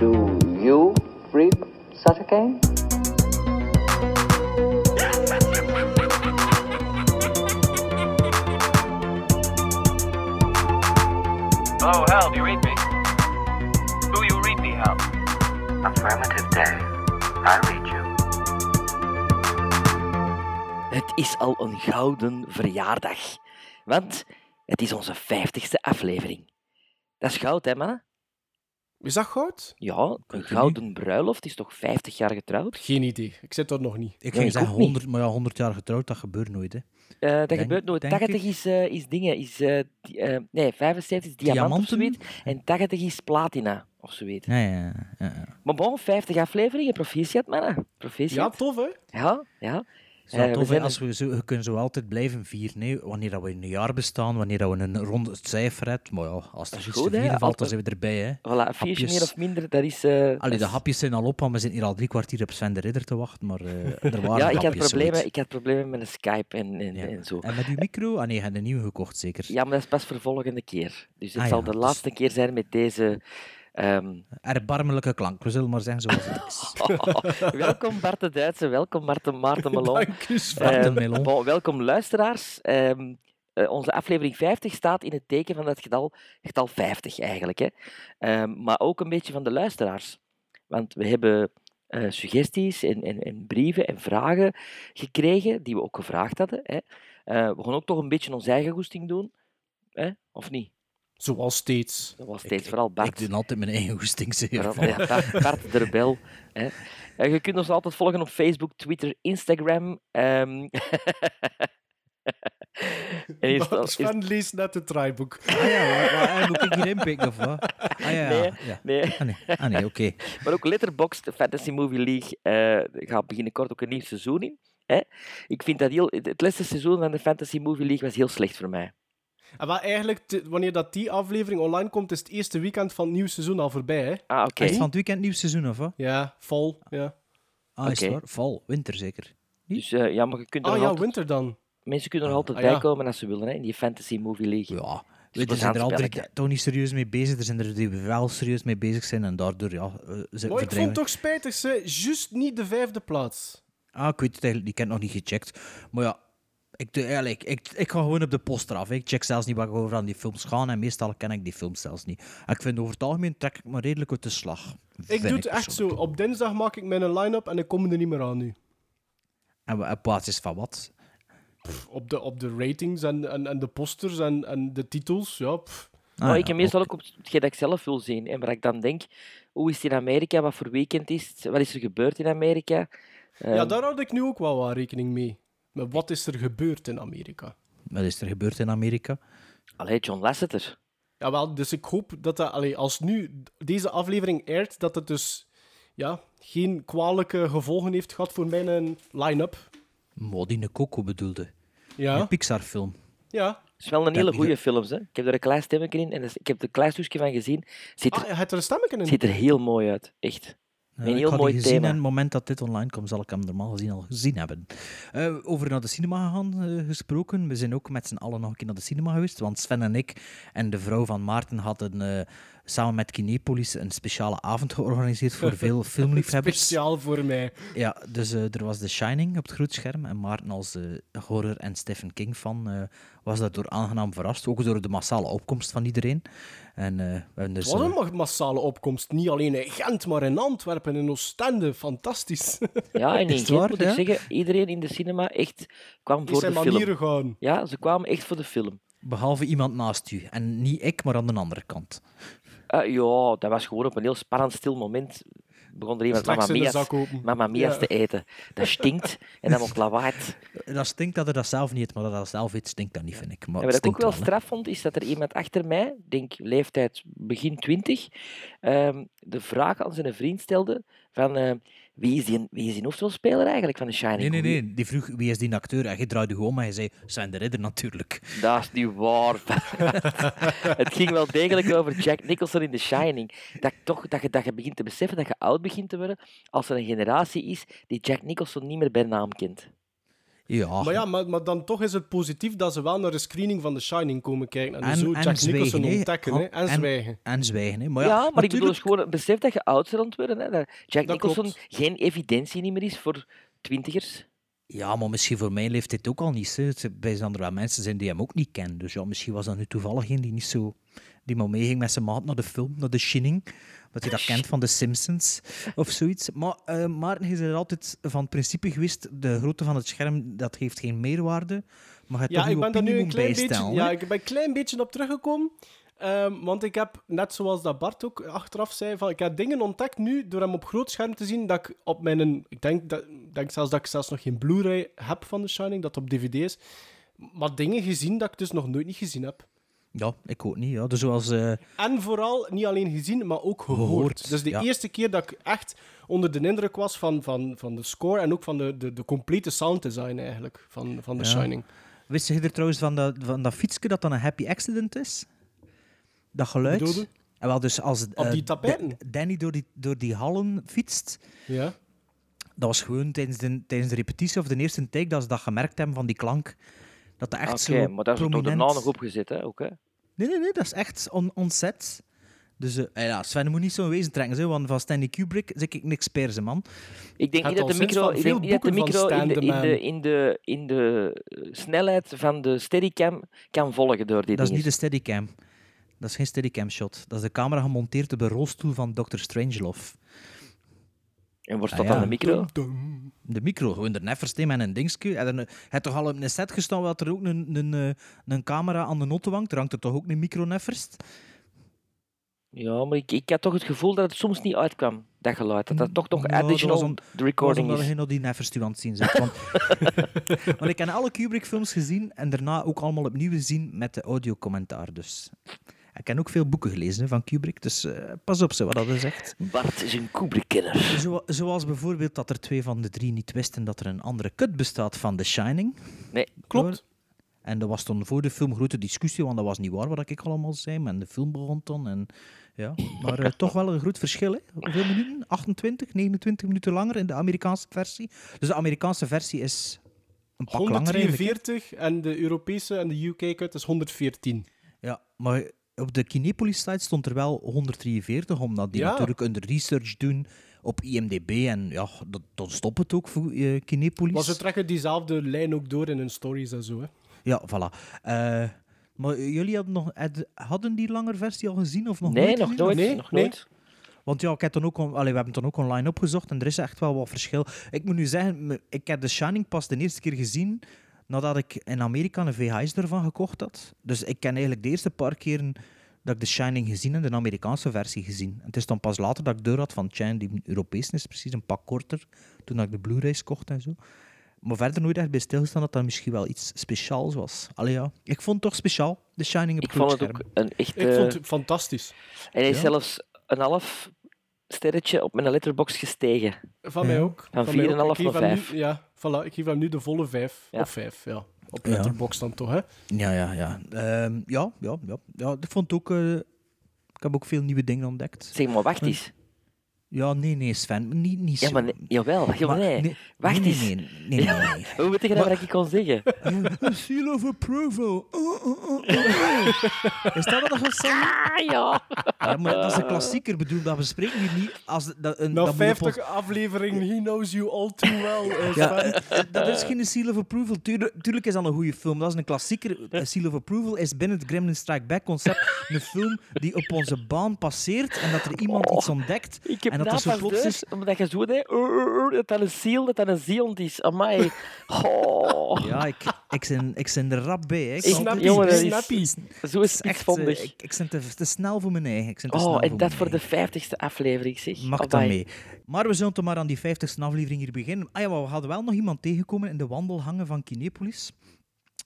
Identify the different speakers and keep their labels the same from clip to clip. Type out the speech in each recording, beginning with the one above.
Speaker 1: Do you reap such a cane?
Speaker 2: Oh, Hal, do you read me? Do you read me, Hal?
Speaker 3: Affirmative Day. I read you.
Speaker 4: Het is al een gouden verjaardag, want het is onze vijftigste aflevering. Dat is goud, hè, mannen?
Speaker 5: Is dat goud?
Speaker 4: Ja, een
Speaker 6: niet.
Speaker 4: gouden bruiloft is toch 50 jaar getrouwd?
Speaker 5: Geen idee. Ik zit er nog niet.
Speaker 6: Ik
Speaker 4: Nee,
Speaker 6: ging
Speaker 4: ik
Speaker 6: zeggen
Speaker 4: ook niet.
Speaker 6: 100, maar ja, 100 jaar getrouwd, dat gebeurt nooit. Hè.
Speaker 4: Eh, dat
Speaker 6: Denk-
Speaker 4: gebeurt nooit.
Speaker 6: denk
Speaker 4: 80
Speaker 6: ik.
Speaker 4: is, eh, is dingen, is, eh, di- eh, nee, 75 is diamant
Speaker 6: Diamanten?
Speaker 4: of zoiets. En 80 is platina of zoiets.
Speaker 6: Ja, ja, ja, ja, ja.
Speaker 4: Maar bon, 50 afleveringen, proficiat, mannen.
Speaker 5: Ja,
Speaker 4: Proficiat.
Speaker 5: tof, hè?
Speaker 4: Ja, ja.
Speaker 6: Het is wel
Speaker 4: Eh, we
Speaker 6: tof, hè,
Speaker 4: zijn
Speaker 6: als we, zo, je kunt zo altijd blijven vieren. hè. Wanneer dat we een jaar bestaan, wanneer dat we een rond cijfer hebben. Maar ja, als
Speaker 4: is
Speaker 6: er iets
Speaker 4: goed, hè,
Speaker 6: te vieren valt, dan
Speaker 4: altijd.
Speaker 6: zijn we erbij. Hè.
Speaker 4: Voilà, een viertje
Speaker 6: Hapjes.
Speaker 4: meer of minder, dat is... eh,
Speaker 6: Allee, de
Speaker 4: dat is-
Speaker 6: hapjes zijn al op, want we zitten hier al drie kwartier op Sven de Ridder te wachten. Maar eh, er waren
Speaker 4: Ja, ik had,
Speaker 6: hapjes,
Speaker 4: problemen,
Speaker 6: zoiets.
Speaker 4: ik had problemen met een Skype en, en,
Speaker 6: Ja.
Speaker 4: en zo.
Speaker 6: En met uw micro? Ah nee, je hebt een nieuwe gekocht, zeker.
Speaker 4: Ja, maar dat is pas voor volgende keer. Dus het
Speaker 6: Ah
Speaker 4: zal
Speaker 6: ja,
Speaker 4: de
Speaker 6: dus-
Speaker 4: laatste keer zijn met deze. ehm,
Speaker 6: Erbarmelijke klank, we zullen maar zeggen zoals het is.
Speaker 4: welkom Bart de Duitse, welkom Maarten, Maarten Melon.
Speaker 5: Dank je, Sven.
Speaker 6: Maarten
Speaker 4: Ehm,
Speaker 6: Melon.
Speaker 4: bon, welkom luisteraars. Ehm, eh, onze aflevering 50 staat in het teken van dat getal, getal 50 eigenlijk. Hè. Ehm, maar ook een beetje van de luisteraars. Want we hebben eh, suggesties en, en, en brieven en vragen gekregen, die we ook gevraagd hadden. Hè. Eh, we gaan ook toch een beetje onze eigen goesting doen. Hè? Of niet?
Speaker 5: Zoals steeds.
Speaker 4: Dat was
Speaker 6: Ik-
Speaker 4: steeds vooral Bart.
Speaker 6: Ik doe altijd mijn eigen hoesting, zeker.
Speaker 4: Vooral- ja, Bart, Bart de Rebel. Hè. En je kunt ons altijd volgen op Facebook, Twitter, Instagram. ehm. en hier
Speaker 5: Maar
Speaker 4: staat- is-
Speaker 5: Sven leest net het draaiboek.
Speaker 6: Ah ja, wa- wa- eh, moet ik hier inpikken of wat? Ah ja, ja,
Speaker 4: Nee,
Speaker 6: ja.
Speaker 4: nee,
Speaker 6: Ah nee, ah, nee oké.
Speaker 4: maar ook Letterboxd, de Fantasy Movie League, eh gaat binnenkort ook een nieuw seizoen in. Hè? Ik vind dat heel, het- het laatste seizoen van de Fantasy Movie League was heel slecht voor mij.
Speaker 5: En Ah, wel, eigenlijk, te- wanneer dat die aflevering online komt, is het eerste weekend van het nieuwe seizoen al voorbij, hè?
Speaker 4: Ah, oké.
Speaker 6: Is het van het weekend nieuw seizoen of wat?
Speaker 5: Ja, vol. Ja.
Speaker 6: Ah, is het
Speaker 4: Oké.
Speaker 6: waar? Val, winter zeker.
Speaker 4: Dus eh, ja, maar je kunt er
Speaker 5: Ah
Speaker 4: nog
Speaker 5: ja,
Speaker 4: altijd-
Speaker 5: winter dan.
Speaker 4: mensen kunnen er altijd
Speaker 5: Ah, ja.
Speaker 4: bij komen als ze willen, hè, in die Fantasy Movie League.
Speaker 6: Ja,
Speaker 4: Dus
Speaker 6: weet,
Speaker 4: we
Speaker 6: er zijn
Speaker 4: gaan
Speaker 6: er altijd
Speaker 4: spelletjes.
Speaker 6: die toch niet serieus mee bezig. Er zijn er die wel serieus mee bezig zijn en daardoor, ja, eh, ze
Speaker 5: Maar ik
Speaker 6: verdrijven-
Speaker 5: vond het toch spijtig, ze. Juist niet de vijfde plaats.
Speaker 6: Ah, ik weet het eigenlijk niet. Ik heb het nog niet gecheckt. Maar ja, ik, doe eigenlijk, ik, ik ga gewoon op de poster af. hè. Ik check zelfs niet waar over aan die films gaan. En meestal ken ik die films zelfs niet. En ik vind over het algemeen trek ik me redelijk uit de slag.
Speaker 5: Ik
Speaker 6: vind
Speaker 5: doe het echt zo.
Speaker 6: persoonlijk.
Speaker 5: Op dinsdag maak ik mijn line-up en ik kom er niet meer aan nu.
Speaker 6: En we- op basis van wat?
Speaker 5: Pff, op, de, op de ratings en, en, en de posters en, en de titels, ja. pff.
Speaker 6: Ah,
Speaker 4: maar
Speaker 6: ja,
Speaker 4: ik heb meestal ook op hetgeen dat ik zelf wil zien. En waar ik dan denk, hoe is het in Amerika? Wat voor weekend is het? Wat is er gebeurd in Amerika?
Speaker 5: Ja,
Speaker 4: Ehm,
Speaker 5: daar had ik nu ook wel wat rekening mee. Maar wat is er gebeurd in Amerika?
Speaker 6: Wat is er gebeurd in Amerika?
Speaker 4: Allee, John Lasseter.
Speaker 5: Jawel, dus ik hoop dat, dat allee, als nu deze aflevering airt, dat het dus ja, geen kwalijke gevolgen heeft gehad voor mijn eh, line-up.
Speaker 6: Modine Coco bedoelde. Een
Speaker 5: Ja,
Speaker 6: Pixar-film.
Speaker 5: ja.
Speaker 4: Het is wel een
Speaker 6: Dat
Speaker 4: hele
Speaker 6: is-
Speaker 4: goede films. Hè? Ik heb er een klein stemmetje in en dat is- ik heb er een klein stukje van gezien. Ziet er,
Speaker 5: Ah, je hebt er een stemmetje in.
Speaker 4: ziet er heel mooi uit, echt.
Speaker 6: Ja,
Speaker 4: Een
Speaker 6: Eh, ik
Speaker 4: heel
Speaker 6: had die
Speaker 4: mooi
Speaker 6: gezien
Speaker 4: thema.
Speaker 6: en het moment dat dit online komt, zal ik hem normaal gezien al gezien hebben. Eh, over naar de cinema gegaan eh, gesproken. We zijn ook met z'n allen nog een keer naar de cinema geweest. Want Sven en ik en de vrouw van Maarten hadden eh, samen met Kinepolis een speciale avond georganiseerd voor veel filmliefhebbers.
Speaker 5: Speciaal voor mij.
Speaker 6: Ja, dus eh, er was The Shining op het grootscherm. En Maarten als eh, horror- en Stephen King-fan eh, was daardoor aangenaam verrast. Ook door de massale opkomst van iedereen. En, eh, we hebben dus,
Speaker 5: Het was
Speaker 6: eh,
Speaker 5: een ma- massale opkomst. Niet alleen in Gent, maar in Antwerpen en in Oostende. Fantastisch.
Speaker 4: Ja, en in
Speaker 6: Is het
Speaker 4: Gent
Speaker 6: waar,
Speaker 4: moet ik
Speaker 6: ja?
Speaker 4: zeggen, iedereen in de cinema echt kwam
Speaker 5: Die
Speaker 4: voor de
Speaker 5: zijn
Speaker 4: film.
Speaker 5: manieren gaan.
Speaker 4: Ja, ze kwamen echt voor de film.
Speaker 6: Behalve iemand naast u. En niet ik, maar aan de andere kant.
Speaker 4: Eh, ja, dat was gewoon op een heel spannend, stil moment. Begon er iemand
Speaker 5: Straks
Speaker 4: Mamma
Speaker 5: in de
Speaker 4: Mia's,
Speaker 5: zak open.
Speaker 4: Mamma Mia's
Speaker 5: Ja.
Speaker 4: te eten. Dat stinkt en dat wordt lawaait.
Speaker 6: Dat stinkt dat hij dat zelf niet eet, maar dat hij dat zelf eet, stinkt dat niet, vind ik. Maar
Speaker 4: En
Speaker 6: het
Speaker 4: wat ik ook
Speaker 6: stinkt
Speaker 4: wel
Speaker 6: wel, hè.
Speaker 4: straf vond, is dat er iemand achter mij, denk leeftijd begin twintig, ehm, de vraag aan zijn vriend stelde van eh, wie is die, wie is die hoofdrolspeler eigenlijk van The Shining?
Speaker 6: Nee, nee,
Speaker 4: Wie-
Speaker 6: nee. Die vroeg wie is die acteur? En je draaide gewoon, maar je zei Sven de Ridder natuurlijk.
Speaker 4: Dat is niet waar. het ging wel degelijk over Jack Nicholson in The Shining. Dat, ik toch, dat, je, dat je begint te beseffen dat je oud begint te worden als er een generatie is die Jack Nicholson niet meer bij naam kent.
Speaker 6: Ja.
Speaker 5: Maar ja, maar, maar dan toch is het positief dat ze wel naar de screening van The Shining komen kijken. En,
Speaker 6: En-
Speaker 5: zo
Speaker 6: en
Speaker 5: Jack Nicholson
Speaker 6: zwijgen, hè. Oh,
Speaker 5: ontdekken hè, en,
Speaker 6: En-
Speaker 5: zwijgen.
Speaker 6: En zwijgen, hè. Maar
Speaker 4: Ja,
Speaker 6: ja,
Speaker 4: maar ik bedoel,
Speaker 6: natuurlijk-
Speaker 4: dus gewoon het besef dat je oud bent aan het worden. Hè, dat Jack
Speaker 5: Dat
Speaker 4: Nicholson
Speaker 5: klopt.
Speaker 4: geen evidentie niet meer is voor twintigers.
Speaker 6: Ja, maar misschien voor mijn leeftijd ook al niet. Hè. Het zijn- Bij zijn er wel mensen zijn die hem ook niet kennen. Dus ja, misschien was dat nu toevallig een die niet zo... Die maar meeging met zijn maat naar de film, naar de Shining. Wat hij dat kent van de Simpsons of zoiets. Maar eh Maarten is er altijd van het principe geweest, de grootte van het scherm, dat heeft geen meerwaarde. Maar je hebt
Speaker 5: Ja,
Speaker 6: toch
Speaker 5: ik
Speaker 6: uw
Speaker 5: ben daar
Speaker 6: opinie
Speaker 5: nu een
Speaker 6: moet
Speaker 5: klein beetje,
Speaker 6: bijstellen,
Speaker 5: ja,
Speaker 6: hè.
Speaker 5: ik ben een klein beetje op teruggekomen. Ehm, want ik heb, net zoals dat Bart ook achteraf zei, van, ik heb dingen ontdekt nu door hem op groot scherm te zien dat ik op mijn... Ik denk, dat, ik denk zelfs dat ik zelfs nog geen Blu-ray heb van The Shining, dat het op DVD is. Maar dingen gezien dat ik dus nog nooit niet gezien heb.
Speaker 6: Ja, ik ook niet. Ja. Dus zoals... eh,
Speaker 5: En vooral niet alleen gezien, maar ook gehoord.
Speaker 6: Gehoord,
Speaker 5: dus de
Speaker 6: ja.
Speaker 5: eerste keer dat ik echt onder de indruk was van, van, van de score en ook van de, de, de complete sound design eigenlijk van, van The
Speaker 6: Ja.
Speaker 5: Shining.
Speaker 6: Wist je er trouwens van dat, van dat fietsje dat dan een happy accident is? Dat geluid?
Speaker 5: bedoelde?
Speaker 6: En wel, dus als eh,
Speaker 5: die tapijten?
Speaker 6: Da- Danny door die, door die hallen fietst,
Speaker 5: Ja.
Speaker 6: dat was gewoon tijdens de, tijdens de repetitie of de eerste take dat ze dat gemerkt hebben van die klank. Dat dat echt
Speaker 4: Oké,
Speaker 6: zo
Speaker 4: maar daar is toch
Speaker 6: prominent...
Speaker 4: de naam nog op gezet, hè? Ook, hè?
Speaker 6: Nee, nee, nee, dat is echt on, ontzet. Dus eh, ja, Sven moet niet zo'n wezen trekken, zo, want van Stanley Kubrick zeg ik niks persen, man.
Speaker 4: Ik denk
Speaker 5: Gaat
Speaker 4: niet dat
Speaker 5: al
Speaker 4: de
Speaker 5: sinds
Speaker 4: micro,
Speaker 5: van
Speaker 4: ik
Speaker 5: veel
Speaker 4: denk niet dat de
Speaker 5: boeken van
Speaker 4: micro in, de,
Speaker 5: Stan de
Speaker 4: in, de,
Speaker 5: Man.
Speaker 4: in, de, in de eh, snelheid van de steadicam kan volgen door dit
Speaker 6: Dat is
Speaker 4: ding.
Speaker 6: niet de steadicam. Dat is geen steadicam shot. Dat is de camera gemonteerd op de rolstoel van Dr. Strangelove.
Speaker 4: En wordt
Speaker 6: Ah,
Speaker 4: dat
Speaker 6: ja.
Speaker 4: aan de micro?
Speaker 6: De micro, gewoon de neffers hè, met een dingetje. Hij had er- hij had toch al op een set gestaan waar er ook een, een, eh, een camera aan de notte hangt. Er hangt er toch ook een micro neffers?
Speaker 4: Ja, maar ik, ik had toch het gevoel dat het soms niet uitkwam, dat geluid. Dat dat toch nog
Speaker 6: Mm, Ja, dat was
Speaker 4: additional
Speaker 6: om-
Speaker 4: recording
Speaker 6: omdat
Speaker 4: is.
Speaker 6: je nog die neffers toe aan het zien zit. Want, want ik heb alle Kubrick-films gezien en daarna ook allemaal opnieuw gezien met de audiocommentaar. Dus. Ik heb ook veel boeken gelezen hè, van Kubrick, dus eh, pas op ze wat dat is echt.
Speaker 4: Bart is een Kubrick-kenner.
Speaker 6: Zo, zoals bijvoorbeeld dat er twee van de drie niet wisten dat er een andere cut bestaat van The Shining.
Speaker 4: Nee,
Speaker 5: Klopt.
Speaker 6: En er was toen voor de film grote discussie, want dat was niet waar wat ik allemaal zei. Maar de film begon toen. En, ja. Maar eh, toch wel een groot verschil. Hè. Hoeveel minuten? 28, 29 minuten langer in de Amerikaanse versie. Dus de Amerikaanse versie is een pak langer eigenlijk.
Speaker 5: 143 en de Europese en de UK-cut is 114.
Speaker 6: Ja, maar op de Kinepolis-site stond er wel 143, omdat die
Speaker 5: Ja.
Speaker 6: natuurlijk een research doen op IMDb. En ja, dat, dan stopt het ook voor eh, Kinepolis.
Speaker 5: Maar ze trekken diezelfde lijn ook door in hun stories en zo. Hè.
Speaker 6: Ja, voilà. Eh, maar jullie hadden, nog, had- hadden die langer versie al gezien of nog
Speaker 4: nee
Speaker 6: nooit
Speaker 4: nog
Speaker 6: gezien?
Speaker 4: nooit.
Speaker 5: Nee,
Speaker 4: nog
Speaker 5: nee.
Speaker 4: nooit.
Speaker 6: Want ja, ik heb dan ook, on- allee, we hebben het dan ook online opgezocht en er is echt wel wat verschil. Ik moet nu zeggen, me- ik heb The Shining pas de eerste keer gezien nadat ik in Amerika een VHS ervan gekocht had. Dus ik ken eigenlijk de eerste paar keren dat ik The Shining gezien en de Amerikaanse versie gezien. En het is dan pas later dat ik door had van Chan, die Europese is precies een pak korter, toen dat ik de Blu-rays kocht en zo. Maar verder nooit echt bij stilgestaan dat dat misschien wel iets speciaals was. Allee ja, ik vond het toch speciaal, The Shining op
Speaker 4: Ik
Speaker 6: groot
Speaker 4: vond het ook
Speaker 6: scherm.
Speaker 4: een echt... eh,
Speaker 5: Ik vond het fantastisch.
Speaker 4: En hij is
Speaker 6: Ja.
Speaker 4: zelfs een half sterretje op mijn letterbox gestegen.
Speaker 5: Van
Speaker 6: Ja.
Speaker 5: mij ook.
Speaker 4: Van
Speaker 5: mij ook.
Speaker 4: 4,5
Speaker 5: Ik geef
Speaker 4: naar
Speaker 5: hem nu-
Speaker 4: vijf.
Speaker 5: Ja, voilà, ik geef hem nu de volle 5.
Speaker 4: Ja.
Speaker 5: Of 5, ja. Op
Speaker 6: Ja.
Speaker 5: Letterboxd dan toch, hè?
Speaker 6: Ja, ja, ja. Ehm, ja, ja, ja. ja ik vond ook... eh, ik heb ook veel nieuwe dingen ontdekt.
Speaker 4: Zeg maar, wacht eens.
Speaker 6: Ja, nee, nee, Sven. Niet, niet
Speaker 4: Ja,
Speaker 6: zo.
Speaker 4: maar nee, jawel. Ja, maar
Speaker 6: Maar-
Speaker 4: nee. Wacht
Speaker 6: nee,
Speaker 4: eens.
Speaker 6: Nee, nee, nee. nee, nee.
Speaker 4: Hoe moet ik dat wat ik kon zeggen?
Speaker 6: A seal of approval. Oh, oh, oh, oh, oh. Is dat wat dat gezegd?
Speaker 4: Ah, ja.
Speaker 6: Ja, maar dat is een klassieker, bedoel, dat bespreken hier niet als... Dat, een,
Speaker 5: Na
Speaker 6: dat moet op
Speaker 5: 50
Speaker 6: ons-
Speaker 5: afleveringen, he knows you all too well. eh,
Speaker 6: Ja,
Speaker 5: Sven.
Speaker 6: eh, dat is geen seal of approval. Tuurlijk, tuurlijk is dat een goede film. Dat is een klassieker. A seal of approval is binnen het Gremlin Strike Back concept een film die op onze baan passeert en dat er iemand iets ontdekt.
Speaker 4: Oh. Ik heb
Speaker 6: en dat er zo
Speaker 4: napas
Speaker 6: plots is...
Speaker 4: dus, omdat je zo deed, "Oer, oer, oer," eh, dat dat een ziel, dat dat een zielend is. Amai. Oh.
Speaker 6: Ja, ik, ik, zijn, ik zijn er rap bij. hè. Ik
Speaker 4: Ik-
Speaker 6: zal
Speaker 5: Snappy,
Speaker 6: het
Speaker 4: jongen, dat is-
Speaker 5: snappy.
Speaker 4: Zo is
Speaker 6: is
Speaker 4: het
Speaker 6: echt, eh,
Speaker 4: spitsvondig.
Speaker 6: ik, ik ben te, te snel voor mijn eigen. Ik ben te snel
Speaker 4: Oh, en dat
Speaker 6: voor mijn
Speaker 4: voor de
Speaker 6: eigen.
Speaker 4: vijftigste aflevering, zeg.
Speaker 6: Mag dan
Speaker 4: Amai.
Speaker 6: mee. Maar we zullen toch maar aan die 50ste aflevering hier beginnen. Ah ja, maar we hadden wel nog iemand tegengekomen in de wandelhangen van Kinepolis.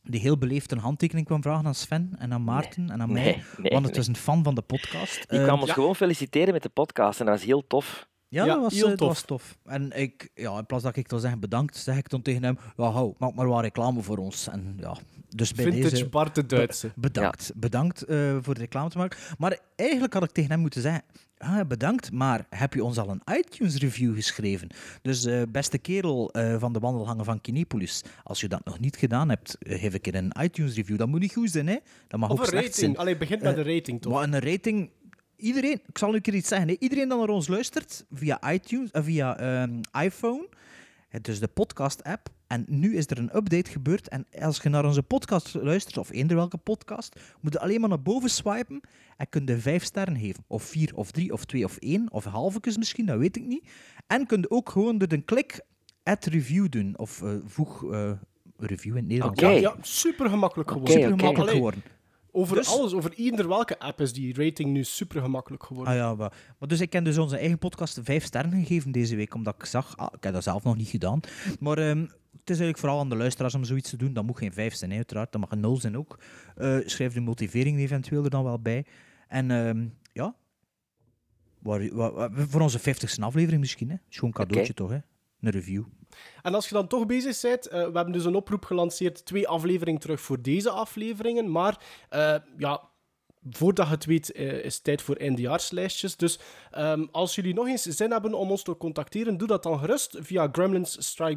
Speaker 6: Die heel beleefd een handtekening kwam vragen aan Sven en aan Maarten en aan mij.
Speaker 4: Nee, nee,
Speaker 6: want het
Speaker 4: nee.
Speaker 6: was een fan van de podcast.
Speaker 4: Die
Speaker 6: Eh,
Speaker 4: kwam ons gewoon feliciteren met de podcast en dat was heel tof.
Speaker 6: Ja,
Speaker 5: Ja,
Speaker 6: dat, was,
Speaker 5: heel
Speaker 6: eh, dat
Speaker 5: tof.
Speaker 6: was tof. En ik, ja, in plaats dat ik dan zeg bedankt, zeg ik dan tegen hem, ja, hou, maak maar wat reclame voor ons. En ja, dus bij
Speaker 5: Vintage
Speaker 6: deze...
Speaker 5: Bart de Duitse.
Speaker 6: Bedankt. Bedankt eh, voor de reclame te maken. Maar eigenlijk had ik tegen hem moeten zeggen: ah, bedankt, maar heb je ons al een iTunes review geschreven? Dus eh, beste kerel eh, van de wandelhangen van Kinepolis, als je dat nog niet gedaan hebt, eh, geef ik er een iTunes review. Dat moet niet goed zijn, hè? Dat mag
Speaker 5: Of
Speaker 6: ook
Speaker 5: een
Speaker 6: slecht zijn.
Speaker 5: rating. Allee, begint met
Speaker 6: Eh,
Speaker 5: een rating, toch?
Speaker 6: Maar een rating. Iedereen, ik zal nu een keer iets zeggen. Hè. Iedereen dat naar ons luistert via iTunes, eh, via ehm, iPhone, het is de podcast-app. En nu is er een update gebeurd. En als je naar onze podcast luistert, of eender welke podcast, moet je alleen maar naar boven swipen en kun je vijf sterren geven. Of vier, of drie, of twee, of één, of halvekes misschien, dat weet ik niet. En kun je ook gewoon door een klik add review doen. Of eh, voeg eh, review in het Nederlands.
Speaker 4: Oké.
Speaker 6: Ja,
Speaker 5: Ja, super gemakkelijk geworden.
Speaker 6: Super gemakkelijk
Speaker 5: Allee,
Speaker 6: geworden.
Speaker 5: Over
Speaker 6: Dus-
Speaker 5: alles, over ieder welke app is die rating nu super gemakkelijk geworden.
Speaker 6: Ah ja, maar, maar dus ik heb dus onze eigen podcast vijf sterren gegeven deze week, omdat ik zag, ah, ik heb dat zelf nog niet gedaan, maar ehm, het is eigenlijk vooral aan de luisteraars om zoiets te doen. Dat moet geen vijf zijn, hè, uiteraard, dat mag een nul zijn ook. Eh, schrijf de motivering eventueel er dan wel bij. En ehm, ja, Waar- waar- waar- voor onze vijftigste aflevering misschien, hè. Is gewoon een cadeautje toch, hè? Een review.
Speaker 5: En als je dan toch bezig bent, eh, we hebben dus een oproep gelanceerd, twee afleveringen terug voor deze afleveringen, maar eh, ja, voordat je het weet eh, is het tijd voor eindejaarslijstjes. Dus ehm, als jullie nog eens zin hebben om ons te contacteren, doe dat dan gerust via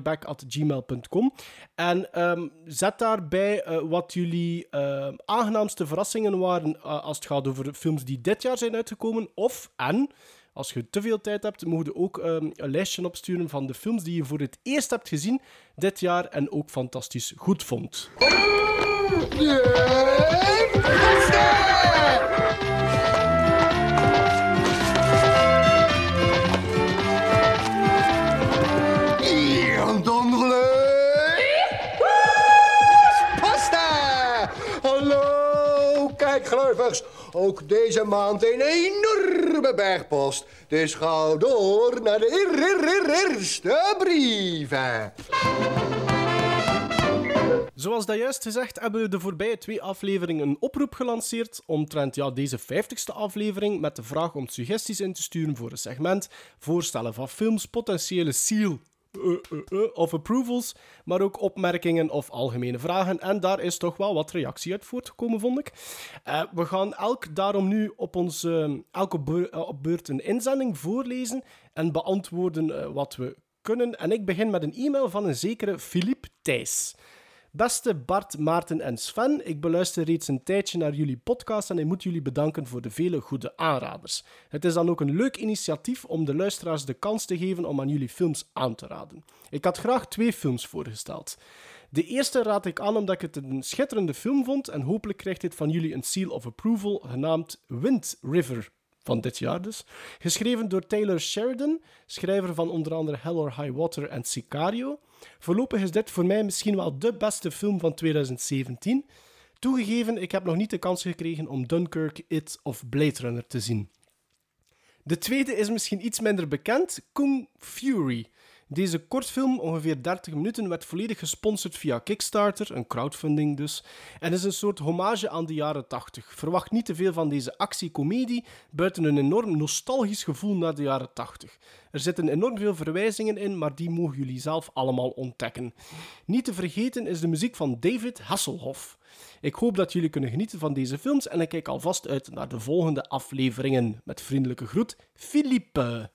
Speaker 5: gremlinsstrikeback.gmail.com en ehm, zet daarbij eh, wat jullie ehm, aangenaamste verrassingen waren eh, als het gaat over films die dit jaar zijn uitgekomen of en... Als je te veel tijd hebt, mogen je ook ehm, een lijstje opsturen van de films die je voor het eerst hebt gezien dit jaar en ook fantastisch goed vond.
Speaker 7: Hier, donderlijk! Pasta! Hallo, kijkgluivers! Ook deze maand een enorme bergpost. Dus ga door naar de eer- eer- eer- eerste brieven.
Speaker 5: Zoals dat juist gezegd, hebben we de voorbije twee afleveringen een oproep gelanceerd omtrent ja, deze 50ste aflevering met de vraag om suggesties in te sturen voor een segment, voorstellen van films, potentiële seal eh, eh, eh, of approvals, maar ook opmerkingen of algemene vragen. En daar is toch wel wat reactie uit voortgekomen, vond ik. Eh, we gaan elk daarom nu op ons, eh, elke beur- eh, op beurt een inzending voorlezen en beantwoorden eh, wat we kunnen. En ik begin met een e-mail van een zekere Philippe Thijs. Beste Bart, Maarten en Sven, ik beluister reeds een tijdje naar jullie podcast en ik moet jullie bedanken voor de vele goede aanraders. Het is dan ook een leuk initiatief om de luisteraars de kans te geven om aan jullie films aan te raden. Ik had graag twee films voorgesteld. De eerste raad ik aan omdat ik het een schitterende film vond en hopelijk krijgt dit van jullie een seal of approval genaamd Wind River van dit jaar dus. Geschreven door Taylor Sheridan, schrijver van onder andere Hell or High Water en Sicario. Voorlopig is dit voor mij misschien wel de beste film van 2017. Toegegeven, ik heb nog niet de kans gekregen om Dunkirk, It of Blade Runner te zien. De tweede is misschien iets minder bekend, Kung Fury. Deze kortfilm, ongeveer 30 minuten, werd volledig gesponsord via Kickstarter, een crowdfunding dus, en is een soort hommage aan de jaren 80. Verwacht niet te veel van deze actiecomedie, buiten een enorm nostalgisch gevoel naar de jaren 80. Er zitten enorm veel verwijzingen in, maar die mogen jullie zelf allemaal ontdekken. Niet te vergeten is de muziek van David Hasselhoff. Ik hoop dat jullie kunnen genieten van deze films en ik kijk alvast uit naar de volgende afleveringen. Met vriendelijke groet, Philippe.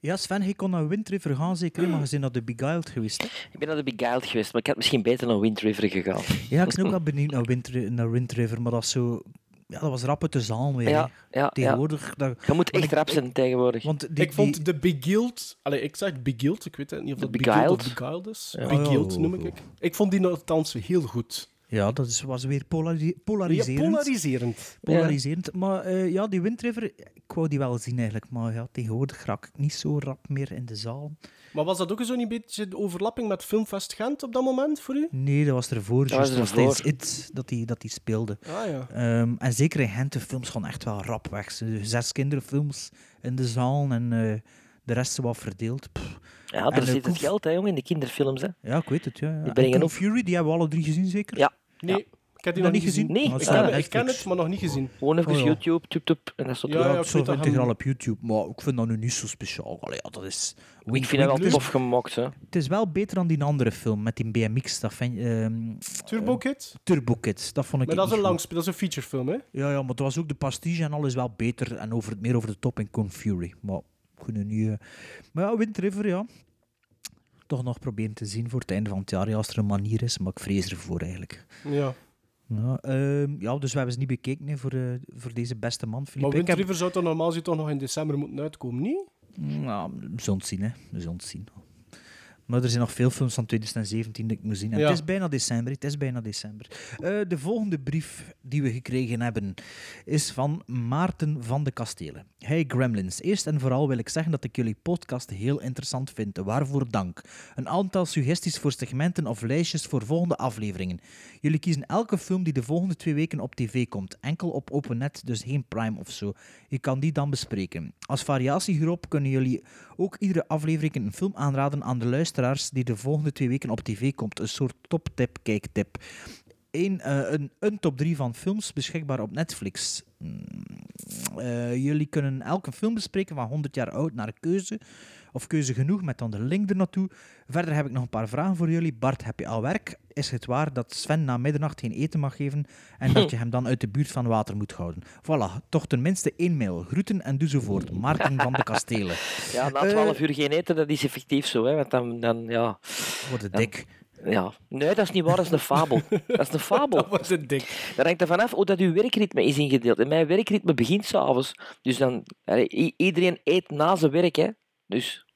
Speaker 6: Ja, Sven, je kon naar Wind River gaan, zeker, hè, maar je bent naar de Beguiled geweest, hè?
Speaker 4: Ik ben naar de Beguiled geweest, maar ik had misschien beter naar Wind River gegaan.
Speaker 6: Ja, ik ben ook wel benieuwd naar Wind, Ri- naar Wind River, maar dat, is zo, ja, dat was rap uit de zaal weer, hè.
Speaker 4: Ja, ja, ja.
Speaker 6: Tegenwoordig... dat-
Speaker 4: Je moet
Speaker 6: want
Speaker 4: echt
Speaker 6: ik-
Speaker 4: rap zijn tegenwoordig.
Speaker 6: Want die,
Speaker 5: Ik vond
Speaker 6: die-
Speaker 5: de Beguiled... Allee, ik zeg Beguiled, ik weet het niet of
Speaker 4: De
Speaker 5: dat Beguiled of
Speaker 4: Beguiled?
Speaker 5: Beguiled is.
Speaker 6: Ja.
Speaker 5: Beguiled
Speaker 6: Oh.
Speaker 5: noem ik ik. Ik vond die althans heel goed.
Speaker 6: Ja, dat is, was weer polari-
Speaker 5: Ja,
Speaker 6: polariserend.
Speaker 5: polariserend.
Speaker 6: polariserend. Maar eh, ja, die Wind River, ik wou die wel zien eigenlijk. Maar ja, tegenwoordig raak ik niet zo rap meer in de zaal.
Speaker 5: Maar was dat ook zo'n beetje de overlapping met Filmfest Gent op dat moment voor u?
Speaker 6: Nee, dat was ervoor.
Speaker 4: Dat
Speaker 6: juist,
Speaker 4: was
Speaker 6: Dat was
Speaker 4: ervoor.
Speaker 6: tijdens It dat die, dat die speelde.
Speaker 5: Ah ja.
Speaker 6: Ehm, en zeker in Gent, de films gaan echt wel rap weg. Ze- Zes kinderfilms in de zaal en eh, de rest zo wat verdeeld. Pff.
Speaker 4: Ja,
Speaker 6: en
Speaker 4: daar
Speaker 6: de
Speaker 4: zit het
Speaker 6: Koef-
Speaker 4: geld hè, jongen, in de kinderfilms. Hè.
Speaker 6: Ja, ik weet het. Ja. ja.
Speaker 4: Die
Speaker 6: En
Speaker 4: brengen
Speaker 6: Kung
Speaker 4: op-
Speaker 6: Fury, die hebben we alle drie gezien zeker?
Speaker 4: Ja.
Speaker 5: Nee, Ik heb die nog,
Speaker 6: Nog niet
Speaker 5: niet gezien.
Speaker 6: gezien?
Speaker 4: Nee,
Speaker 6: Ah,
Speaker 5: Ik
Speaker 6: staat op
Speaker 5: ken, ik ken
Speaker 6: Netflix.
Speaker 5: het, maar nog niet gezien.
Speaker 4: Gewoon even
Speaker 6: Oh ja.
Speaker 4: YouTube, tup-tup, en dat soort
Speaker 5: Ja,
Speaker 4: dingen.
Speaker 6: Ja, het
Speaker 5: ik
Speaker 6: stond
Speaker 5: weet dat
Speaker 6: integraal
Speaker 5: hem-
Speaker 6: op YouTube, maar ik vind dat nu niet zo speciaal. Allee, ja, dat is...
Speaker 4: Ik
Speaker 6: wink,
Speaker 4: vind dat wel
Speaker 6: wink,
Speaker 4: tof gemaakt, hè.
Speaker 6: Het is wel beter dan die andere film met die BMX, dat vind, ehm,
Speaker 5: Turbo Kid?
Speaker 6: Turbo Kids. Dat vond ik
Speaker 5: Maar dat is
Speaker 6: niet
Speaker 5: een
Speaker 6: goed.
Speaker 5: langspe- dat is een featurefilm, hè?
Speaker 6: Ja, ja, maar het was ook de pastiche en alles wel beter en over, meer over de top in Kung Fury. Maar goed, nu... eh, Maar ja, Wind River, ja. Toch nog proberen te zien voor het einde van het jaar, ja, als er een manier is. Maar ik vrees ervoor eigenlijk.
Speaker 5: Ja.
Speaker 6: Ja, ehm, ja dus we hebben ze niet bekeken hè, voor, eh, voor deze beste man,
Speaker 5: Maar
Speaker 6: Philippe. Ik
Speaker 5: Wind
Speaker 6: heb-
Speaker 5: River zou toch normaal gezien toch nog in december moeten uitkomen, niet?
Speaker 6: Nou, we zullen het zien, hè. We zullen het zien. Maar er zijn nog veel films van 2017 die ik moet zien. En
Speaker 5: Ja.
Speaker 6: Het is bijna december, het is bijna december. Eh, de volgende brief die we gekregen hebben is van Maarten van de Kastelen. Hey Gremlins, eerst en vooral wil ik zeggen dat ik jullie podcast heel interessant vind. Waarvoor dank. Een aantal suggesties voor segmenten of lijstjes voor volgende afleveringen. Jullie kiezen elke film die de volgende twee weken op tv komt. Enkel op open net, dus geen prime of zo. Je kan die dan bespreken. Als variatie hierop kunnen jullie ook iedere aflevering een film aanraden aan de luisteraars die de volgende twee weken op tv komt. Een soort toptip, kijktip. Eén, eh, een, een top 3 van films beschikbaar op Netflix. Mm, eh, jullie kunnen elke film bespreken van 100 jaar oud naar keuze. Of keuze genoeg met dan de link ernaartoe. Verder heb ik nog een paar vragen voor jullie. Bart, heb je al werk? Is het waar dat Sven na middernacht geen eten mag geven en dat je hem dan uit de buurt van water moet houden? Voilà, toch tenminste één mail. Groeten en doe zo voort. Maarten van de Kastelen.
Speaker 4: Ja, na
Speaker 6: Eh,
Speaker 4: 12 uur geen eten, dat is effectief zo, hè. Want dan, dan ja...
Speaker 6: Wat een dik.
Speaker 4: ja... Nee, dat is niet waar, dat is een fabel. dat is een fabel.
Speaker 5: Wat een dik.
Speaker 4: Dat hangt ervan af hoe dat uw werkritme is ingedeeld. En mijn werkritme begint s'avonds. Dus dan... allee, i- iedereen eet na zijn werk, hè. Dus...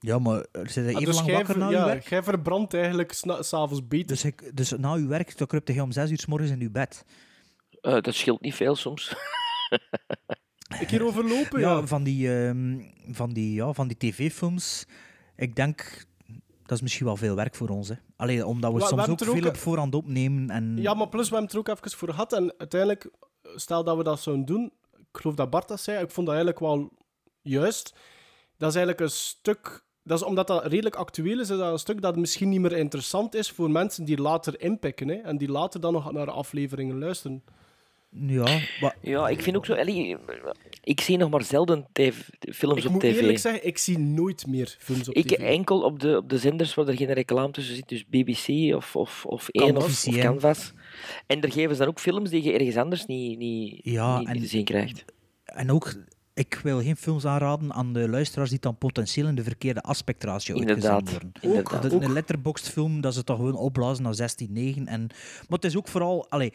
Speaker 6: Ja, maar eh, er zit even
Speaker 5: Ah, Dus
Speaker 6: lang
Speaker 5: jij,
Speaker 6: wakker
Speaker 5: ver,
Speaker 6: na je
Speaker 5: ja,
Speaker 6: werk.
Speaker 5: jij verbrandt eigenlijk sna- s'avonds beter.
Speaker 6: Dus, ik, dus na uw werk dan kruipt je om zes uur 's morgens in uw bed.
Speaker 4: eh, dat scheelt niet veel soms.
Speaker 5: Ik hier overlopen, ja.
Speaker 6: Ja, van die, ehm, van die, ja, van die tv-films. Ik denk, dat is misschien wel veel werk voor ons. Hè. Alleen omdat we
Speaker 5: Wa- we
Speaker 6: soms
Speaker 5: hebben
Speaker 6: ook
Speaker 5: er ook
Speaker 6: veel
Speaker 5: een-
Speaker 6: op voorhand opnemen. En...
Speaker 5: Ja, maar plus we hebben het er ook even voor gehad. En uiteindelijk, stel dat we dat zouden doen, ik geloof dat Bart dat zei, ik vond dat eigenlijk wel juist. Dat is eigenlijk een stuk, dat is omdat dat redelijk actueel is, is dat een stuk dat misschien niet meer interessant is voor mensen die later inpikken. Hè, en die later dan nog naar de afleveringen luisteren.
Speaker 6: Ja, wa-
Speaker 4: Ja, ik vind ook zo... allee, ik zie nog maar zelden tv films
Speaker 5: Ik
Speaker 4: op
Speaker 5: moet
Speaker 4: tv.
Speaker 5: eerlijk zeggen, ik zie nooit meer films op
Speaker 4: Ik
Speaker 5: tv.
Speaker 4: enkel op de, op de zenders waar er geen reclame tussen zit, dus BBC of, of, of één of,
Speaker 6: Canvas,
Speaker 4: of
Speaker 6: ja.
Speaker 4: Canvas. En er geven ze dan ook films die je ergens anders niet, niet,
Speaker 6: Ja,
Speaker 4: niet
Speaker 6: en-
Speaker 4: te zien krijgt.
Speaker 6: en ook, ik wil geen films aanraden aan de luisteraars die dan potentieel in de verkeerde aspectratio uitgezet
Speaker 4: Inderdaad.
Speaker 6: worden.
Speaker 4: inderdaad.
Speaker 6: Dat een letterboxd film, dat ze toch gewoon opblazen naar 16-9. En... Maar het is ook vooral... Allee,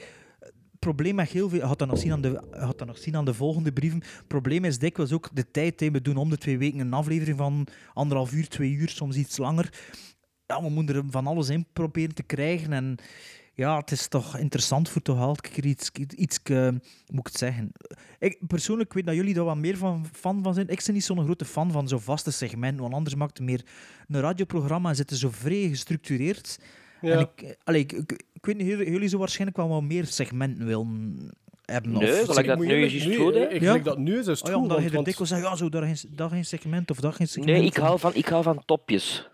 Speaker 6: het probleem met heel veel... Je had dat nog zien aan de, je had dat nog zien aan de volgende brieven. Het probleem is dikwijls ook de tijd. hè. We doen om de twee weken een aflevering van anderhalf uur, twee uur, soms iets langer. Ja, we moeten er van alles in proberen te krijgen. En ja, het is toch interessant voor toch elke keer iets, iets eh, hoe moet ik het zeggen. Ik persoonlijk weet dat jullie daar wat meer van, fan van zijn. Ik ben niet zo'n grote fan van zo'n vaste segment, want anders maakt het meer een radioprogramma en zitten zo vrij gestructureerd.
Speaker 5: Ja.
Speaker 6: En ik, eh, allee, ik, ik, ik weet niet, jullie jullie zo waarschijnlijk wel wat meer segmenten willen hebben.
Speaker 4: Nee,
Speaker 6: of,
Speaker 4: gelijk dat
Speaker 5: moet
Speaker 4: nu
Speaker 5: eerlijk-
Speaker 4: is het goed, hè?
Speaker 5: Ik
Speaker 6: Ja.
Speaker 5: gelijk dat nu is, is het
Speaker 6: Oh ja,
Speaker 5: goed.
Speaker 6: omdat je
Speaker 5: want-
Speaker 6: er
Speaker 5: want-
Speaker 6: dikwijls zegt, ja, zo, daar geen, daar geen segment of daar geen segment. eh,
Speaker 4: Nee, ik hou van, ik hou van topjes.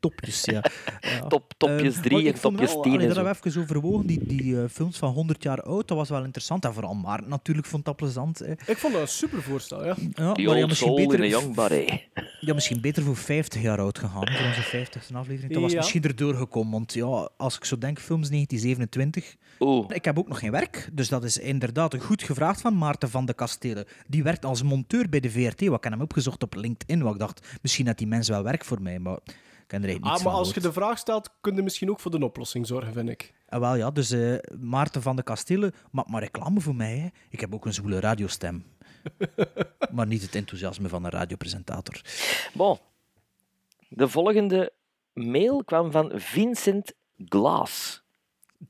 Speaker 6: Topjes, ja. ja.
Speaker 4: Top, topjes
Speaker 6: Ehm,
Speaker 4: 3
Speaker 6: maar ik
Speaker 4: en
Speaker 6: vond
Speaker 4: topjes
Speaker 6: wel-
Speaker 4: 10.
Speaker 6: allee,
Speaker 4: en
Speaker 6: Daar
Speaker 4: zo.
Speaker 6: hebben we even overwogen, die, die eh, films van 100 jaar oud, dat was wel interessant. En vooral Maarten natuurlijk vond dat plezant. hè.
Speaker 5: Ik vond dat een super voorstel, ja.
Speaker 6: Ja,
Speaker 4: The
Speaker 6: maar ja,
Speaker 4: old
Speaker 6: misschien
Speaker 4: soul in
Speaker 6: beter,
Speaker 4: a young body.
Speaker 6: ja, misschien beter voor 50 jaar oud gegaan, voor onze 50ste aflevering. Dat was
Speaker 5: Ja.
Speaker 6: misschien erdoor gekomen, want ja, als ik zo denk, films 1927...
Speaker 4: Oeh,
Speaker 6: Ik heb ook nog geen werk, dus dat is inderdaad goed gevraagd van Maarten van de Kastelen. Die werkt als monteur bij de VRT, wat ik heb hem opgezocht op LinkedIn, wat ik dacht, misschien had die mens wel werk voor mij, maar ik ken er eigenlijk niets
Speaker 5: Ah, maar
Speaker 6: van
Speaker 5: als je
Speaker 6: gehoord.
Speaker 5: de vraag stelt, kun je misschien ook voor de oplossing zorgen, vind ik.
Speaker 6: Ah, wel ja, dus eh, Maarten van de Kastelen maakt maar reclame voor mij. Hè. Ik heb ook een zwoele radiostem. maar niet het enthousiasme van een radiopresentator.
Speaker 4: bon. De volgende mail kwam van Vincent Glaas.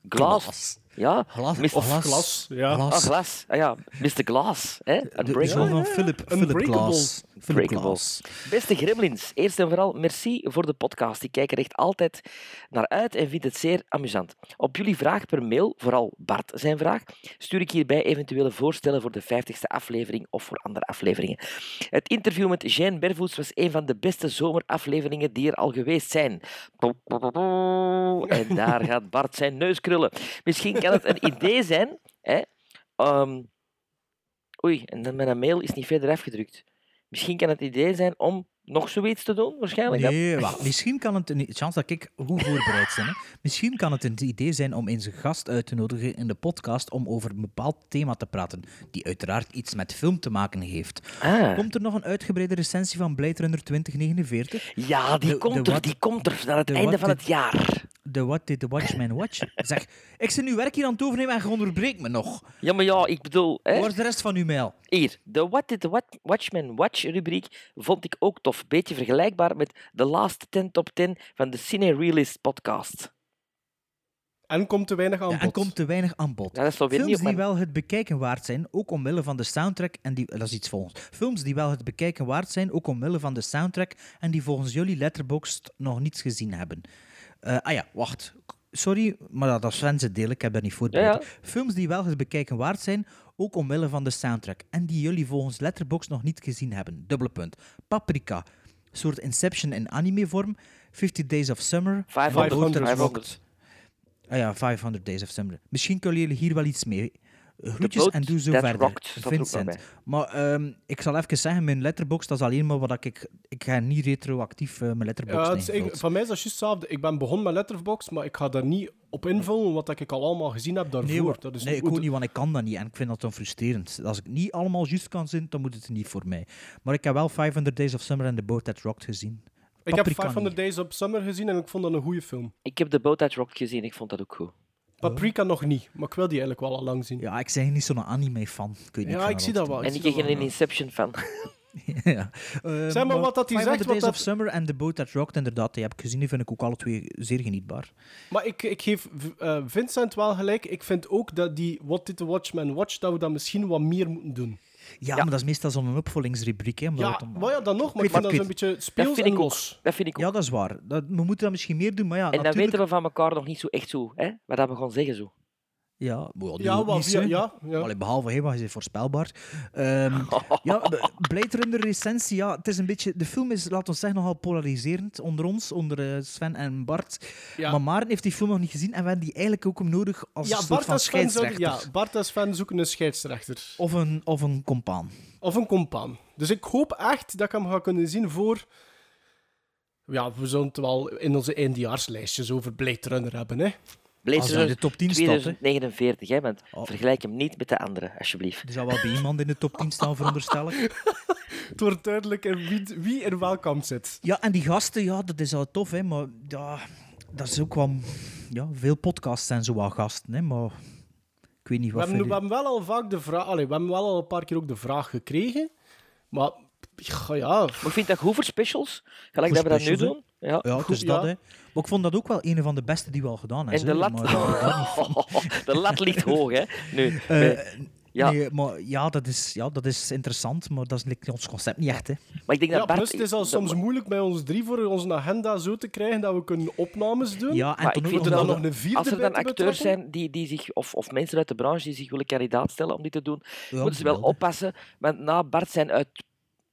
Speaker 4: Glaas.
Speaker 6: Glas.
Speaker 4: Ja,
Speaker 6: Glas.
Speaker 4: Mr.
Speaker 6: Of glas.
Speaker 5: glas, ja.
Speaker 4: Ah, Glass. Ah, ja, Mr. Glass. Hè?
Speaker 6: De, de zoon van Philip, Philip
Speaker 5: Unbreakable.
Speaker 6: Glass. Philip
Speaker 4: Breakable.
Speaker 6: Glass.
Speaker 4: Beste gremlins, eerst en vooral merci voor de podcast. Ik kijk er echt altijd naar uit en vind het zeer amusant. Op jullie vraag per mail, vooral Bart zijn vraag, stuur ik hierbij eventuele voorstellen voor de 50ste aflevering of voor andere afleveringen. Het interview met Jeanne Bervoets was een van de beste zomerafleveringen die er al geweest zijn. En daar gaat Bart zijn neus krullen. Misschien kan het een idee zijn. Hè? Ehm, oei, en dan mijn mail is niet verder afgedrukt. Misschien kan het idee zijn om nog zoiets te doen, waarschijnlijk. hè?
Speaker 6: Nee, wacht. Misschien kan het een chance dat ik goed voorbereid ben. Hè. Misschien kan het een idee zijn om eens een gast uit te nodigen in de podcast om over een bepaald thema te praten, die uiteraard iets met film te maken heeft.
Speaker 4: Ah.
Speaker 6: Komt er nog een uitgebreide recensie van Blade Runner 2049?
Speaker 4: Ja, die
Speaker 6: De-
Speaker 4: komt
Speaker 6: de
Speaker 4: er,
Speaker 6: wat-
Speaker 4: die komt er naar het
Speaker 6: de
Speaker 4: einde
Speaker 6: wat
Speaker 4: van
Speaker 6: did-
Speaker 4: het jaar.
Speaker 6: De What Did the Watchman Watch? Zeg, ik zit nu werk hier aan het overnemen en je onderbreekt me nog.
Speaker 4: Ja, maar ja, ik bedoel, hè?
Speaker 6: Waar is de rest van uw mail?
Speaker 4: hier, de What Did the Wat- Watchmen Watch rubriek vond ik ook tof. Beetje vergelijkbaar met de laatste 10 top 10 van de Cine Realist podcast.
Speaker 5: En komt te weinig aan
Speaker 6: Ja,
Speaker 5: bod.
Speaker 6: en komt te weinig aan bod.
Speaker 4: Ja, dat is wel weer
Speaker 6: Films
Speaker 4: niet op
Speaker 6: die
Speaker 4: mijn-
Speaker 6: wel het bekijken waard zijn, ook omwille van de soundtrack en die... Dat is iets volgens. Films die wel het bekijken waard zijn, ook omwille van de soundtrack en die volgens jullie Letterboxd nog niets gezien hebben. Eh, ah ja, wacht. K- Sorry, maar dat was Sven's deel, ik heb dat niet voorbereid.
Speaker 4: Ja, ja.
Speaker 6: Films die wel het bekijken waard zijn, ook omwille van de soundtrack en die jullie volgens Letterboxd nog niet gezien hebben. Dubbele punt. Paprika. Soort Inception in anime-vorm. 50 Days of Summer.
Speaker 4: 500.
Speaker 6: Walter
Speaker 4: 500.
Speaker 6: Ah ja, 500 Days of Summer. Misschien kunnen jullie hier wel iets mee. Eh, Groetjes
Speaker 4: boat
Speaker 6: en doe zo
Speaker 4: that
Speaker 6: verder.
Speaker 4: rocked staat er ook nog
Speaker 6: Vincent.
Speaker 4: bij.
Speaker 6: Maar ehm, ik zal even zeggen, mijn letterbox, dat is alleen maar wat ik... Ik ga niet retroactief eh, mijn letterbox
Speaker 5: Ja,
Speaker 6: ja,
Speaker 5: het is- ik- van mij is dat juist hetzelfde. Ik ben begonnen met Letterboxd, maar ik ga daar niet op invullen wat ik al allemaal gezien heb daarvoor.
Speaker 6: Nee, wa-
Speaker 5: dat is
Speaker 6: nee, ik
Speaker 5: hoe
Speaker 6: ook
Speaker 5: de-
Speaker 6: niet, want ik kan dat niet. En ik vind dat dan frustrerend. Als ik niet allemaal juist kan zien, dan moet het niet voor mij. Maar ik heb wel 500 Days of Summer en The Boat That Rocked gezien.
Speaker 5: Ik heb
Speaker 6: Paprika
Speaker 5: 500
Speaker 6: niet.
Speaker 5: Days of Summer gezien en ik vond dat een goede film.
Speaker 4: Ik heb de Boat That Rocked gezien, ik vond dat ook goed.
Speaker 5: Paprika nog niet, maar ik wil die eigenlijk wel al lang zien.
Speaker 6: Ja, ik ben niet zo'n anime-fan. Ik weet niet,
Speaker 5: Ja, ik zie dat wel.
Speaker 4: en ik
Speaker 5: zie
Speaker 4: kreeg
Speaker 5: dat
Speaker 4: een
Speaker 6: eh,
Speaker 5: wel.
Speaker 4: Inception van.
Speaker 6: ja. Eh,
Speaker 5: Zeg maar wat dat hij
Speaker 6: 500
Speaker 5: zegt, wat
Speaker 6: Days
Speaker 5: dat-
Speaker 6: of Summer en The Boat That Rocked, inderdaad, die heb ik gezien. Die vind ik ook alle twee zeer genietbaar.
Speaker 5: Maar ik, ik geef v- eh, Vincent wel gelijk. Ik vind ook dat die What Did the Watchman Watch, dat we dat misschien wat meer moeten doen.
Speaker 6: Ja, maar dat is meestal zo'n opvolgingsrubriek. Hè, omdat
Speaker 5: Ja,
Speaker 6: het om-
Speaker 5: maar ja, dan nog, maar ik
Speaker 6: weet
Speaker 5: vind
Speaker 6: het,
Speaker 5: dat
Speaker 6: ik
Speaker 5: een beetje
Speaker 4: Dat
Speaker 5: speels
Speaker 4: vind
Speaker 5: en
Speaker 4: ik ook.
Speaker 5: los.
Speaker 4: Dat vind ik ook.
Speaker 6: ja, dat is waar. Dat, we moeten dat misschien meer doen, maar ja,
Speaker 4: en dat
Speaker 6: natuurlijk...
Speaker 4: weten we van elkaar nog niet zo echt zo, hè? Wat dat we gaan zeggen zo.
Speaker 6: Ja, maar ja, die
Speaker 5: Ja,
Speaker 6: ook
Speaker 5: wat-
Speaker 6: niet,
Speaker 5: ja,
Speaker 6: hè.
Speaker 5: ja, ja.
Speaker 6: Allee, behalve hij, want hij is voorspelbaar. Ehm ja, B- Blade Runner recensie, ja, het is een beetje... De film is, laten we zeggen, nogal polariserend onder ons, onder eh, Sven en Bart.
Speaker 5: Ja.
Speaker 6: Maar Maarten heeft die film nog niet gezien en we hebben die eigenlijk ook nodig als een
Speaker 5: Ja,
Speaker 6: soort
Speaker 5: Bart
Speaker 6: van
Speaker 5: als, fan zou,
Speaker 6: scheidsrechter.
Speaker 5: ja, Bart als fan zoeken een scheidsrechter.
Speaker 6: Of een, of een compaan.
Speaker 5: Of een compaan. Dus ik hoop echt dat ik hem ga kunnen zien voor... Ja, we zullen het wel in onze eindjaarslijstjes over Blade Runner hebben, hè.
Speaker 4: Blade
Speaker 6: Als hij in
Speaker 4: Runner
Speaker 6: Ah, de top 10 staat, hè.
Speaker 4: 2049, hè, want vergelijk hem niet met de andere, alsjeblieft.
Speaker 6: Er zou wel bij iemand in de top 10 staan, veronderstel ik.
Speaker 5: Het wordt duidelijk in wie, wie in welk kamp zit.
Speaker 6: Ja, en die gasten, ja, dat is wel tof, hè, maar ja, dat is ook wel... Ja, veel podcasts zijn zo wel gasten, hè, maar ik weet niet
Speaker 5: We
Speaker 6: wat
Speaker 5: hebben,
Speaker 6: voor-
Speaker 5: we hebben wel al vaak de vraag... Allee, we hebben wel al een paar keer ook de vraag gekregen. Maar ja, ja,
Speaker 4: Maar ik vind dat goed voor specials, gelijk dat
Speaker 6: Voor
Speaker 4: we dat nu
Speaker 6: specials,
Speaker 4: doen. Ja.
Speaker 6: Ja, het is
Speaker 5: Goed,
Speaker 6: dat,
Speaker 5: ja.
Speaker 6: hè. Maar ik vond dat ook wel een van de beste die we al gedaan hebben.
Speaker 4: En de
Speaker 6: hè,
Speaker 4: lat...
Speaker 6: maar ik hou daar niet Eh, van.
Speaker 4: de lat ligt hoog, hè. Nu, eh, we- ja,
Speaker 6: Nee, maar ja, dat is, ja, dat is interessant, maar dat ligt ons concept niet echt, hè.
Speaker 4: maar ik denk dat Bart...
Speaker 5: plus het is al
Speaker 4: dat-
Speaker 5: soms moeilijk bij ons drie voor onze agenda zo te krijgen dat we kunnen opnames doen.
Speaker 6: Ja, en
Speaker 4: maar
Speaker 6: toen
Speaker 4: ik vind
Speaker 6: ook
Speaker 5: Moeten
Speaker 6: nog
Speaker 5: we dan
Speaker 6: dat-
Speaker 5: nog een vierde
Speaker 4: Als er
Speaker 5: bij
Speaker 4: dan
Speaker 5: te
Speaker 4: acteurs
Speaker 5: betrokken?
Speaker 4: zijn die, die zich, of, of mensen uit de branche die zich willen kandidaat stellen om dit te doen,
Speaker 6: Ja,
Speaker 4: moeten ze wel
Speaker 6: wel, hè.
Speaker 4: oppassen. Want na Bart zijn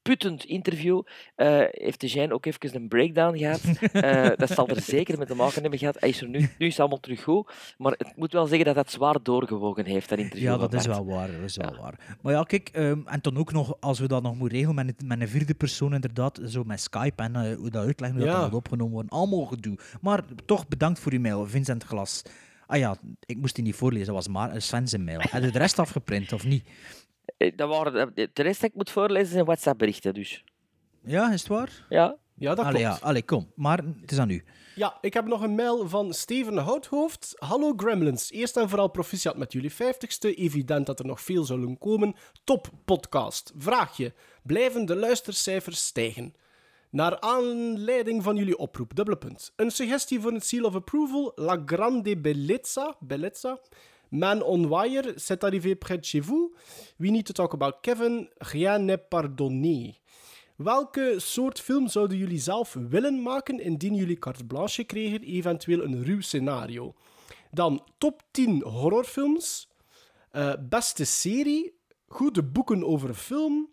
Speaker 4: uitputtend interview eh, heeft de Jean ook even een breakdown gehad. Eh, dat zal er zeker mee te maken hebben gehad. Hij is er nu, nu is het allemaal terug goed. Maar het moet wel zeggen dat dat zwaar doorgewogen heeft, dat interview.
Speaker 6: Ja,
Speaker 4: van
Speaker 6: dat is
Speaker 4: Bart.
Speaker 6: wel waar. Dat is wel waar. Maar ja, kijk, ehm, en dan ook nog, als we dat nog moeten regelen met, het- met een vierde persoon, inderdaad, zo met Skype en eh, hoe dat uitleggen, hoe dat
Speaker 5: Ja.
Speaker 6: dan moet opgenomen worden. Allemaal gedoe. Maar toch bedankt voor uw mail, Vincent Glas. Ah ja, ik moest die niet voorlezen, dat was maar Sven zijn mail. Heb je de rest afgeprint of niet?
Speaker 4: Eh, Dat waren, eh, de rest dat ik moet voorlezen zijn WhatsApp-berichten. Dus.
Speaker 6: Ja, is het waar?
Speaker 4: Ja,
Speaker 5: Ja, dat
Speaker 6: Allee,
Speaker 5: klopt.
Speaker 6: ja, allee, kom. Maar het is aan u.
Speaker 5: Ja, ik heb nog een mail van Steven Houthoofd. Hallo Gremlins. Eerst en vooral proficiat met jullie 50ste. Evident dat er nog veel zullen komen. Top podcast. Vraagje. Blijven de luistercijfers stijgen? Naar aanleiding van jullie oproep, dubbele punt. Een suggestie voor een seal of approval, La Grande Bellezza, bellezza. Man on Wire, C'est arrivé près de chez vous. We need to talk about Kevin, Rien n'est pardonné. Welke soort film zouden jullie zelf willen maken indien jullie carte blanche kregen, eventueel een ruw scenario? Dan top 10 horrorfilms, eh, beste serie, goede boeken over film.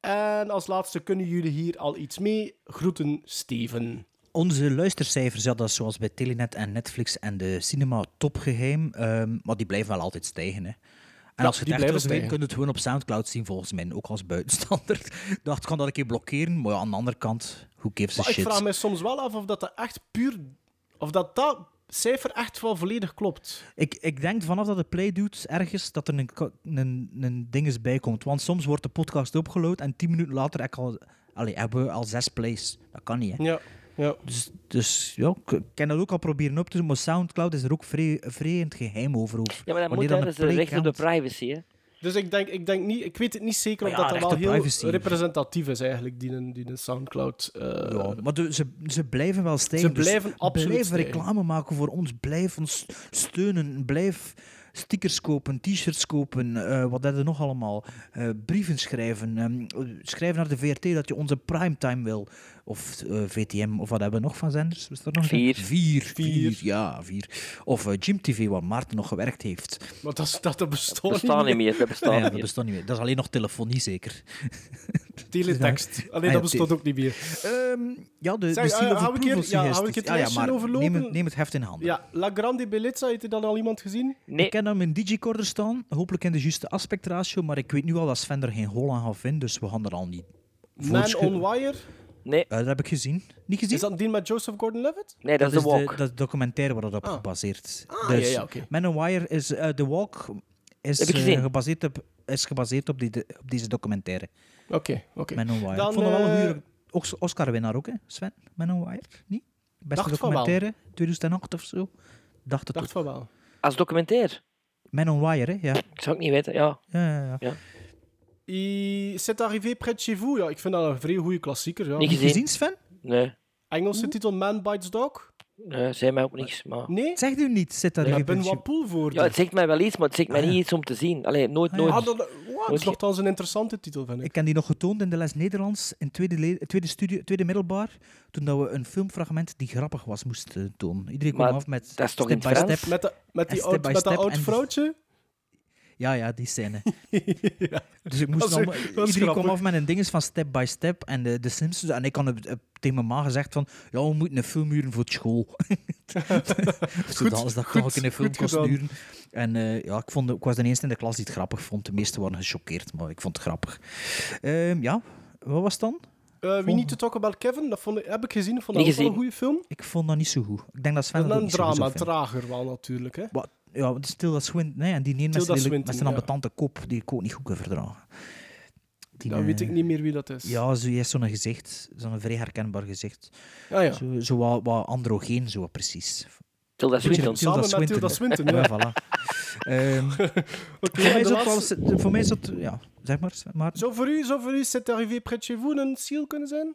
Speaker 5: En als laatste kunnen jullie hier al iets mee. Groeten, Steven.
Speaker 6: Onze luistercijfers, ja, dat is zoals bij Telenet en Netflix en de cinema topgeheim. ehm, maar die blijven wel altijd stijgen. Hè. En
Speaker 5: Ja,
Speaker 6: als je het
Speaker 5: die
Speaker 6: echt
Speaker 5: blijven
Speaker 6: wil weten,
Speaker 5: stijgen.
Speaker 6: kun je het gewoon op Soundcloud zien, volgens mij. Ook als buitenstander. Ik dacht, ik kan dat een keer blokkeren. Maar ja, aan de andere kant, who gives a
Speaker 5: Maar ik
Speaker 6: shit?
Speaker 5: vraag me soms wel af of dat, dat echt puur. of dat dat cijfer echt wel volledig klopt.
Speaker 6: Ik, ik denk vanaf dat de play doet ergens dat er een, ko- een, een ding is bij komt. Want soms wordt de podcast opgeload en tien minuten later heb ik al, allee, hebben we al zes plays. Dat kan niet, hè.
Speaker 5: Ja, ja.
Speaker 6: Dus, dus ja, ik ik kan dat ook al proberen op te doen, maar Soundcloud is er ook vrij, vrij in het geheim over. hoe-
Speaker 4: Ja, maar dan
Speaker 6: wanneer
Speaker 4: moet
Speaker 6: een
Speaker 4: daar eens een
Speaker 6: play
Speaker 4: recht op de
Speaker 6: count-
Speaker 4: privacy. Hè?
Speaker 5: Dus ik denk, ik denk niet, ik weet het niet zeker of
Speaker 6: Maar
Speaker 5: dat
Speaker 6: ja,
Speaker 5: dat
Speaker 6: recht
Speaker 5: wel
Speaker 6: op
Speaker 5: heel
Speaker 6: privacy.
Speaker 5: representatief is eigenlijk, die, een- die een Soundcloud. eh,
Speaker 6: Ja, maar de- ze, ze blijven wel stijgen.
Speaker 5: Ze blijven
Speaker 6: dus
Speaker 5: absoluut
Speaker 6: Blijf
Speaker 5: stijgen.
Speaker 6: reclame maken voor ons. Blijf ons steunen. Blijf stickers kopen, t-shirts kopen. eh, wat hebben we nog allemaal? Eh, brieven schrijven. ehm, schrijf naar de VRT dat je onze primetime wil. Of eh, VTM, of wat hebben we nog van zenders? Is er nog een?
Speaker 4: Vier.
Speaker 6: vier.
Speaker 5: Vier.
Speaker 6: vier, Ja, vier. Of eh, Gym TV, waar Maarten nog gewerkt heeft.
Speaker 5: Maar dat, is- dat, dat bestaat
Speaker 4: Dat bestaat niet
Speaker 5: niet.
Speaker 4: meer. Dat
Speaker 6: Nee,
Speaker 4: bestaat
Speaker 6: ja,
Speaker 4: niet
Speaker 6: dat
Speaker 4: meer.
Speaker 6: bestond niet meer. Dat is alleen nog telefonie, zeker.
Speaker 5: Teletext.
Speaker 6: Ah, ja,
Speaker 5: Alleen dat bestaat
Speaker 6: tele-
Speaker 5: ook niet meer. Eh,
Speaker 6: Ehm, ja, de,
Speaker 5: Zeg,
Speaker 6: de Seal
Speaker 5: eh,
Speaker 6: of
Speaker 5: hou ik hier-
Speaker 6: Approval
Speaker 5: ja, hou ik
Speaker 6: suggesties.
Speaker 5: het lijstje overlopen?
Speaker 6: Ah, neem, het, neem het heft in handen.
Speaker 5: Ja, La Grande Bellezza, heeft er dan al iemand gezien?
Speaker 4: Nee,
Speaker 6: Ik ken hem in Digicorder staan, hopelijk in de juiste aspectratio, maar ik weet nu al dat Sven er geen hol aan gaat vinden, dus we gaan er al niet
Speaker 5: Man
Speaker 6: voortschrijden.
Speaker 5: on Wire.
Speaker 4: nee,
Speaker 6: Eh, dat heb ik gezien. Niet gezien?
Speaker 5: Is dat die met Joseph Gordon-Levitt?
Speaker 4: nee, dat is de walk.
Speaker 6: dat documentaire waar dat op gebaseerd is.
Speaker 5: Ah,
Speaker 6: dus
Speaker 5: ja, ja, oké.
Speaker 6: Man on Wire is... eh, The Walk is,
Speaker 4: Heb ik
Speaker 6: eh,
Speaker 4: gezien.
Speaker 6: gebaseerd, op, is gebaseerd op, die, de- op deze documentaire.
Speaker 5: Oké, oké.
Speaker 6: Man on Wire.
Speaker 5: Dan,
Speaker 6: ik vond dat wel een
Speaker 5: eh,
Speaker 6: goede... Ox- Oscar-winnaar ook, hè, Sven? Man on Wire? Niet? Beste
Speaker 5: Dacht van wel.
Speaker 6: documentaire, 2008 of zo? Dacht het
Speaker 5: Dacht
Speaker 6: ook.
Speaker 5: van wel.
Speaker 4: Als documentair.
Speaker 6: Man on Wire, hè? Ja.
Speaker 4: Ik zou het niet weten. Ja,
Speaker 6: ja, ja, ja.
Speaker 5: I- C'est arrivé près de chez vous. Ja, ik vind dat een vrij goede klassieker. Ja.
Speaker 4: niet gezien.
Speaker 6: Gezien, Sven?
Speaker 4: Nee,
Speaker 5: Engelse titel Man Bites Dog?
Speaker 4: nee, zei mij ook niks. Maar...
Speaker 5: Nee?
Speaker 6: Zegt u niet, zit daar
Speaker 5: Ja,
Speaker 6: even-
Speaker 5: Benoit Poelvoorde.
Speaker 4: Ja, het zegt mij wel iets, maar het zegt mij niet iets om te zien. Allee, nooit,
Speaker 6: Ah, ja.
Speaker 4: nooit.
Speaker 5: Ah, dat, wow, dat is
Speaker 4: Wordt ge-
Speaker 5: nogthans een interessante titel, vind ik.
Speaker 6: Ik ken die nog getoond in de les Nederlands in tweede, le- tweede, studio, tweede middelbaar, toen dat we een filmfragment die grappig was moesten tonen. Iedereen kwam
Speaker 4: Maar
Speaker 6: af met
Speaker 4: dat is toch
Speaker 6: step
Speaker 4: in
Speaker 6: by
Speaker 4: het
Speaker 6: step.
Speaker 4: Frans?
Speaker 5: Met, de, met, die
Speaker 6: En
Speaker 5: oud,
Speaker 6: step by
Speaker 5: met dat
Speaker 6: step
Speaker 5: oud
Speaker 6: en- dus
Speaker 5: vrouwtje?
Speaker 6: Ja, ja, die scène.
Speaker 5: ja.
Speaker 6: Dus
Speaker 5: Dat
Speaker 6: ik moest
Speaker 5: is-
Speaker 6: allemaal,
Speaker 5: dat is
Speaker 6: iedereen
Speaker 5: grappig.
Speaker 6: kwam af met een dinges van step by step en de, de Simpsons. En ik had op- op- tegen mijn ma gezegd van, ja, we moeten een film huren voor het school. Zodat als dat
Speaker 5: goed,
Speaker 6: ik een film
Speaker 5: goed
Speaker 6: kost
Speaker 5: gedaan.
Speaker 6: huren. En eh, ja, ik, vond, ik was de eerste in de klas die het grappig vond. De meesten waren gechoqueerd, maar ik vond het grappig. Ehm, ja, wat was het dan?
Speaker 5: Eh, We Need to Talk About Kevin, dat vond ik, heb ik gezien. Ik vond dat
Speaker 4: Niet
Speaker 5: ook wel een
Speaker 4: gezien.
Speaker 5: goede film.
Speaker 6: Ik vond dat niet zo goed. Ik denk dat Sven
Speaker 5: En
Speaker 6: dat ook
Speaker 5: een
Speaker 6: niet zo goed
Speaker 5: drama,
Speaker 6: zou vinden.
Speaker 5: trager wel natuurlijk. Hè.
Speaker 6: Wat? dus, Ja, want Tilda Swinton, nee, en die neemt met
Speaker 5: Tilda
Speaker 6: zijn, lelijke-
Speaker 5: Swinton,
Speaker 6: met zijn
Speaker 5: ja.
Speaker 6: ambetante kop, die ik ook niet goed kan verdragen.
Speaker 5: Dan
Speaker 6: Die, eh,
Speaker 5: Nou, weet ik niet meer wie dat is.
Speaker 6: Ja, ze heeft zo'n gezicht, zo'n vrij herkenbaar gezicht.
Speaker 5: Ah, ja.
Speaker 6: Zo, zo wat, wat androgeen, zo precies.
Speaker 4: Tilda Swinton.
Speaker 5: Samen met Tilda Swinton, ja.
Speaker 6: voilà. Ehm,
Speaker 5: Oké,
Speaker 6: voor, mij
Speaker 5: de
Speaker 6: is dat wel,
Speaker 5: laatste-
Speaker 6: eens- voor mij is dat... Ja, zeg maar. maar
Speaker 5: Zou voor u, zou voor u C'est arrivé près de chez vous een seal kunnen zijn?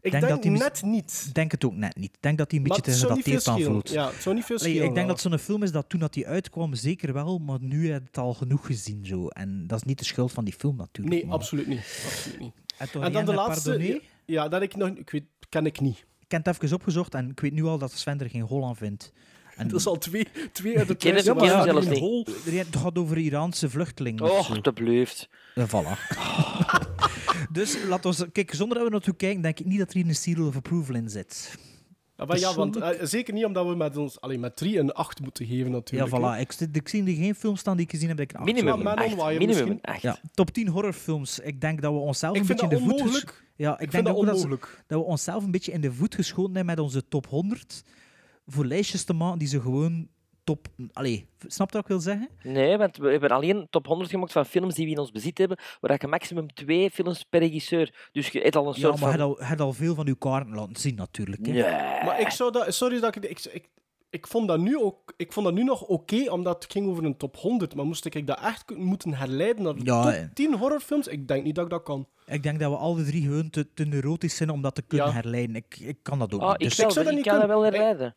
Speaker 5: Ik
Speaker 6: denk
Speaker 5: denk,
Speaker 6: dat die mis-
Speaker 5: net niet.
Speaker 6: ik denk het ook net niet. Ik denk dat die een beetje
Speaker 5: Maar
Speaker 6: te
Speaker 5: het zou niet veel
Speaker 6: gedateerd
Speaker 5: schelen.
Speaker 6: aanvoelt.
Speaker 5: Ja, het zou niet veel
Speaker 6: Allee,
Speaker 5: schelen.
Speaker 6: ik denk
Speaker 5: wel.
Speaker 6: dat zo'n film is dat toen dat die uitkwam, zeker wel, maar nu heb je het al genoeg gezien. Zo. En dat is niet de schuld van die film natuurlijk.
Speaker 5: Nee,
Speaker 6: maar-
Speaker 5: absoluut niet. Absoluut niet.
Speaker 6: En,
Speaker 5: En dan de laatste... Ja, dat ik nog... Ik weet, ken ik niet.
Speaker 6: Ik heb het even opgezocht en ik weet nu al dat Sven er geen hol aan vindt. En
Speaker 5: Dat is al twee, twee uit de
Speaker 4: ken het-
Speaker 5: prijzen,
Speaker 4: ik
Speaker 5: maar
Speaker 4: ken
Speaker 5: dat
Speaker 4: het
Speaker 5: is
Speaker 4: zelfs
Speaker 5: een hol.
Speaker 6: Er- Het gaat over Iraanse vluchtelingen.
Speaker 5: Oh.
Speaker 6: of zo.
Speaker 4: Och, dat blijft.
Speaker 6: Eh, voilà. dus laten we... Kijk, zonder dat we naartoe kijken, denk ik niet dat er hier een seal of approval in zit.
Speaker 5: Ja, maar ja, want
Speaker 6: Persoonlijk-
Speaker 5: eh, zeker niet omdat we met ons alleen met 3 en 8 moeten geven, natuurlijk.
Speaker 6: ja, voilà. Ik, zit- ik zie er geen film staan die ik gezien heb. dat Ik een acht zou
Speaker 4: Minimum
Speaker 5: Man
Speaker 6: geven.
Speaker 5: on
Speaker 4: echt.
Speaker 5: Wire
Speaker 4: Minimum
Speaker 5: misschien.
Speaker 4: echt.
Speaker 6: Ja, top 10 horrorfilms. Ik denk dat we onszelf
Speaker 5: Ik
Speaker 6: een
Speaker 5: vind
Speaker 6: beetje
Speaker 5: dat
Speaker 6: in de voet...
Speaker 5: onmogelijk.
Speaker 6: gesch- Ja, ik,
Speaker 5: Ik
Speaker 6: denk
Speaker 5: vind dat
Speaker 6: ook dat, ze-
Speaker 5: onmogelijk.
Speaker 6: dat we onszelf een beetje in de voet geschoten hebben met onze top 100. Voor lijstjes te maken die ze gewoon top... Allee, snap je wat ik wil zeggen?
Speaker 4: Nee, want we hebben alleen top 100 gemaakt van films die we in ons bezit hebben, waar je maximum twee films per regisseur. Dus je hebt al een
Speaker 6: Ja,
Speaker 4: soort
Speaker 6: maar je
Speaker 4: van...
Speaker 6: had al, je had al veel van uw kaarten laten zien, natuurlijk. Hè.
Speaker 4: Nee.
Speaker 5: Maar ik zou dat... Sorry dat ik... Ik, ik, ik vond dat nu ook... Ik vond dat nu nog oké, omdat het ging over een top 100. Maar moest ik dat echt k- moeten herleiden naar de
Speaker 6: Ja, eh.
Speaker 5: top 10 horrorfilms? Ik denk niet dat ik dat kan.
Speaker 6: Ik denk dat we alle drie gewoon te, te neurotisch zijn om dat te kunnen
Speaker 5: Ja.
Speaker 6: herleiden. Ik, ik kan dat ook
Speaker 4: Ah,
Speaker 6: niet.
Speaker 4: ik,
Speaker 6: Dus
Speaker 4: wel,
Speaker 5: zou dat
Speaker 4: ik
Speaker 5: niet
Speaker 4: kan dat
Speaker 5: kunnen.
Speaker 4: wel
Speaker 5: Ik-
Speaker 4: herleiden.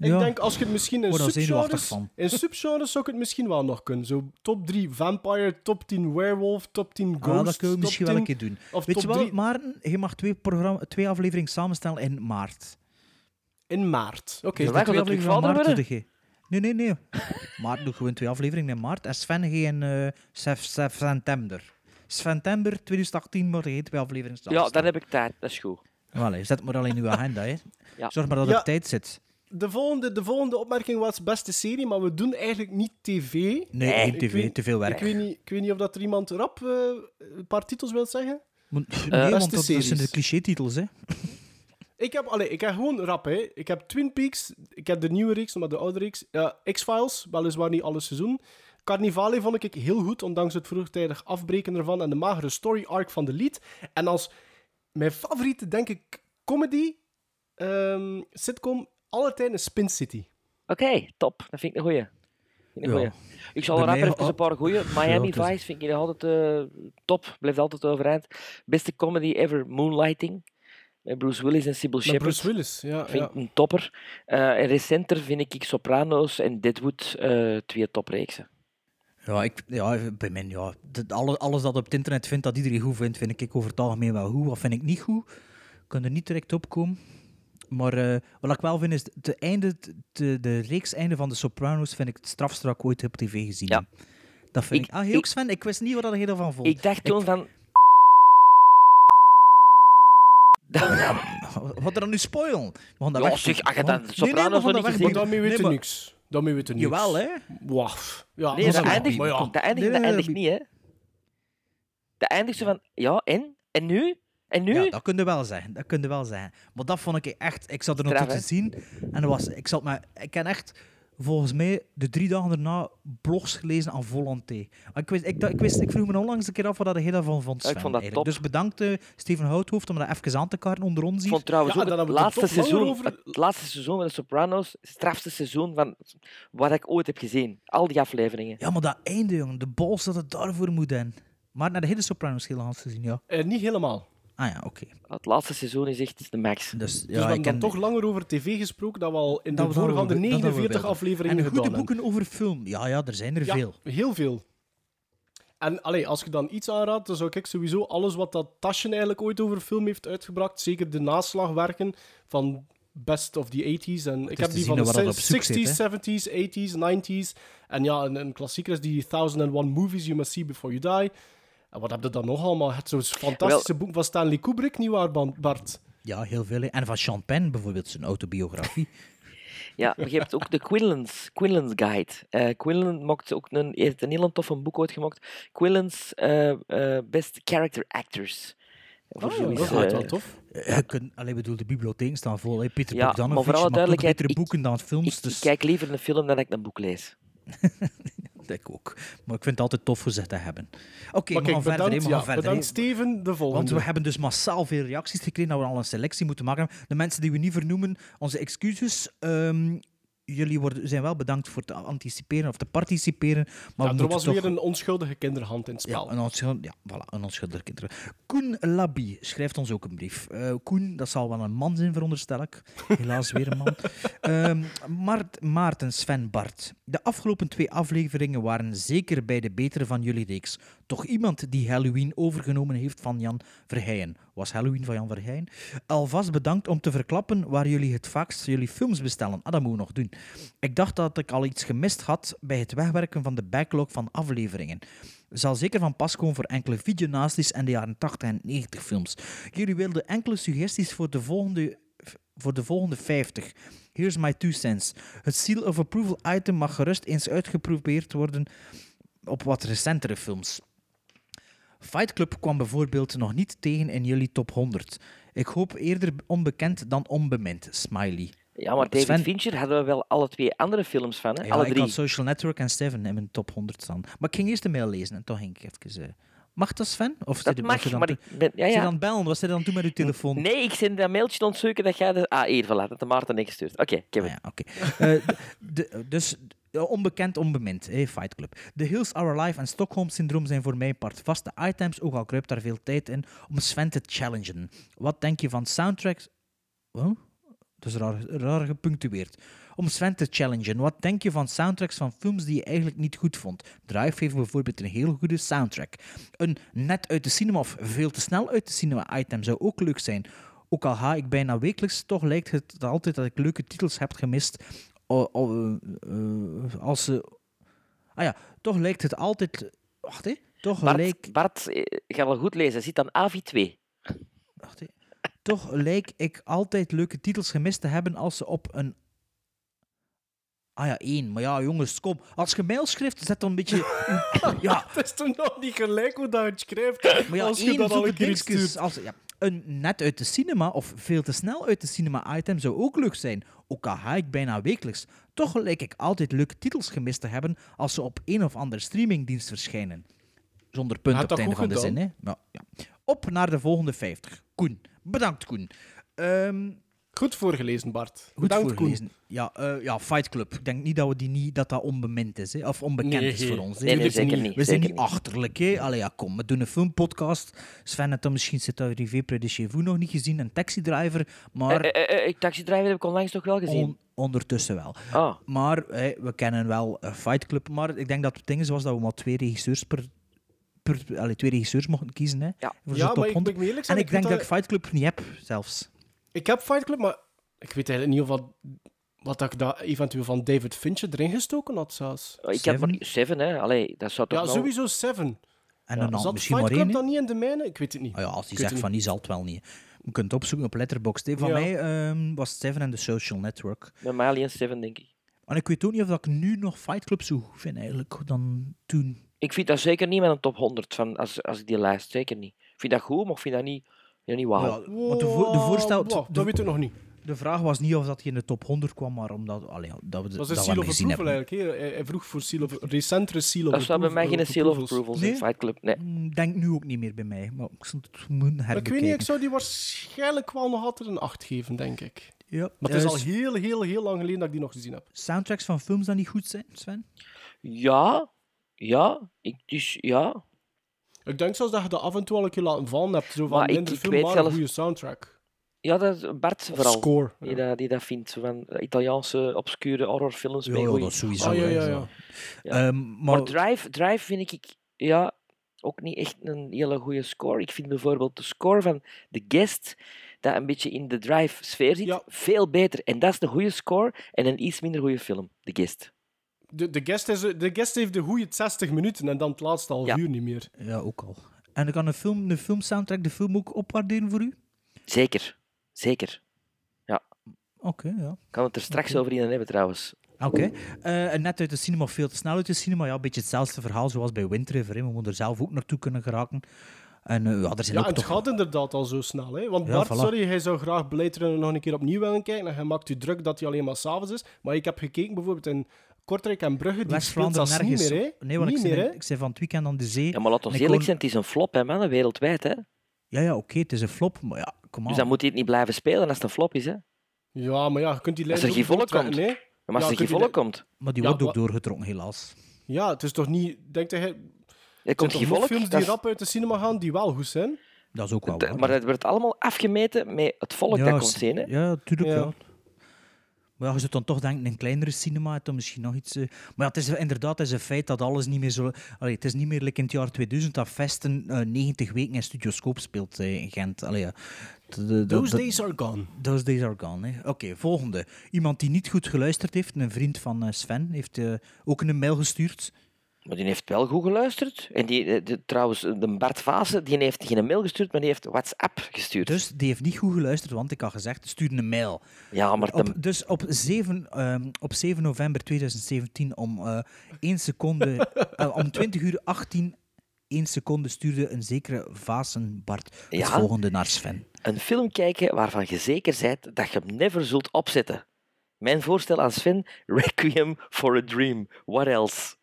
Speaker 6: Ja. Oh,
Speaker 5: Ik denk als je het misschien in
Speaker 6: Word al zenuwachtig
Speaker 5: subgenres...
Speaker 6: van.
Speaker 5: In subgenres zou ik het misschien wel nog kunnen. Zo top 3 vampire, top 10 werewolf, top 10 ghost,
Speaker 6: Ah, dat kunnen
Speaker 5: top
Speaker 6: we misschien
Speaker 5: 10
Speaker 6: wel een keer doen.
Speaker 5: Of
Speaker 6: Weet
Speaker 5: top
Speaker 6: je wel,
Speaker 5: 3
Speaker 6: Maarten, je mag twee, programma- twee afleveringen samenstellen in maart.
Speaker 5: in maart. Oké,
Speaker 4: Ja,
Speaker 6: Dus
Speaker 4: wij
Speaker 6: de
Speaker 4: gaan
Speaker 6: twee
Speaker 4: dat terug
Speaker 6: afleveringen
Speaker 4: vader worden?
Speaker 6: doe je- Nee, nee, nee. Maarten doet gewoon twee afleveringen in maart. En Sven geen eh sef, sef, september. September 2018 moet je geen twee afleveringen
Speaker 4: Ja,
Speaker 6: samenstellen.
Speaker 4: dan heb ik tijd. Dat is goed.
Speaker 6: Allee, zet maar al in uw agenda. Hè.
Speaker 4: Ja.
Speaker 6: Zorg maar dat
Speaker 5: Ja.
Speaker 6: er tijd zit.
Speaker 5: de, volgende, de volgende opmerking was beste serie, maar we doen eigenlijk niet tv.
Speaker 6: Nee,
Speaker 4: Nee,
Speaker 6: geen
Speaker 5: Ik
Speaker 6: tv,
Speaker 5: weet-
Speaker 6: te veel werk.
Speaker 5: Ik weet, niet, ik weet niet of dat er iemand rap eh, een paar titels wil zeggen.
Speaker 6: Want-
Speaker 4: Eh,
Speaker 6: nee,
Speaker 5: beste
Speaker 6: want dat, dat zijn de
Speaker 5: series.
Speaker 6: cliché-titels. Hè.
Speaker 5: Ik heb, allee, ik heb gewoon rap, hè. Ik heb Twin Peaks, ik heb de nieuwe reeks, maar de oude reeks. Ja, X-Files, weliswaar niet alle seizoen. Carnivale vond ik heel goed, ondanks het vroegtijdig afbreken ervan en de magere story arc van de lied. En als mijn favoriete, denk ik, comedy, ehm, sitcom, alle tijden is Spin City.
Speaker 4: Oké, top. Dat vind ik een goeie. Vind ik, een
Speaker 6: Ja.
Speaker 4: goeie. ik zal
Speaker 6: Bij
Speaker 4: er
Speaker 6: mij
Speaker 4: even
Speaker 6: al-
Speaker 4: een paar goeie. Miami
Speaker 6: het is-
Speaker 4: Vice vind ik nog altijd eh, top. Blijft altijd overeind. Beste comedy ever, Moonlighting. Met Bruce Willis en Sybil
Speaker 5: Met
Speaker 4: Shepherd.
Speaker 5: Bruce Willis, ja.
Speaker 4: vind
Speaker 5: ja.
Speaker 4: ik een topper. Eh, en recenter vind ik, ik Soprano's en Deadwood eh, twee topreeksen.
Speaker 6: Ja, ik, ja, bij mijn, ja dat- alle- alles dat op het internet vindt dat iedereen goed vindt, vind ik over het algemeen wel goed. Wat vind ik niet goed? Ik kan er niet direct op komen. Maar eh, wat ik wel vind is, de, einde, de, de reeks einde van de Sopranos vind ik het strafste dat ik ooit heb op tv gezien.
Speaker 4: Ja.
Speaker 6: Dat vind
Speaker 4: Ik-
Speaker 6: ik... Ah, heel
Speaker 4: ik-
Speaker 6: Sven, ik wist niet wat je ervan vond.
Speaker 4: Ik dacht toen van...
Speaker 6: Wat er dan nu spoilen? We gaan dat
Speaker 4: Ja,
Speaker 6: weg-
Speaker 4: zeg, als je
Speaker 6: we
Speaker 4: dat
Speaker 6: gaan-
Speaker 4: Sopranos nog
Speaker 6: Nee, nee, we gaan
Speaker 4: niet
Speaker 6: dat
Speaker 4: gezien
Speaker 5: Maar
Speaker 6: weg-
Speaker 4: hebt.
Speaker 5: daarmee
Speaker 6: Nee,
Speaker 5: weten
Speaker 6: maar-
Speaker 5: niks. Daarmee weten niks.
Speaker 6: Jawel, hè.
Speaker 5: Waf. Ja,
Speaker 4: Nee,
Speaker 5: dat
Speaker 4: dat
Speaker 5: is
Speaker 4: eindigt,
Speaker 5: maar ja.
Speaker 4: dat eindigt,
Speaker 6: Nee,
Speaker 4: dat
Speaker 6: nee,
Speaker 4: eindigt
Speaker 6: nee.
Speaker 4: niet, hè. Dat eindigt zo van... Ja, en? En nu? En nu?
Speaker 6: Ja, dat kun je wel zeggen. Dat kun je wel zeggen. Maar dat vond ik echt... Ik zat er nog
Speaker 4: Straf,
Speaker 6: toe te
Speaker 4: hè?
Speaker 6: zien. En dat was, ik, zat maar, ik heb echt, volgens mij, de drie dagen daarna blogs gelezen aan Volanté. Maar Ik, wist, ik, dacht- ik, wist, ik vroeg me onlangs een keer af wat hij daarvan vond,
Speaker 4: Ja, ik
Speaker 6: Sven,
Speaker 4: vond dat
Speaker 6: eigenlijk.
Speaker 4: top.
Speaker 6: Dus bedankt, eh, Steven Houthoofd, om dat even aan te kaarten onder ons
Speaker 4: Ik
Speaker 6: hier.
Speaker 4: vond trouwens
Speaker 5: Ja,
Speaker 4: ook
Speaker 5: dan
Speaker 4: het
Speaker 5: hebben we het
Speaker 4: laatste,
Speaker 5: toch langer
Speaker 4: seizoen,
Speaker 5: over-
Speaker 4: het laatste seizoen van de Sopranos, het strafste seizoen van wat ik ooit heb gezien. Al die afleveringen.
Speaker 6: Ja, maar dat einde, jongen. De balls dat het daarvoor moet in. Maar naar de hele Sopranos heel hand gezien, ja.
Speaker 5: Eh, niet helemaal.
Speaker 6: Ah ja, oké.
Speaker 4: Het laatste seizoen is echt de max.
Speaker 6: Dus, ja,
Speaker 5: dus we
Speaker 6: ik
Speaker 5: hebben dan
Speaker 6: ken-
Speaker 5: toch langer over tv gesproken dan we al in
Speaker 6: dat
Speaker 5: de
Speaker 6: we daarover-
Speaker 5: voorgaande
Speaker 6: dat we
Speaker 5: 49
Speaker 6: wilden.
Speaker 5: afleveringen
Speaker 6: En goede
Speaker 5: gedaan hebben.
Speaker 6: boeken over film. Ja, ja, er zijn er veel.
Speaker 5: Ja, heel veel. En allee, als je dan iets aanraadt, dan zou ik sowieso alles wat dat Taschen eigenlijk ooit over film heeft uitgebracht, zeker de naslagwerken van Best of the 80s. En ik
Speaker 6: te
Speaker 5: heb die
Speaker 6: zien
Speaker 5: van de
Speaker 6: waar dat op zoek
Speaker 5: 60s,
Speaker 6: zit,
Speaker 5: 70s, 80s, 90s. En ja, een, een klassieker is die 1001 Movies You Must See Before You Die. En wat heb je dan nog allemaal? Het zo'n fantastische boek van Stanley Kubrick, nietwaar, Ban- Bart?
Speaker 6: Ja, heel veel. hè. En van Sean Penn bijvoorbeeld, zijn autobiografie.
Speaker 4: Ja, maar je hebt ook de Quinlan's, Quinlan's Guide. Eh Quinlan maakt ook een, heeft een heel tof een boek ooit gemaakt. Quinlan's eh, eh, Best Character Actors. Voor
Speaker 5: Oh,
Speaker 4: zoiets,
Speaker 5: dat is wel
Speaker 4: eh,
Speaker 5: tof.
Speaker 6: Je kunt, allee, bedoel, de bibliotheek staan vol. Hè. Peter
Speaker 4: Ja, maar
Speaker 6: Bogdanovich
Speaker 4: voor alle
Speaker 6: maakt ook
Speaker 4: duidelijkheid,
Speaker 6: betere
Speaker 4: ik-
Speaker 6: boeken dan
Speaker 4: ik,
Speaker 6: films.
Speaker 4: ik
Speaker 6: dus
Speaker 4: kijk liever een film dan dat ik een boek lees.
Speaker 6: ik ook. Maar ik vind het altijd tof gezegd te hebben. Oké,
Speaker 5: Maar
Speaker 6: we
Speaker 5: kijk,
Speaker 6: gaan verder. hè,
Speaker 5: bedankt,
Speaker 6: we gaan
Speaker 5: ja,
Speaker 6: verder.
Speaker 5: bedankt
Speaker 6: hè.
Speaker 5: Steven, de
Speaker 6: Want we
Speaker 5: volgende.
Speaker 6: hebben dus massaal veel reacties gekregen dat we al een selectie moeten maken. De mensen die we niet vernoemen, onze excuses. Ehm, jullie worden, zijn wel bedankt voor te anticiperen of te participeren. Maar
Speaker 5: Ja,
Speaker 6: we
Speaker 5: er
Speaker 6: moeten
Speaker 5: was
Speaker 6: toch...
Speaker 5: weer een onschuldige kinderhand in het
Speaker 6: Ja,
Speaker 5: spel.
Speaker 6: een onschuld, ja, voilà, een onschuldig kind. Koen Labby schrijft ons ook een brief. Eh, Koen, dat zal wel een man zijn, veronderstel ik. Helaas weer een man. Ehm, Mart, Maarten, Sven, Bart. De afgelopen twee afleveringen waren zeker bij de betere van jullie reeks. Toch iemand die Halloween overgenomen heeft van Jan Verheyen. Was Halloween van Jan Verheyen? Alvast bedankt om te verklappen waar jullie het vaakst jullie films bestellen. Ah, dat moet ik nog doen. Ik dacht dat ik al iets gemist had bij het wegwerken van de backlog van afleveringen zal zeker van pas komen voor enkele videonasties en de jaren 80 en 90 films. Jullie wilden enkele suggesties voor de volgende, voor de volgende 50. Here's my two cents. Het seal of approval item mag gerust eens uitgeprobeerd worden op wat recentere films. Fight Club kwam bijvoorbeeld nog niet tegen in jullie top 100. Ik hoop eerder onbekend dan onbemind, smiley.
Speaker 4: Ja, maar David
Speaker 6: Sven-
Speaker 4: Fincher hadden we wel alle twee andere films van, hè?
Speaker 6: Ja,
Speaker 4: alle
Speaker 6: ik
Speaker 4: drie.
Speaker 6: had Social Network en Seven in mijn top 100 staan. Maar ik ging eerst de mail lezen en toch ging ik even... eh, mag dat, Sven? Of zit
Speaker 4: Dat
Speaker 6: je- was je
Speaker 4: mag,
Speaker 6: dan
Speaker 4: maar
Speaker 6: te-
Speaker 4: ik ben... Ja,
Speaker 6: Ze
Speaker 4: ja.
Speaker 6: dan bellen? Wat ze dan doen met uw telefoon?
Speaker 4: Nee, ik zit dat mailtje ontzoeken dat jij... De... Ah, hier, voilà, dat de Maarten ingestuurd. Oké,
Speaker 6: Ah
Speaker 4: Kevin.
Speaker 6: ja, oké. Eh, de- dus eh, onbekend, onbemind, hè, Fight Club. The Hills Are Alive en Stockholm Syndroom zijn voor mijn part vaste items, ook al kruipt daar veel tijd in, om Sven te challengen. Wat denk je van soundtracks... Wow? Dus raar, raar gepunctueerd. Om Sven te challengen, wat denk je van soundtracks van films die je eigenlijk niet goed vond? Drive heeft bijvoorbeeld een heel goede soundtrack. Een net uit de cinema of veel te snel uit de cinema item zou ook leuk zijn. Ook al ga ik bijna wekelijks, toch lijkt het altijd dat ik leuke titels heb gemist. o- o- eh, eh, als ze. Ah ja, toch lijkt het altijd. Wacht hè? Toch
Speaker 4: Bart,
Speaker 6: lijkt.
Speaker 4: Bart, eh, ga wel goed lezen. Zit aan AV2.
Speaker 6: Wacht, hè. Toch lijk ik altijd leuke titels gemist te hebben als ze op een. Ah ja, één. Maar ja, jongens, kom. Als je mailschrift zet dan een beetje. ja,
Speaker 5: Het is toen nog niet gelijk hoe dat je het schrijft.
Speaker 6: maar ja,
Speaker 5: als je
Speaker 6: één
Speaker 5: dat al
Speaker 6: zoete
Speaker 5: een keer iets
Speaker 6: dingetjes.
Speaker 5: stuurt.
Speaker 6: Als, ja, een net uit de cinema of veel te snel uit de cinema item zou ook leuk zijn. Ook al ga ik bijna wekelijks. Toch lijk ik altijd leuke titels gemist te hebben als ze op een of andere streamingdienst verschijnen. Zonder punt
Speaker 5: Had
Speaker 6: op
Speaker 5: dat
Speaker 6: het einde
Speaker 5: goed
Speaker 6: van de zin.
Speaker 5: gedaan.
Speaker 6: Hè? Ja, ja. Op naar de volgende 50. Koen. Bedankt, Koen. Ehm,
Speaker 5: Goed voorgelezen, Bart. Goed
Speaker 6: Goed
Speaker 5: Bedankt, Koen.
Speaker 6: voorgelezen. Ja, eh, ja, Fight Club. Ik denk niet dat we die niet, dat, dat onbemind is, hè? of onbekend
Speaker 5: Nee.
Speaker 6: is voor ons. hè.
Speaker 4: Nee, nee,
Speaker 6: We zijn
Speaker 4: zeker
Speaker 6: niet-
Speaker 4: niet,
Speaker 6: We zijn
Speaker 4: zeker
Speaker 6: niet achterlijk. Hè? Allee, ja, kom, we doen een filmpodcast. Sven had dan misschien zit daar Rivé Près de Chez Vous nog niet gezien, een taxidriver, maar
Speaker 4: Eh, eh, eh, eh, Taxidriver heb ik onlangs toch wel gezien.
Speaker 6: on- ondertussen wel.
Speaker 4: Ah.
Speaker 6: Maar hè, we kennen wel eh, Fight Club, maar ik denk dat het ding is was dat we maar twee regisseurs per... per allee, twee regisseurs mochten kiezen, hè?
Speaker 4: Ja.
Speaker 5: Ja,
Speaker 6: voor zo'n
Speaker 5: maar
Speaker 6: top
Speaker 5: ik-
Speaker 6: 100.
Speaker 5: moet ik eerlijk
Speaker 6: en
Speaker 5: zijn,
Speaker 6: ik,
Speaker 5: ik
Speaker 6: denk
Speaker 5: vind
Speaker 6: dat ik
Speaker 5: dat-
Speaker 6: Fight Club niet heb, zelfs.
Speaker 5: Ik heb Fight Club, maar ik weet eigenlijk niet of wat, wat dat ik daar eventueel van David Fincher erin gestoken had zelfs.
Speaker 4: Ik heb
Speaker 6: Seven?
Speaker 4: maar Seven, hè. Allee, dat zou toch
Speaker 5: Ja,
Speaker 4: wel-
Speaker 5: sowieso Seven.
Speaker 6: En dan
Speaker 5: Zat
Speaker 6: misschien
Speaker 5: Fight Club
Speaker 6: maar één. hè.
Speaker 5: dan niet in de mijne? Ik weet het niet.
Speaker 6: Ah ja, als
Speaker 5: Ik
Speaker 6: die
Speaker 5: weet
Speaker 6: zegt
Speaker 5: het
Speaker 6: van
Speaker 5: niet.
Speaker 6: die zal het wel niet. Je kunt het opzoeken op Letterboxd. hè. Van
Speaker 5: Ja.
Speaker 6: mij ehm, was het Seven en The Social Network.
Speaker 4: Met mij alleen Seven, denk ik.
Speaker 6: En ik weet ook niet of dat ik nu nog Fight Club zo goed vind eigenlijk dan toen.
Speaker 4: Ik vind dat zeker niet met een top 100, van, als, als ik die lijst, zeker niet. Ik vind dat goed, maar ik vind dat niet, vind dat niet wauw.
Speaker 6: Ja, want de, vo- de, voorstel,
Speaker 5: Oh. Wow, dat
Speaker 6: de,
Speaker 5: weet ik nog niet.
Speaker 6: de vraag was niet of dat je in de top 100 kwam, maar omdat allee, ja, dat we
Speaker 5: Dat
Speaker 6: dat,
Speaker 5: is een
Speaker 6: dat we
Speaker 5: seal
Speaker 6: hem
Speaker 5: of
Speaker 6: gezien
Speaker 5: approval
Speaker 6: hebben.
Speaker 5: eigenlijk. hè. Hij hij vroeg voor seal of, recentere seal of
Speaker 4: dat zou bij mij geen
Speaker 5: approvals.
Speaker 4: seal of approvals in
Speaker 6: Nee?
Speaker 4: Fight Club. Nee.
Speaker 6: Mm, Denk nu ook niet meer bij mij, maar ik zou het moeten
Speaker 5: Maar Ik weet
Speaker 6: herbekijken.
Speaker 5: niet, ik zou die waarschijnlijk wel nog altijd een 8 geven, denk ik.
Speaker 6: ja,
Speaker 5: Maar het is
Speaker 6: eh,
Speaker 5: al heel, heel, heel lang geleden dat ik die nog gezien heb.
Speaker 6: Soundtracks van films dat niet goed zijn, Sven?
Speaker 4: Ja, ja, ik, dus ja.
Speaker 5: Ik denk zelfs dat je dat af en toe al een keer laten vallen hebt. Zo van
Speaker 4: Maar ik-
Speaker 5: minder
Speaker 4: ik
Speaker 5: film,
Speaker 4: weet
Speaker 5: maar een
Speaker 4: zelf-
Speaker 5: goede soundtrack.
Speaker 4: Ja, dat is Bart
Speaker 5: Of
Speaker 4: vooral.
Speaker 5: score.
Speaker 4: Die,
Speaker 5: ja.
Speaker 4: dat, die dat vindt, zo van eh, Italiaanse obscure horrorfilms.
Speaker 6: Ja,
Speaker 4: met
Speaker 6: ja,
Speaker 4: goeie-
Speaker 6: dat sowieso.
Speaker 5: Ah, ja,
Speaker 6: hè,
Speaker 5: ja,
Speaker 6: zo.
Speaker 5: ja.
Speaker 4: Ja.
Speaker 6: Ehm,
Speaker 4: Maar,
Speaker 6: maar
Speaker 4: Drive, Drive vind ik, ja, ook niet echt een hele goede score. Ik vind bijvoorbeeld de score van The Guest, dat een beetje in de Drive-sfeer zit,
Speaker 5: Ja.
Speaker 4: veel beter. En dat is een goede score en een iets minder goede film, The Guest.
Speaker 5: De, de, guest is, de guest heeft de goede 60 minuten en dan het laatste half
Speaker 4: Ja.
Speaker 5: uur niet meer.
Speaker 6: Ja, ook al. En dan kan een film, de filmsoundtrack de film ook opwaarderen voor u?
Speaker 4: Zeker, zeker.
Speaker 6: Oké, ja.
Speaker 4: Ik kan het er straks over in hebben trouwens.
Speaker 6: Oké. Eh, en net uit de cinema, of veel te snel uit de cinema. Ja, een beetje hetzelfde verhaal zoals bij Wind River. hè. We moeten er zelf ook naartoe kunnen geraken. En eh, ja, er zijn
Speaker 5: Ja,
Speaker 6: ook
Speaker 5: het
Speaker 6: toch...
Speaker 5: gaat inderdaad al zo snel. Hè? Want
Speaker 6: Ja,
Speaker 5: Bart,
Speaker 6: voilà.
Speaker 5: sorry, hij zou graag Blade Runner nog een keer opnieuw willen kijken. En hij maakt u druk dat hij alleen maar s'avonds is. Maar ik heb gekeken bijvoorbeeld in Kortrijk en Brugge. Die speelt
Speaker 6: West-Vlaanderen
Speaker 5: dat niet
Speaker 6: nergens.
Speaker 5: meer, hè?
Speaker 6: nee, want
Speaker 5: niet
Speaker 6: ik, zei,
Speaker 5: meer, hè?
Speaker 6: ik zei van het weekend aan de zee.
Speaker 4: Ja, maar laat ons
Speaker 6: En ik
Speaker 4: eerlijk
Speaker 6: kon-
Speaker 4: zijn, het is een flop, hè, mannen, wereldwijd. Hè?
Speaker 6: Ja, ja, oké, het is een flop, maar ja,
Speaker 4: Dus
Speaker 6: kom
Speaker 5: Ah.
Speaker 6: aan.
Speaker 4: dan moet hij het niet blijven spelen als het een flop is. Hè?
Speaker 5: Ja, maar ja, je kunt die
Speaker 4: Als
Speaker 5: lijn
Speaker 4: er geen volk komt.
Speaker 5: Nee?
Speaker 4: Maar als
Speaker 5: Ja,
Speaker 4: er
Speaker 5: kun
Speaker 4: geen
Speaker 5: je
Speaker 4: volk
Speaker 5: dat-
Speaker 4: komt,
Speaker 6: Maar die
Speaker 5: Ja,
Speaker 6: wordt ook
Speaker 5: wa-
Speaker 6: doorgetrokken, helaas.
Speaker 5: Ja, het is toch niet... Denk dat hij...
Speaker 4: er
Speaker 5: Er
Speaker 4: komt
Speaker 5: zijn
Speaker 4: geen
Speaker 5: toch nog
Speaker 4: volk.
Speaker 5: films
Speaker 4: dat
Speaker 5: die
Speaker 4: is-
Speaker 5: rap uit de cinema gaan die wel goed zijn.
Speaker 6: Dat is ook wel
Speaker 4: dat-
Speaker 6: waar.
Speaker 4: maar het wordt allemaal afgemeten met het volk
Speaker 6: ja,
Speaker 4: dat komt
Speaker 6: s-
Speaker 4: zien. Hè?
Speaker 6: Ja, tuurlijk,
Speaker 5: Ja.
Speaker 6: ja. Maar ja, je zou dan toch denken, een kleinere cinema, het dan misschien nog iets... eh, Maar ja, het is inderdaad het is een feit dat alles niet meer zo... Allee, het is niet meer like in het jaar 2000 dat Vesten eh, 90 weken in Studioscoop speelt eh, in Gent. Allee, ja. De- de- de-
Speaker 5: Those
Speaker 6: de-
Speaker 5: days are gone.
Speaker 6: Those days are gone. hè. Oké, volgende. Iemand die niet goed geluisterd heeft, een vriend van eh, Sven, heeft eh, ook een mail gestuurd.
Speaker 4: Maar die heeft wel goed geluisterd. En die, eh, de- trouwens, eh, de Bart Vase, die heeft geen mail gestuurd, maar die heeft WhatsApp gestuurd.
Speaker 6: Dus die heeft niet goed geluisterd, want ik had gezegd, stuur een mail.
Speaker 4: ja, maar
Speaker 6: Op,
Speaker 4: de,
Speaker 6: dus op 7, ehm, op 7 november 2017 om eh 1 seconde, eh, om 20 uur 18, 1 seconde stuurde een zekere Vasenbart het
Speaker 4: Ja?
Speaker 6: volgende naar Sven.
Speaker 4: een film kijken waarvan je zeker bent dat je hem never zult opzetten. Mijn voorstel aan Sven, Requiem for a Dream. What else?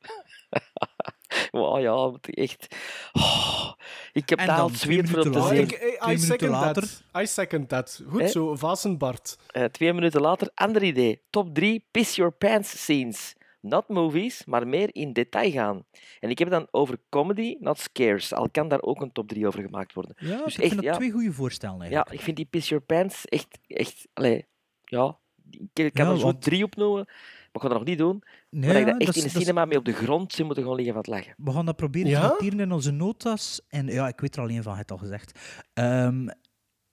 Speaker 4: oh ja, het echt. Oh, ik heb
Speaker 6: En
Speaker 4: daar
Speaker 6: dan
Speaker 4: al
Speaker 6: twee
Speaker 4: zweet voor om
Speaker 6: minuten
Speaker 4: te
Speaker 5: Ah,
Speaker 6: later-
Speaker 4: zien.
Speaker 5: ik, I- I,
Speaker 6: minuten
Speaker 5: second
Speaker 6: later.
Speaker 5: that. I second that. Goed
Speaker 4: Eh?
Speaker 5: zo, Vasenbart.
Speaker 4: Eh, twee minuten later, ander idee. Top 3 piss your pants scenes. Not movies, maar meer in detail gaan. En ik heb het dan over comedy, not scares. Al kan daar ook een top 3 over gemaakt worden.
Speaker 6: Ja,
Speaker 4: Dus
Speaker 6: ik
Speaker 4: echt,
Speaker 6: vind dat
Speaker 4: ja.
Speaker 6: twee goede voorstellen
Speaker 4: Ja,
Speaker 6: eigenlijk.
Speaker 4: ik vind die piss your pants echt... echt allee, Ja, ik kan
Speaker 6: Ja,
Speaker 4: er zo
Speaker 6: want-
Speaker 4: drie opnoemen, maar ik ga dat nog niet doen.
Speaker 6: Nee,
Speaker 4: Maar dat
Speaker 6: ja,
Speaker 4: ik dat echt
Speaker 6: dat is-
Speaker 4: in de
Speaker 6: dat is-
Speaker 4: cinema mee op de grond zou moeten gaan liggen van het lachen.
Speaker 6: We gaan dat proberen
Speaker 5: Ja?
Speaker 6: te noteren in onze notas. En ja, ik weet er al één van, je hebt het al gezegd. Ehm,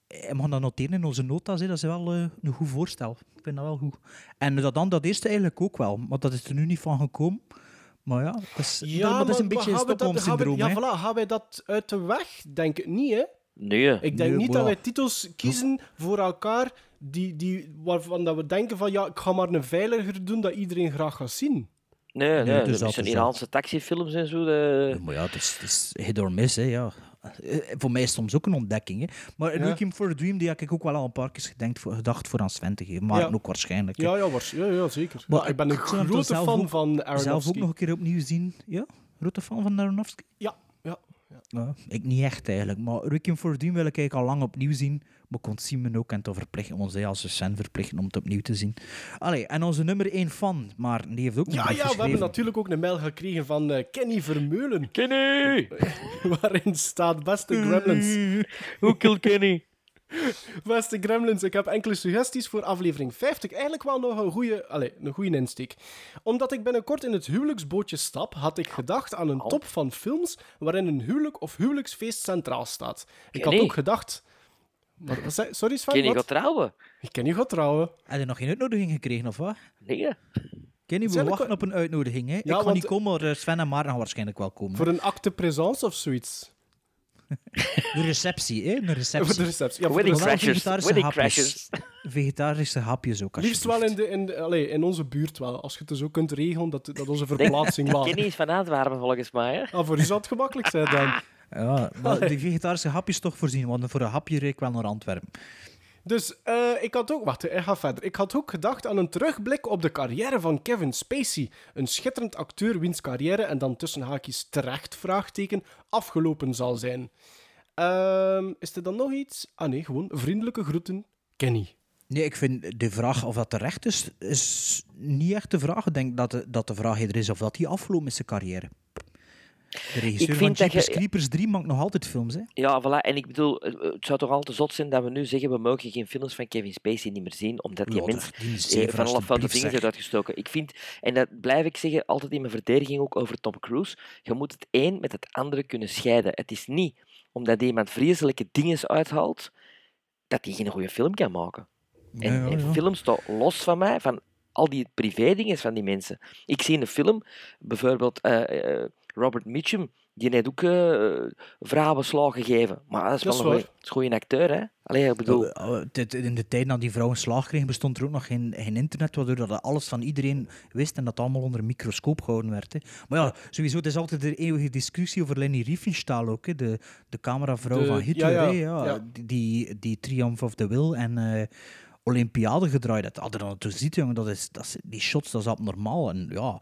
Speaker 6: en we gaan dat noteren in onze notas. Hè. Dat is wel eh, een goed voorstel. Ik vind dat wel goed. En dat dan, dat eerste eigenlijk ook wel. Maar dat is er nu niet van gekomen. Maar ja, dat is, dat, maar dat is een
Speaker 5: maar
Speaker 6: beetje
Speaker 5: gaan we dat- gaan we-
Speaker 6: Stockholm-syndroom. hè.
Speaker 5: Ja, voilà. Gaan wij dat uit de weg? Denk ik niet, hè?
Speaker 4: Nee.
Speaker 5: Ik denk
Speaker 6: Nee,
Speaker 5: niet
Speaker 6: maar
Speaker 5: dat
Speaker 6: ja.
Speaker 5: wij titels kiezen voor elkaar die, die, waarvan dat we denken van ja, ik ga maar een veiliger doen dat iedereen graag gaat zien.
Speaker 4: Nee, nee,
Speaker 6: Nee, het is
Speaker 4: dat
Speaker 6: dat,
Speaker 4: zijn
Speaker 6: het is
Speaker 4: Iraanse taxifilms en zo. de-
Speaker 6: Ja, Eh, Maar ja, het is, het is hit or miss, hè, ja. Eh, Voor mij is het soms ook een ontdekking. Hè. Maar
Speaker 5: Ja.
Speaker 6: Requiem for a Dream, die heb ik ook wel al een paar keer gedenkt voor, gedacht voor aan Sven te geven. Maar
Speaker 5: Ja.
Speaker 6: ook waarschijnlijk. hè.
Speaker 5: Ja, ja, waarsch- ja, ja zeker.
Speaker 6: Maar
Speaker 5: Ja, ik ben een
Speaker 6: ik zou hem
Speaker 5: grote
Speaker 6: toch zelf
Speaker 5: fan
Speaker 6: ook-
Speaker 5: van
Speaker 6: Zelf ook
Speaker 5: Aronofsky.
Speaker 6: nog een keer opnieuw zien. Ja, grote fan van Aronofsky.
Speaker 5: Ja, ja.
Speaker 6: Ja, ik niet echt eigenlijk. Maar Requiem for a Dream wil ik eigenlijk al lang opnieuw zien. Maar kon Simon ook en te verplichten ons hè, als Sven verplichten om het opnieuw te zien. Allee, en onze nummer 1 fan, maar die heeft ook een
Speaker 5: Ja,
Speaker 6: brief
Speaker 5: ja, we hebben
Speaker 6: geschreven.
Speaker 5: natuurlijk ook een mail gekregen van eh, Kenny Vermeulen,
Speaker 4: Kenny!
Speaker 5: waarin staat beste Gremlins.
Speaker 4: Hoe kill Kenny?
Speaker 5: Beste Gremlins, ik heb enkele suggesties voor aflevering 50. Eigenlijk wel nog een goede, allez, een goede insteek. Omdat ik binnenkort in het huwelijksbootje stap, had ik gedacht aan een top van films waarin een huwelijk of huwelijksfeest centraal staat. Ik had
Speaker 4: Kenny.
Speaker 5: ook gedacht... Wat, wat zei- sorry Sven,
Speaker 4: Kenny
Speaker 5: wat?
Speaker 4: gaat trouwen.
Speaker 5: Ik ken je gaat trouwen.
Speaker 6: Heb je nog geen uitnodiging gekregen, of wat?
Speaker 4: Nee.
Speaker 6: Kenny, we
Speaker 5: Zijn er
Speaker 6: wachten
Speaker 5: ko-
Speaker 6: op een uitnodiging. Hè? ik ga
Speaker 5: want-
Speaker 6: niet komen, maar eh, Sven en Maarten gaan waarschijnlijk wel komen.
Speaker 5: Voor een acte présence of zoiets.
Speaker 6: De receptie, hè? Een
Speaker 5: Voor de
Speaker 6: receptie.
Speaker 5: receptie. Ja, voor de
Speaker 4: Wedding
Speaker 6: Wel
Speaker 5: receptie.
Speaker 4: crashers,
Speaker 6: vegetarische
Speaker 4: wedding
Speaker 6: hapjes. Vegetarische hapjes ook,
Speaker 5: Liefst wel in, de, in, de- allez, in onze buurt wel. Als je het dus ook kunt regelen, dat, dat onze verplaatsing laat.
Speaker 4: Kenny is van Antwerpen volgens mij. Hè?
Speaker 5: Ah, voor u zou het gemakkelijk zijn dan.
Speaker 6: Ja, maar die vegetarische hapjes toch voorzien, want voor een hapje reek ik wel naar Antwerpen.
Speaker 5: Dus eh, ik had ook, wacht, ik ga verder. Ik had ook gedacht aan een terugblik op de carrière van Kevin Spacey. Een schitterend acteur wiens carrière, en dan tussen haakjes terecht vraagteken, afgelopen zal zijn. Ehm, is er dan nog iets? Ah nee, gewoon vriendelijke groeten, Kenny.
Speaker 6: Nee, ik vind de vraag of dat terecht is, is niet echt de vraag. Ik denk dat de, dat de vraag eerder is of dat die afgelopen is zijn carrière. De regisseur
Speaker 4: vind
Speaker 6: van
Speaker 4: dat je-
Speaker 6: Jeepers Creepers 3 maakt nog altijd films, hè?
Speaker 4: Ja, voilà. En ik bedoel, het het zou toch al te zot zijn dat we nu zeggen we mogen geen films van Kevin Spacey niet meer zien, omdat die
Speaker 6: Ja,
Speaker 4: mens
Speaker 6: dat- die
Speaker 4: eh,
Speaker 6: zeven,
Speaker 4: van alle foute
Speaker 6: alstublieft,
Speaker 4: dingen
Speaker 6: zeg.
Speaker 4: heeft uitgestoken. Ik vind, en dat blijf ik zeggen, altijd in mijn verdediging ook over Tom Cruise, je moet het een met het andere kunnen scheiden. Het is niet omdat iemand vreselijke dingen uithaalt, dat hij geen goede film kan maken. En,
Speaker 6: Ja, ja,
Speaker 4: en
Speaker 6: ja.
Speaker 4: film staat los van mij, van al die privé-dingen van die mensen. Ik zie in een film, bijvoorbeeld eh, eh, Robert Mitchum, die heeft ook eh vrouwen slagen gegeven. Maar dat is wel
Speaker 5: Dat is
Speaker 4: een goeie- dat is een goede acteur, hè? Allee, ik bedoel,
Speaker 6: Oh, oh, dit- In de tijd dat die vrouwen slaag kregen, bestond er ook nog geen, geen internet, waardoor dat alles van iedereen wist en dat allemaal onder een microscoop gehouden werd. Hè. Maar ja, sowieso, het is altijd de eeuwige discussie over Leni Riefenstahl ook, hè, de, de cameravrouw
Speaker 5: De-
Speaker 6: van Hitler,
Speaker 5: ja, ja,
Speaker 6: hè, ja,
Speaker 5: ja.
Speaker 6: Die, die Triumph of the Will en eh, Olympiade gedraaid had. Hadden dan toen ziet, jongen, dat is, dat is, die shots, dat is abnormaal. En ja...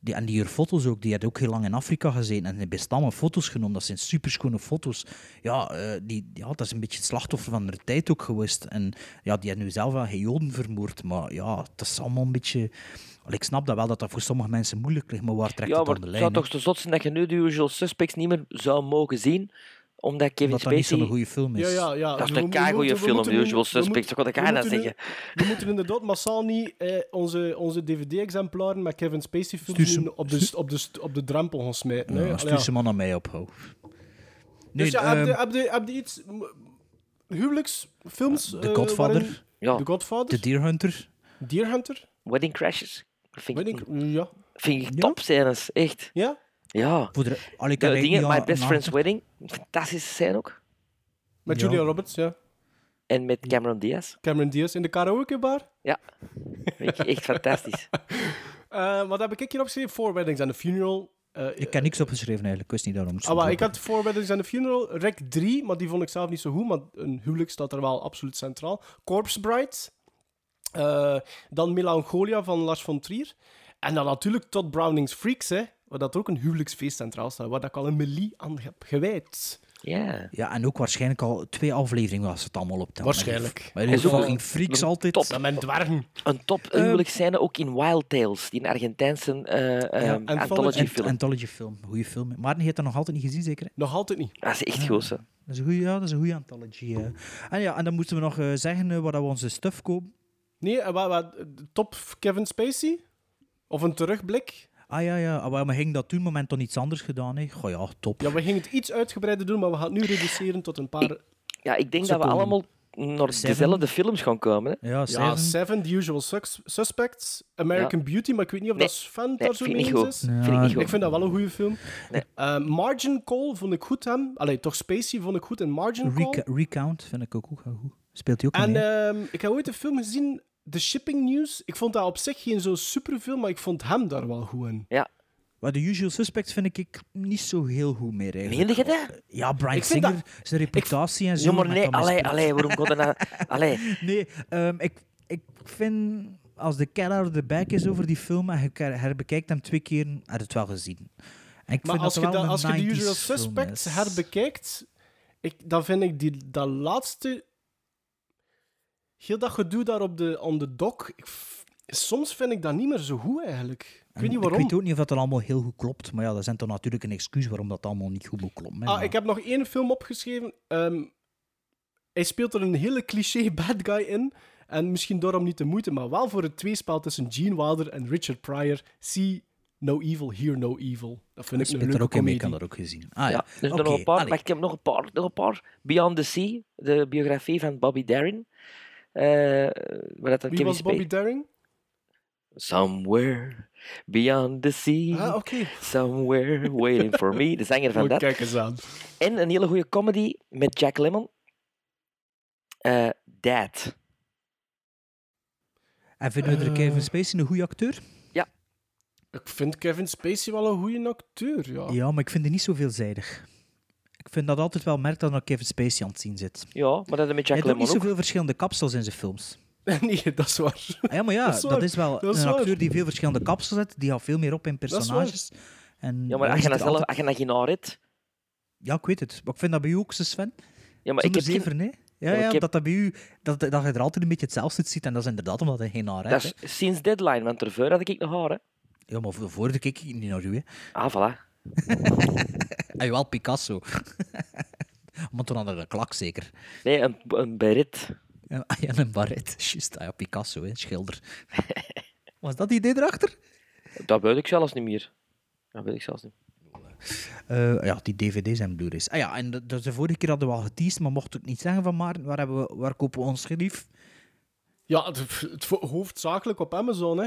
Speaker 6: Die, en die haar foto's ook, die had ook heel lang in Afrika gezeten en die heeft best allemaal foto's genomen. Dat zijn superschone foto's. Ja, eh, die, ja, dat is een beetje het slachtoffer van haar tijd ook geweest. En ja, die heeft nu zelf wel geen Joden vermoord, maar ja, dat is allemaal een beetje... Allee, ik snap dat wel, dat dat voor sommige mensen moeilijk ligt, maar waar trekt
Speaker 4: ja,
Speaker 6: het
Speaker 4: maar
Speaker 6: aan de
Speaker 4: het
Speaker 6: lijn?
Speaker 4: zou
Speaker 6: hè?
Speaker 4: toch te zot zijn dat je nu de usual suspects niet meer zou mogen zien, omdat Kevin
Speaker 6: Omdat dat niet
Speaker 4: Spacey...
Speaker 6: zo'n goede film is.
Speaker 5: Ja, ja, ja.
Speaker 4: Dat is
Speaker 5: Dus
Speaker 4: een
Speaker 5: we- we
Speaker 4: keigoeie
Speaker 5: moeten- we
Speaker 4: film,
Speaker 5: moeten
Speaker 4: The
Speaker 5: nu-
Speaker 4: Usual
Speaker 5: we
Speaker 4: Suspect,
Speaker 5: moeten-
Speaker 4: dat kan ik
Speaker 5: we
Speaker 4: bijna
Speaker 5: moeten nu- We moeten inderdaad massaal niet eh, onze, onze DVD-exemplaren met Kevin Spacey
Speaker 6: Stuur ze-
Speaker 5: films nu op de, op, de, op de drempel gaan smijten. hè.
Speaker 6: Ja,
Speaker 5: Allee,
Speaker 6: stuur ze man aan mij op, ho. Nee,
Speaker 5: dus ja, heb je-
Speaker 6: ehm,
Speaker 5: heb je- heb je iets... m- Huwelijksfilms?
Speaker 6: The
Speaker 5: eh,
Speaker 6: Godfather,
Speaker 5: waarin-
Speaker 4: Ja,
Speaker 5: The Godfather?
Speaker 6: The Deer Hunter.
Speaker 5: Deer Hunter?
Speaker 4: Wedding Crashes. Vind
Speaker 5: Weet
Speaker 4: ik,
Speaker 5: ik, ja.
Speaker 4: vind ik
Speaker 6: Ja?
Speaker 4: topscènes, echt.
Speaker 5: Ja?
Speaker 4: Ja.
Speaker 6: Voor de, allee, ik
Speaker 4: De
Speaker 6: heb eigenlijk
Speaker 4: dingen,
Speaker 6: niet
Speaker 4: My
Speaker 6: aan-
Speaker 4: Best
Speaker 6: aan-
Speaker 4: Friend's Wedding, fantastische scène ook.
Speaker 5: Met
Speaker 6: Ja.
Speaker 5: Julia Roberts, ja.
Speaker 4: En met Cameron Diaz.
Speaker 5: Cameron Diaz in de karaokebar.
Speaker 4: Vind ik echt fantastisch.
Speaker 5: Eh wat heb ik hier opgeschreven? Four Weddings and a Funeral. Eh,
Speaker 6: Ik heb niks opgeschreven eigenlijk, ik wist niet daarom.
Speaker 5: ah, maar ik had Four Weddings and a Funeral. Rec 3, maar die vond ik zelf niet zo goed. Maar een huwelijk staat er wel absoluut centraal. Corpse Bride. Eh, dan Melancholia van Lars von Trier. En dan natuurlijk Todd Browning's Freaks, hè. Waar dat ook een huwelijksfeest centraal staat. Waar dat ik al een melie aan heb gewijd.
Speaker 4: Ja.
Speaker 6: Ja, en ook waarschijnlijk al twee afleveringen was het allemaal op
Speaker 5: Waarschijnlijk.
Speaker 6: Maar in
Speaker 4: En
Speaker 6: ieder
Speaker 4: zo
Speaker 6: geval
Speaker 4: van-
Speaker 6: ging Freaks
Speaker 4: een
Speaker 6: altijd.
Speaker 4: top.
Speaker 5: Dat mijn dwergen.
Speaker 4: Een top
Speaker 5: Ehm,
Speaker 4: huwelijksscène ook in Wild Tales, die een Argentijnse eh, eh,
Speaker 5: Anthology.
Speaker 4: anthology
Speaker 6: Ant-
Speaker 4: film.
Speaker 6: Anthology film, goede film. Maarten heeft dat nog altijd niet gezien, zeker? Hè?
Speaker 5: Nog altijd niet.
Speaker 4: Dat Ah, is echt goed, hè.
Speaker 6: Dat is een goede, ja, dat is een goede anthology. eh. En ja, en dan moeten we nog eh, zeggen eh, waar dat we onze stuff kopen.
Speaker 5: Nee, eh, wat, wat, de top Kevin Spacey? Of een terugblik?
Speaker 6: Ah ja, ja. Ah, wel, maar ging dat toen moment dan iets anders gedaan? Hè? Goh ja, top.
Speaker 5: Ja, we gingen het iets uitgebreider doen, maar we gaan het nu reduceren tot een paar...
Speaker 4: Ja, ik denk
Speaker 6: Ze
Speaker 4: dat we
Speaker 6: komen.
Speaker 4: allemaal naar
Speaker 6: Seven.
Speaker 4: dezelfde films gaan komen. Hè?
Speaker 6: Ja,
Speaker 5: Ja,
Speaker 6: Seven.
Speaker 5: Seven, The Usual Sus- Suspects, American Beauty, maar ik weet niet of
Speaker 4: Nee,
Speaker 5: dat Sven
Speaker 4: Nee,
Speaker 5: daar zo
Speaker 4: vind ik
Speaker 5: mee
Speaker 4: niet
Speaker 5: eens
Speaker 4: goed.
Speaker 5: is.
Speaker 4: Vind ik niet goed.
Speaker 5: Ik vind dat wel een goede film.
Speaker 4: Nee.
Speaker 5: Eh, Margin Call vond ik goed hem. Allee, toch Spacey vond ik goed in Margin Call.
Speaker 6: Reca- Recount vind ik ook goed. goed. Speelt hij ook
Speaker 5: En
Speaker 6: mee? hè?
Speaker 5: ehm, ik heb ooit een film gezien, The Shipping News. Ik vond dat op zich geen zo'n superfilm, maar ik vond hem daar wel goed in.
Speaker 6: Maar The Usual Suspects vind ik, ik niet zo heel goed meer eigenlijk.
Speaker 4: Meende je dat?
Speaker 6: Ja, Brian
Speaker 5: Ik vind
Speaker 6: Singer, zijn reputatie en zo.
Speaker 4: Ja, maar
Speaker 6: met
Speaker 4: nee,
Speaker 6: dat
Speaker 4: allee,
Speaker 6: misbruik.
Speaker 4: allee, waarom kon dat nou... Allee,
Speaker 6: Nee, ehm, ik, ik vind als de cat out of the bag is over die film en je her- herbekijkt hem twee keer, heb je het wel gezien. En ik
Speaker 5: Maar
Speaker 6: vind
Speaker 5: als
Speaker 6: dat
Speaker 5: je,
Speaker 6: het wel
Speaker 5: da-
Speaker 6: een
Speaker 5: als je The
Speaker 6: 90s
Speaker 5: Usual
Speaker 6: film
Speaker 5: Suspects
Speaker 6: is.
Speaker 5: herbekijkt, ik, dan vind ik die, dat laatste... Heel dat gedoe daar op de, on the dock, ik f- soms vind ik dat niet meer zo goed eigenlijk. Ik
Speaker 6: En
Speaker 5: weet niet waarom.
Speaker 6: Ik weet ook niet of dat allemaal heel goed klopt, maar ja, dat zijn toch natuurlijk een excuus waarom dat allemaal niet goed moet kloppen. hè,
Speaker 5: Ah,
Speaker 6: maar-
Speaker 5: ik heb nog één film opgeschreven. Ehm, hij speelt er een hele cliché bad guy in. En misschien daarom niet de moeite, maar wel voor het tweespel tussen Gene Wilder en Richard Pryor. See no evil, hear no evil. Dat vind ik
Speaker 6: speelt
Speaker 5: een leuke
Speaker 6: er ook in
Speaker 5: comedie.
Speaker 6: mee, ik had dat ook gezien. Ah, ja.
Speaker 4: ja. Dus
Speaker 6: Oké,
Speaker 4: nog een paar,
Speaker 6: allee.
Speaker 4: pak ik heb nog een paar, nog een paar. Beyond the Sea, de biografie van Bobby Darin. Eh waar dat dan
Speaker 5: Wie
Speaker 4: Kevin
Speaker 5: was Bobby
Speaker 4: Spacey-
Speaker 5: Daring?
Speaker 4: Somewhere beyond the sea.
Speaker 5: Ah, oké.
Speaker 4: Somewhere waiting for me. De zanger van
Speaker 5: Moet
Speaker 4: dat.
Speaker 5: Kijk eens aan.
Speaker 4: En een hele goede comedy met Jack Lemmon. Eh Dad.
Speaker 6: En vinden we er
Speaker 5: Eh.
Speaker 6: Kevin Spacey een goede acteur?
Speaker 5: Ik vind Kevin Spacey wel een goede acteur, ja.
Speaker 6: Ja, maar ik vind die niet zo veelzijdig. Ik vind dat altijd wel merk dat er Kevin Spacey aan het zien zit.
Speaker 4: Ja, maar dat is met
Speaker 6: Hij
Speaker 4: Jack
Speaker 6: doet
Speaker 4: Lemmon
Speaker 6: niet
Speaker 4: ook.
Speaker 6: zoveel verschillende kapsels in zijn films.
Speaker 5: nee, dat is waar.
Speaker 6: Ah Ja, maar ja,
Speaker 5: Dat
Speaker 6: dat
Speaker 5: is
Speaker 6: is,
Speaker 5: waar.
Speaker 6: wel
Speaker 5: Dat is
Speaker 6: een
Speaker 5: waar.
Speaker 6: acteur die veel verschillende kapsels zet. Die gaat veel meer op in
Speaker 5: is waar.
Speaker 6: personages. En
Speaker 4: Ja, maar
Speaker 6: hij
Speaker 4: als je
Speaker 6: zit
Speaker 4: dat
Speaker 6: er
Speaker 4: zelf,
Speaker 6: altijd-
Speaker 4: als je dat geen haar hebt...
Speaker 6: Ja, ik weet het. Maar ik vind dat bij u ook zo, Sven.
Speaker 4: Ja, maar ik
Speaker 6: Zonder
Speaker 4: heb geen...
Speaker 6: zever, nee. Ja,
Speaker 4: maar
Speaker 6: ja,
Speaker 4: ik heb-
Speaker 6: dat, dat, bij u, dat, dat je er altijd een beetje hetzelfde ziet. En dat is inderdaad omdat hij geen haar
Speaker 4: Dat
Speaker 6: heeft.
Speaker 4: is sinds deadline, want ervoor had ik nog haar, hè.
Speaker 6: hè. Ja, maar voor- voor de keek ik niet naar u. Hè.
Speaker 4: Ah, voilà.
Speaker 6: Ah, jawel, Picasso. maar toen hadden we een klak, zeker.
Speaker 4: Nee, een, een beret.
Speaker 6: En, ah, ja, en een baret. Juist, ah, ja, Picasso, hè, schilder. Was dat die idee erachter?
Speaker 4: Dat weet ik zelfs niet meer. Dat weet ik zelfs niet.
Speaker 6: Eh, ja, die dvd's en blu-rays. Ah ja, en de, dus de vorige keer hadden we al geteased, maar mocht ik niet zeggen van Maarten, waar, hebben we, waar kopen we ons gelief?
Speaker 5: Ja, het, het vo- hoofdzakelijk op Amazon, hè.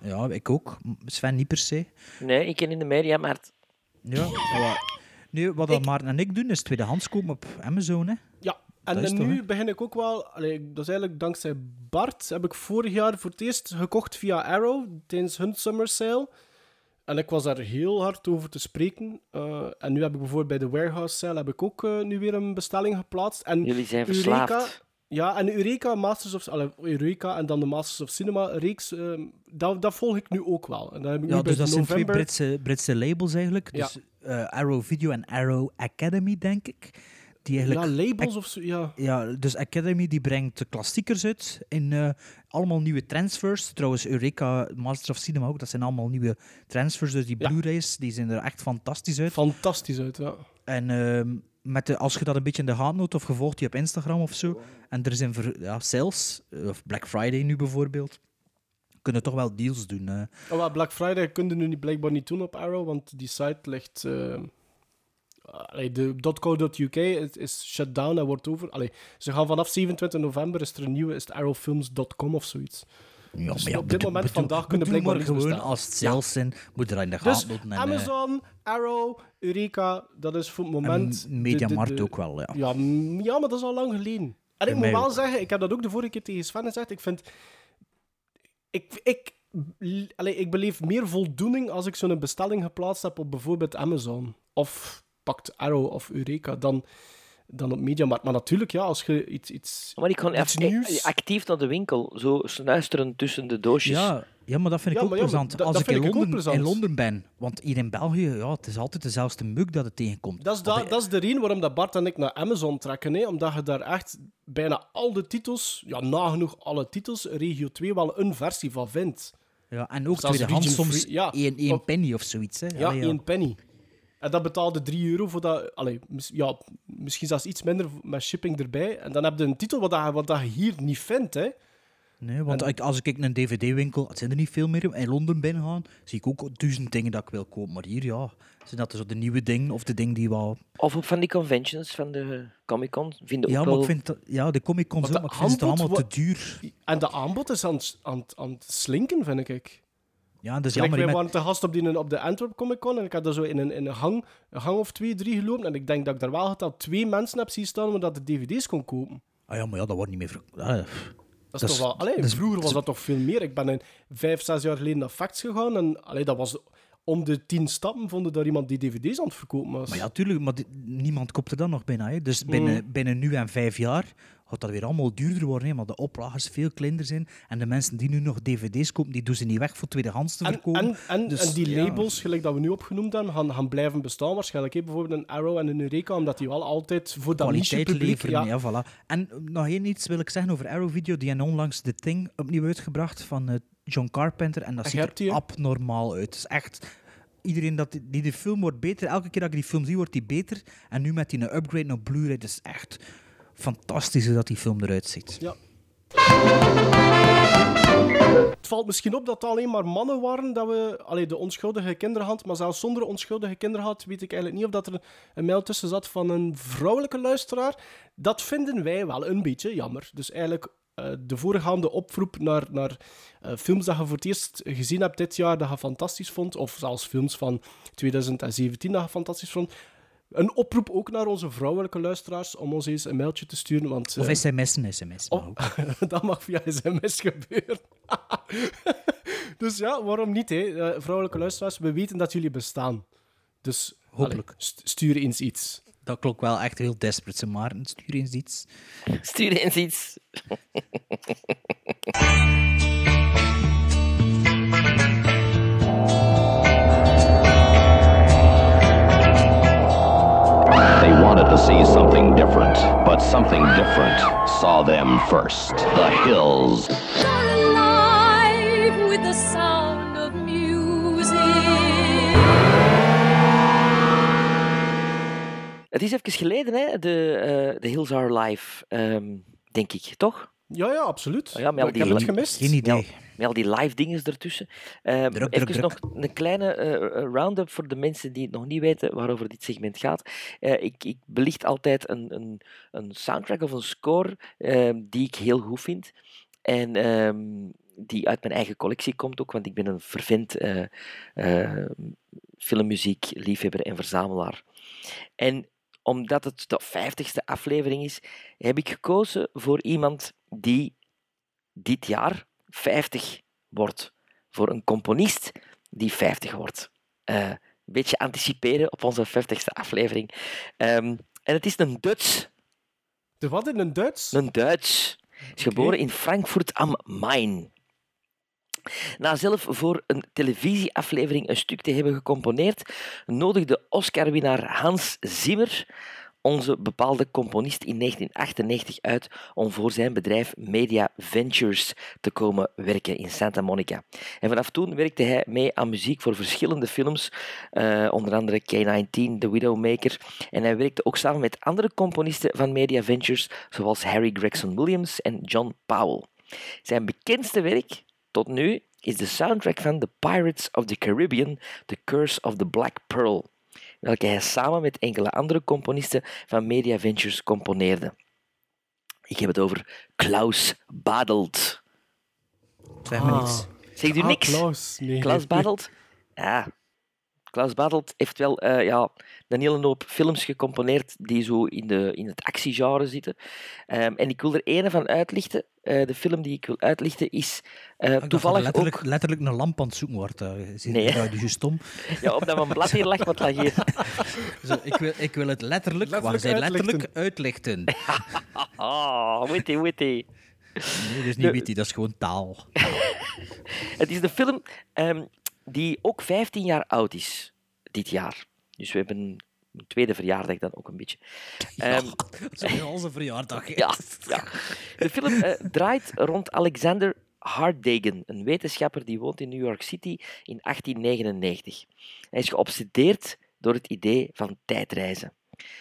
Speaker 6: Ja, ik ook. M- Sven niet per se.
Speaker 4: Nee, ik ken in de media, maar... het-
Speaker 6: Ja, voilà. Nu, wat dat Maarten en ik doen, is tweedehands kopen op Amazon. Hè.
Speaker 5: Ja, en,
Speaker 6: Dat is
Speaker 5: en
Speaker 6: toch,
Speaker 5: nu
Speaker 6: hè?
Speaker 5: begin ik ook wel. Allee, dat is eigenlijk dankzij Bart. Heb ik vorig jaar voor het eerst gekocht via Arrow tijdens hun summer sale. En ik was daar heel hard over te spreken. Eh, en nu heb ik bijvoorbeeld bij de warehouse sale heb ik ook eh, nu weer een bestelling geplaatst. En
Speaker 4: Jullie zijn
Speaker 5: Eureka-
Speaker 4: verslaafd.
Speaker 5: Ja, en Eureka, Masters of, allee, Eureka en dan de Masters of Cinema reeks, ehm, dat, dat volg ik nu ook wel. En dan heb ik
Speaker 6: Ja,
Speaker 5: nu
Speaker 6: dus
Speaker 5: bij
Speaker 6: dat zijn twee
Speaker 5: november...
Speaker 6: Britse, Britse labels eigenlijk.
Speaker 5: Ja.
Speaker 6: Dus eh, Arrow Video en Arrow Academy, denk ik. Die eigenlijk
Speaker 5: ja, labels of zo, ja.
Speaker 6: Ja, dus Academy die brengt de klassiekers uit in eh, allemaal nieuwe transfers. Trouwens, Eureka, Masters of Cinema ook, dat zijn allemaal nieuwe transfers. Dus die
Speaker 5: Ja.
Speaker 6: Blu-rays, die zien er echt fantastisch uit.
Speaker 5: Fantastisch uit, ja.
Speaker 6: En ehm, met de, als je dat een beetje in de gaten houdt of gevolgd je op Instagram of zo, en er zijn ver, ja, sales, eh, of Black Friday nu bijvoorbeeld, kunnen toch wel deals doen. eh.
Speaker 5: Oh, maar Black Friday kun je nu niet, blijkbaar niet doen op Arrow, want die site ligt... eh, allee, de .co.uk is, is shut down en wordt over... Allee, ze gaan vanaf 27 november, is er een nieuwe, is het arrowfilms.com of zoiets. Dus
Speaker 6: Ja, maar
Speaker 5: op dit
Speaker 6: bedoel-
Speaker 5: moment
Speaker 6: bedoel-
Speaker 5: vandaag kunnen
Speaker 6: bedoel
Speaker 5: blijkbaar
Speaker 6: maar
Speaker 5: niets
Speaker 6: gewoon
Speaker 5: bestaan.
Speaker 6: als het sales zijn, moet je dat in de
Speaker 5: Dus
Speaker 6: gaten houden. en, eh,
Speaker 5: Amazon, Arrow, Eureka, dat is voor het
Speaker 6: en
Speaker 5: moment... de- de-
Speaker 6: Mediamarkt
Speaker 5: de-
Speaker 6: ook wel, ja.
Speaker 5: Ja, m- ja, maar dat is al lang geleden. En ik
Speaker 6: Bij
Speaker 5: moet
Speaker 6: mij
Speaker 5: wel
Speaker 6: ook.
Speaker 5: zeggen, ik heb dat ook de vorige keer tegen Sven gezegd. Ik vind. Ik, ik, l- allee, ik beleef meer voldoening als ik zo'n bestelling geplaatst heb op bijvoorbeeld Amazon. Of pakt Arrow of Eureka dan, dan op Mediamarkt. Maar natuurlijk, ja, als je iets. iets
Speaker 4: Maar ik ga
Speaker 5: Iets
Speaker 4: echt- eh,
Speaker 5: nieuws?
Speaker 4: actief naar de winkel, zo snuisteren tussen de doosjes.
Speaker 6: Ja, ja, maar dat vind ik
Speaker 5: Ja,
Speaker 6: ook
Speaker 5: maar ja, maar
Speaker 6: plezant.
Speaker 5: dat-
Speaker 6: Als
Speaker 5: dat
Speaker 6: ik,
Speaker 5: vind
Speaker 6: in,
Speaker 5: ik ook
Speaker 6: Londen,
Speaker 5: plezant.
Speaker 6: in Londen ben. Want hier in België, ja, het is altijd dezelfde muk dat het tegenkomt.
Speaker 5: Dat is, da-
Speaker 6: Of in-
Speaker 5: dat is de reden waarom dat Bart en ik naar Amazon trekken. Hè? Omdat je daar echt bijna al de titels, ja, nagenoeg alle titels, Regio 2 wel een versie van vindt.
Speaker 6: ja, en ook
Speaker 5: zelfs
Speaker 6: tweedehands
Speaker 5: region
Speaker 6: soms
Speaker 5: free- ja.
Speaker 6: één, één
Speaker 5: Of-
Speaker 6: penny of zoiets. Hè.
Speaker 5: Ja,
Speaker 6: Allee,
Speaker 5: één penny. En dat betaalde 3 euro voor dat... Allee, mis- ja, misschien zelfs iets minder met shipping erbij. En dan heb je een titel wat, dat, wat dat je hier niet vindt, hè.
Speaker 6: Nee, want ik- als ik een dvd-winkel, het zijn er niet veel meer, in Londen ben gaan, zie ik ook duizend dingen dat ik wil kopen. Maar hier, ja, zijn dat zo de nieuwe dingen of de dingen die wel...
Speaker 4: Of op van die conventions van de Comic-Con vinden
Speaker 6: Ja,
Speaker 4: ook
Speaker 6: maar
Speaker 4: wel...
Speaker 6: ik vind dat, ja, de Comic-Cons
Speaker 5: Want
Speaker 6: ook,
Speaker 5: de
Speaker 6: maar ik vind het
Speaker 5: aanbod
Speaker 6: allemaal te
Speaker 5: wa-
Speaker 6: duur.
Speaker 5: En de aanbod is aan, het- aan, het- aan het slinken, vind ik.
Speaker 6: Ja, dat is
Speaker 5: Like,
Speaker 6: jammer.
Speaker 5: wij
Speaker 6: hè, met-
Speaker 5: waren te gast op, die, op de Antwerp Comic Con en ik had daar zo in een, in een hang, een hang of twee, drie gelopen. En ik denk dat ik daar wel geteld twee mensen heb zien staan omdat de dvd's kon kopen.
Speaker 6: Ah ja, maar ja, dat wordt niet meer... verk- Ah, pff.
Speaker 5: Dat
Speaker 6: Dat
Speaker 5: is
Speaker 6: is-
Speaker 5: toch wel... Allee,
Speaker 6: dat is-
Speaker 5: vroeger
Speaker 6: dat
Speaker 5: was
Speaker 6: is-
Speaker 5: dat toch veel meer. Ik ben een vijf, zes jaar geleden naar Facts gegaan en allee, dat was... Om de tien stappen vonden daar iemand die dvd's aan het verkopen was. Mm.
Speaker 6: Maar ja, tuurlijk, maar dit- niemand komt er dan nog bijna. Hè. Dus binnen, binnen nu en vijf jaar gaat dat weer allemaal duurder worden, hè, maar de oplagers veel kleiner zijn. En de mensen die nu nog dvd's kopen, die doen ze niet weg voor tweedehands te
Speaker 5: En,
Speaker 6: verkopen.
Speaker 5: en, en,
Speaker 6: Dus,
Speaker 5: en die
Speaker 6: ja.
Speaker 5: labels, gelijk dat we nu opgenoemd hebben, gaan, gaan blijven bestaan waarschijnlijk. hè. Bijvoorbeeld een Arrow en een Eureka, omdat die wel altijd voor dat
Speaker 6: kwaliteit
Speaker 5: niche-publiek-
Speaker 6: leveren.
Speaker 5: ja.
Speaker 6: Ja. voilà. En eh, nog één iets wil ik zeggen over Arrow Video. Die hebben onlangs The Thing opnieuw uitgebracht van eh, John Carpenter. En dat
Speaker 5: En je
Speaker 6: ziet
Speaker 5: hebt die,
Speaker 6: er
Speaker 5: hè?
Speaker 6: abnormaal uit. Het is echt... Iedereen dat die, die de film wordt beter. Elke keer dat ik die film zie, wordt die beter. En nu met die upgrade naar Blu-ray. Het is echt fantastisch hoe dat die film eruit ziet.
Speaker 5: Ja. Het valt misschien op dat het alleen maar mannen waren dat we... Allee, de onschuldige kinderhand, maar zelfs zonder onschuldige kinderhand weet ik eigenlijk niet of dat er een mail tussen zat van een vrouwelijke luisteraar. Dat vinden wij wel een beetje jammer. Dus eigenlijk eh, de voorgaande oproep naar, naar eh, films dat je voor het eerst gezien hebt dit jaar, dat je fantastisch vond, of zelfs films van 2017 dat je fantastisch vond. Een oproep ook naar onze vrouwelijke luisteraars om ons eens een mailtje te sturen, want...
Speaker 6: Of
Speaker 5: eh,
Speaker 6: sms'en, sms.
Speaker 5: Oh.
Speaker 6: maar ook.
Speaker 5: dat mag via sms gebeuren. dus ja, waarom niet, hè? Eh, vrouwelijke luisteraars, we weten dat jullie bestaan. Dus
Speaker 6: Hopelijk.
Speaker 5: allee, st- stuur eens iets.
Speaker 6: Dat klonk wel echt heel desperate, zeg maar stuur eens iets.
Speaker 4: Stuur eens iets.
Speaker 8: They wanted to see something different, but something different saw them first. The hills.
Speaker 9: You're alive with the sound of music.
Speaker 4: Het is even geleden, hè? De, eh de Hills Are Live, ehm, denk ik, toch?
Speaker 5: Ja, ja, absoluut.
Speaker 4: Ja, maar
Speaker 5: ik
Speaker 4: die-
Speaker 5: heb het gemist.
Speaker 6: Geen idee.
Speaker 4: Ja, met al die live dingen ertussen. Ehm,
Speaker 6: Druk, druk,
Speaker 4: even
Speaker 6: druk.
Speaker 4: nog een kleine eh, round-up voor de mensen die het nog niet weten waarover dit segment gaat. Eh, ik, ik belicht altijd een, een, een soundtrack of een score ehm, die ik heel goed vind. En ehm, die uit mijn eigen collectie komt ook, want ik ben een vervent eh, eh, filmmuziek liefhebber en verzamelaar. En omdat het de vijftigste aflevering is, heb ik gekozen voor iemand die dit jaar 50 wordt. Voor een componist die 50 wordt. Eh, een beetje anticiperen op onze 50ste aflevering. Ehm, en het is een Duits.
Speaker 5: De wat in een Duits?
Speaker 4: Een Duits. Is geboren in Frankfurt am Main. Na zelf voor een televisieaflevering een stuk te hebben gecomponeerd, nodigde Oscar-winnaar Hans Zimmer onze bepaalde componist in 1998 uit om voor zijn bedrijf Media Ventures te komen werken in Santa Monica. En vanaf toen werkte hij mee aan muziek voor verschillende films, eh, onder andere K-19, The Widowmaker. En hij werkte ook samen met andere componisten van Media Ventures, zoals Harry Gregson Williams en John Powell. Zijn bekendste werk tot nu is de soundtrack van The Pirates of the Caribbean, The Curse of the Black Pearl, welke hij samen met enkele andere componisten van Media Ventures componeerde. Ik heb het over Klaus Badelt.
Speaker 6: Zeg maar iets.
Speaker 4: Zegt u
Speaker 5: Ah,
Speaker 4: niks?
Speaker 5: Klaus. Nee,
Speaker 4: Klaus
Speaker 5: nee.
Speaker 4: Badelt? Ja. Klaus Badelt heeft wel eh, ja, een hele hoop films gecomponeerd die zo in, de, in het actiegenre zitten. Ehm, en ik wil er ene van uitlichten. Eh, de film die ik wil uitlichten is eh,
Speaker 6: Ik dacht dat er
Speaker 4: toevallig
Speaker 6: letterlijk,
Speaker 4: ook...
Speaker 6: letterlijk een lamp aan het zoeken wordt. eh. Zie je
Speaker 4: Nee.
Speaker 6: nou, die is stom.
Speaker 4: Ja, omdat mijn blad hier lag, wat lag hier?
Speaker 6: Zo, ik, wil, ik wil het letterlijk,
Speaker 5: Letterlijk
Speaker 6: waar zij letterlijk uitlichten.
Speaker 4: Ah, witty, witty.
Speaker 6: Nee, dat is
Speaker 4: De- Ehm,
Speaker 6: niet witty, dat is gewoon taal.
Speaker 4: Het is de film ehm, die ook 15 jaar oud is dit jaar. Dus we hebben een tweede verjaardag dan ook een beetje. Ehm,
Speaker 6: Zo is onze verjaardag. hè.
Speaker 4: Ja, ja. De film eh, draait rond Alexander Hardegen, een wetenschapper die woont in New York City in 1899. Hij is geobsedeerd door het idee van tijdreizen.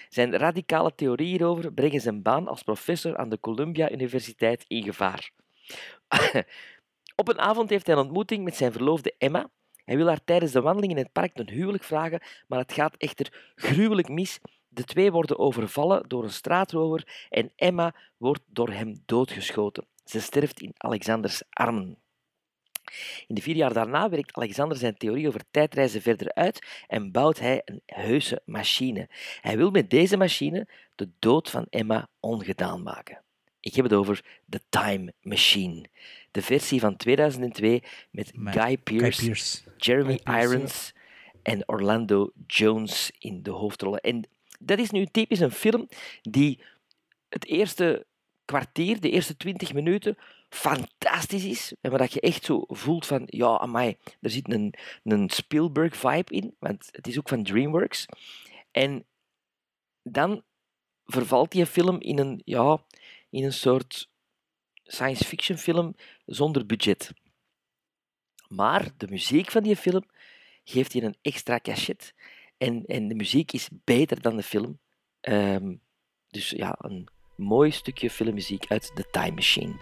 Speaker 4: Zijn radicale theorieën hierover brengen zijn baan als professor aan de Columbia Universiteit in gevaar. Op een avond heeft hij een ontmoeting met zijn verloofde Emma. Hij wil haar tijdens de wandeling in het park ten huwelijk vragen, maar het gaat echter gruwelijk mis. De twee worden overvallen door een straatrover en Emma wordt door hem doodgeschoten. Ze sterft in Alexanders armen. In de vier jaar daarna werkt Alexander zijn theorie over tijdreizen verder uit en bouwt hij een heuse machine. Hij wil met deze machine de dood van Emma ongedaan maken. Ik heb het over The Time Machine. De versie van 2002 met
Speaker 6: Met
Speaker 4: Guy Pearce,
Speaker 6: Guy Pearce.
Speaker 4: Jeremy
Speaker 5: Guy Pearce, ja.
Speaker 4: Irons en Orlando Jones in de hoofdrollen. En dat is nu typisch een film die het eerste kwartier, de eerste twintig minuten, fantastisch is. En waar dat je echt zo voelt van, ja, amai, er zit een, een Spielberg-vibe in, want het is ook van DreamWorks. En dan vervalt die film in een, ja, in een soort science-fiction film zonder budget. Maar de muziek van die film geeft je een extra cachet. En, en de muziek is beter dan de film. Ehm, dus ja, een mooi stukje filmmuziek uit The Time Machine.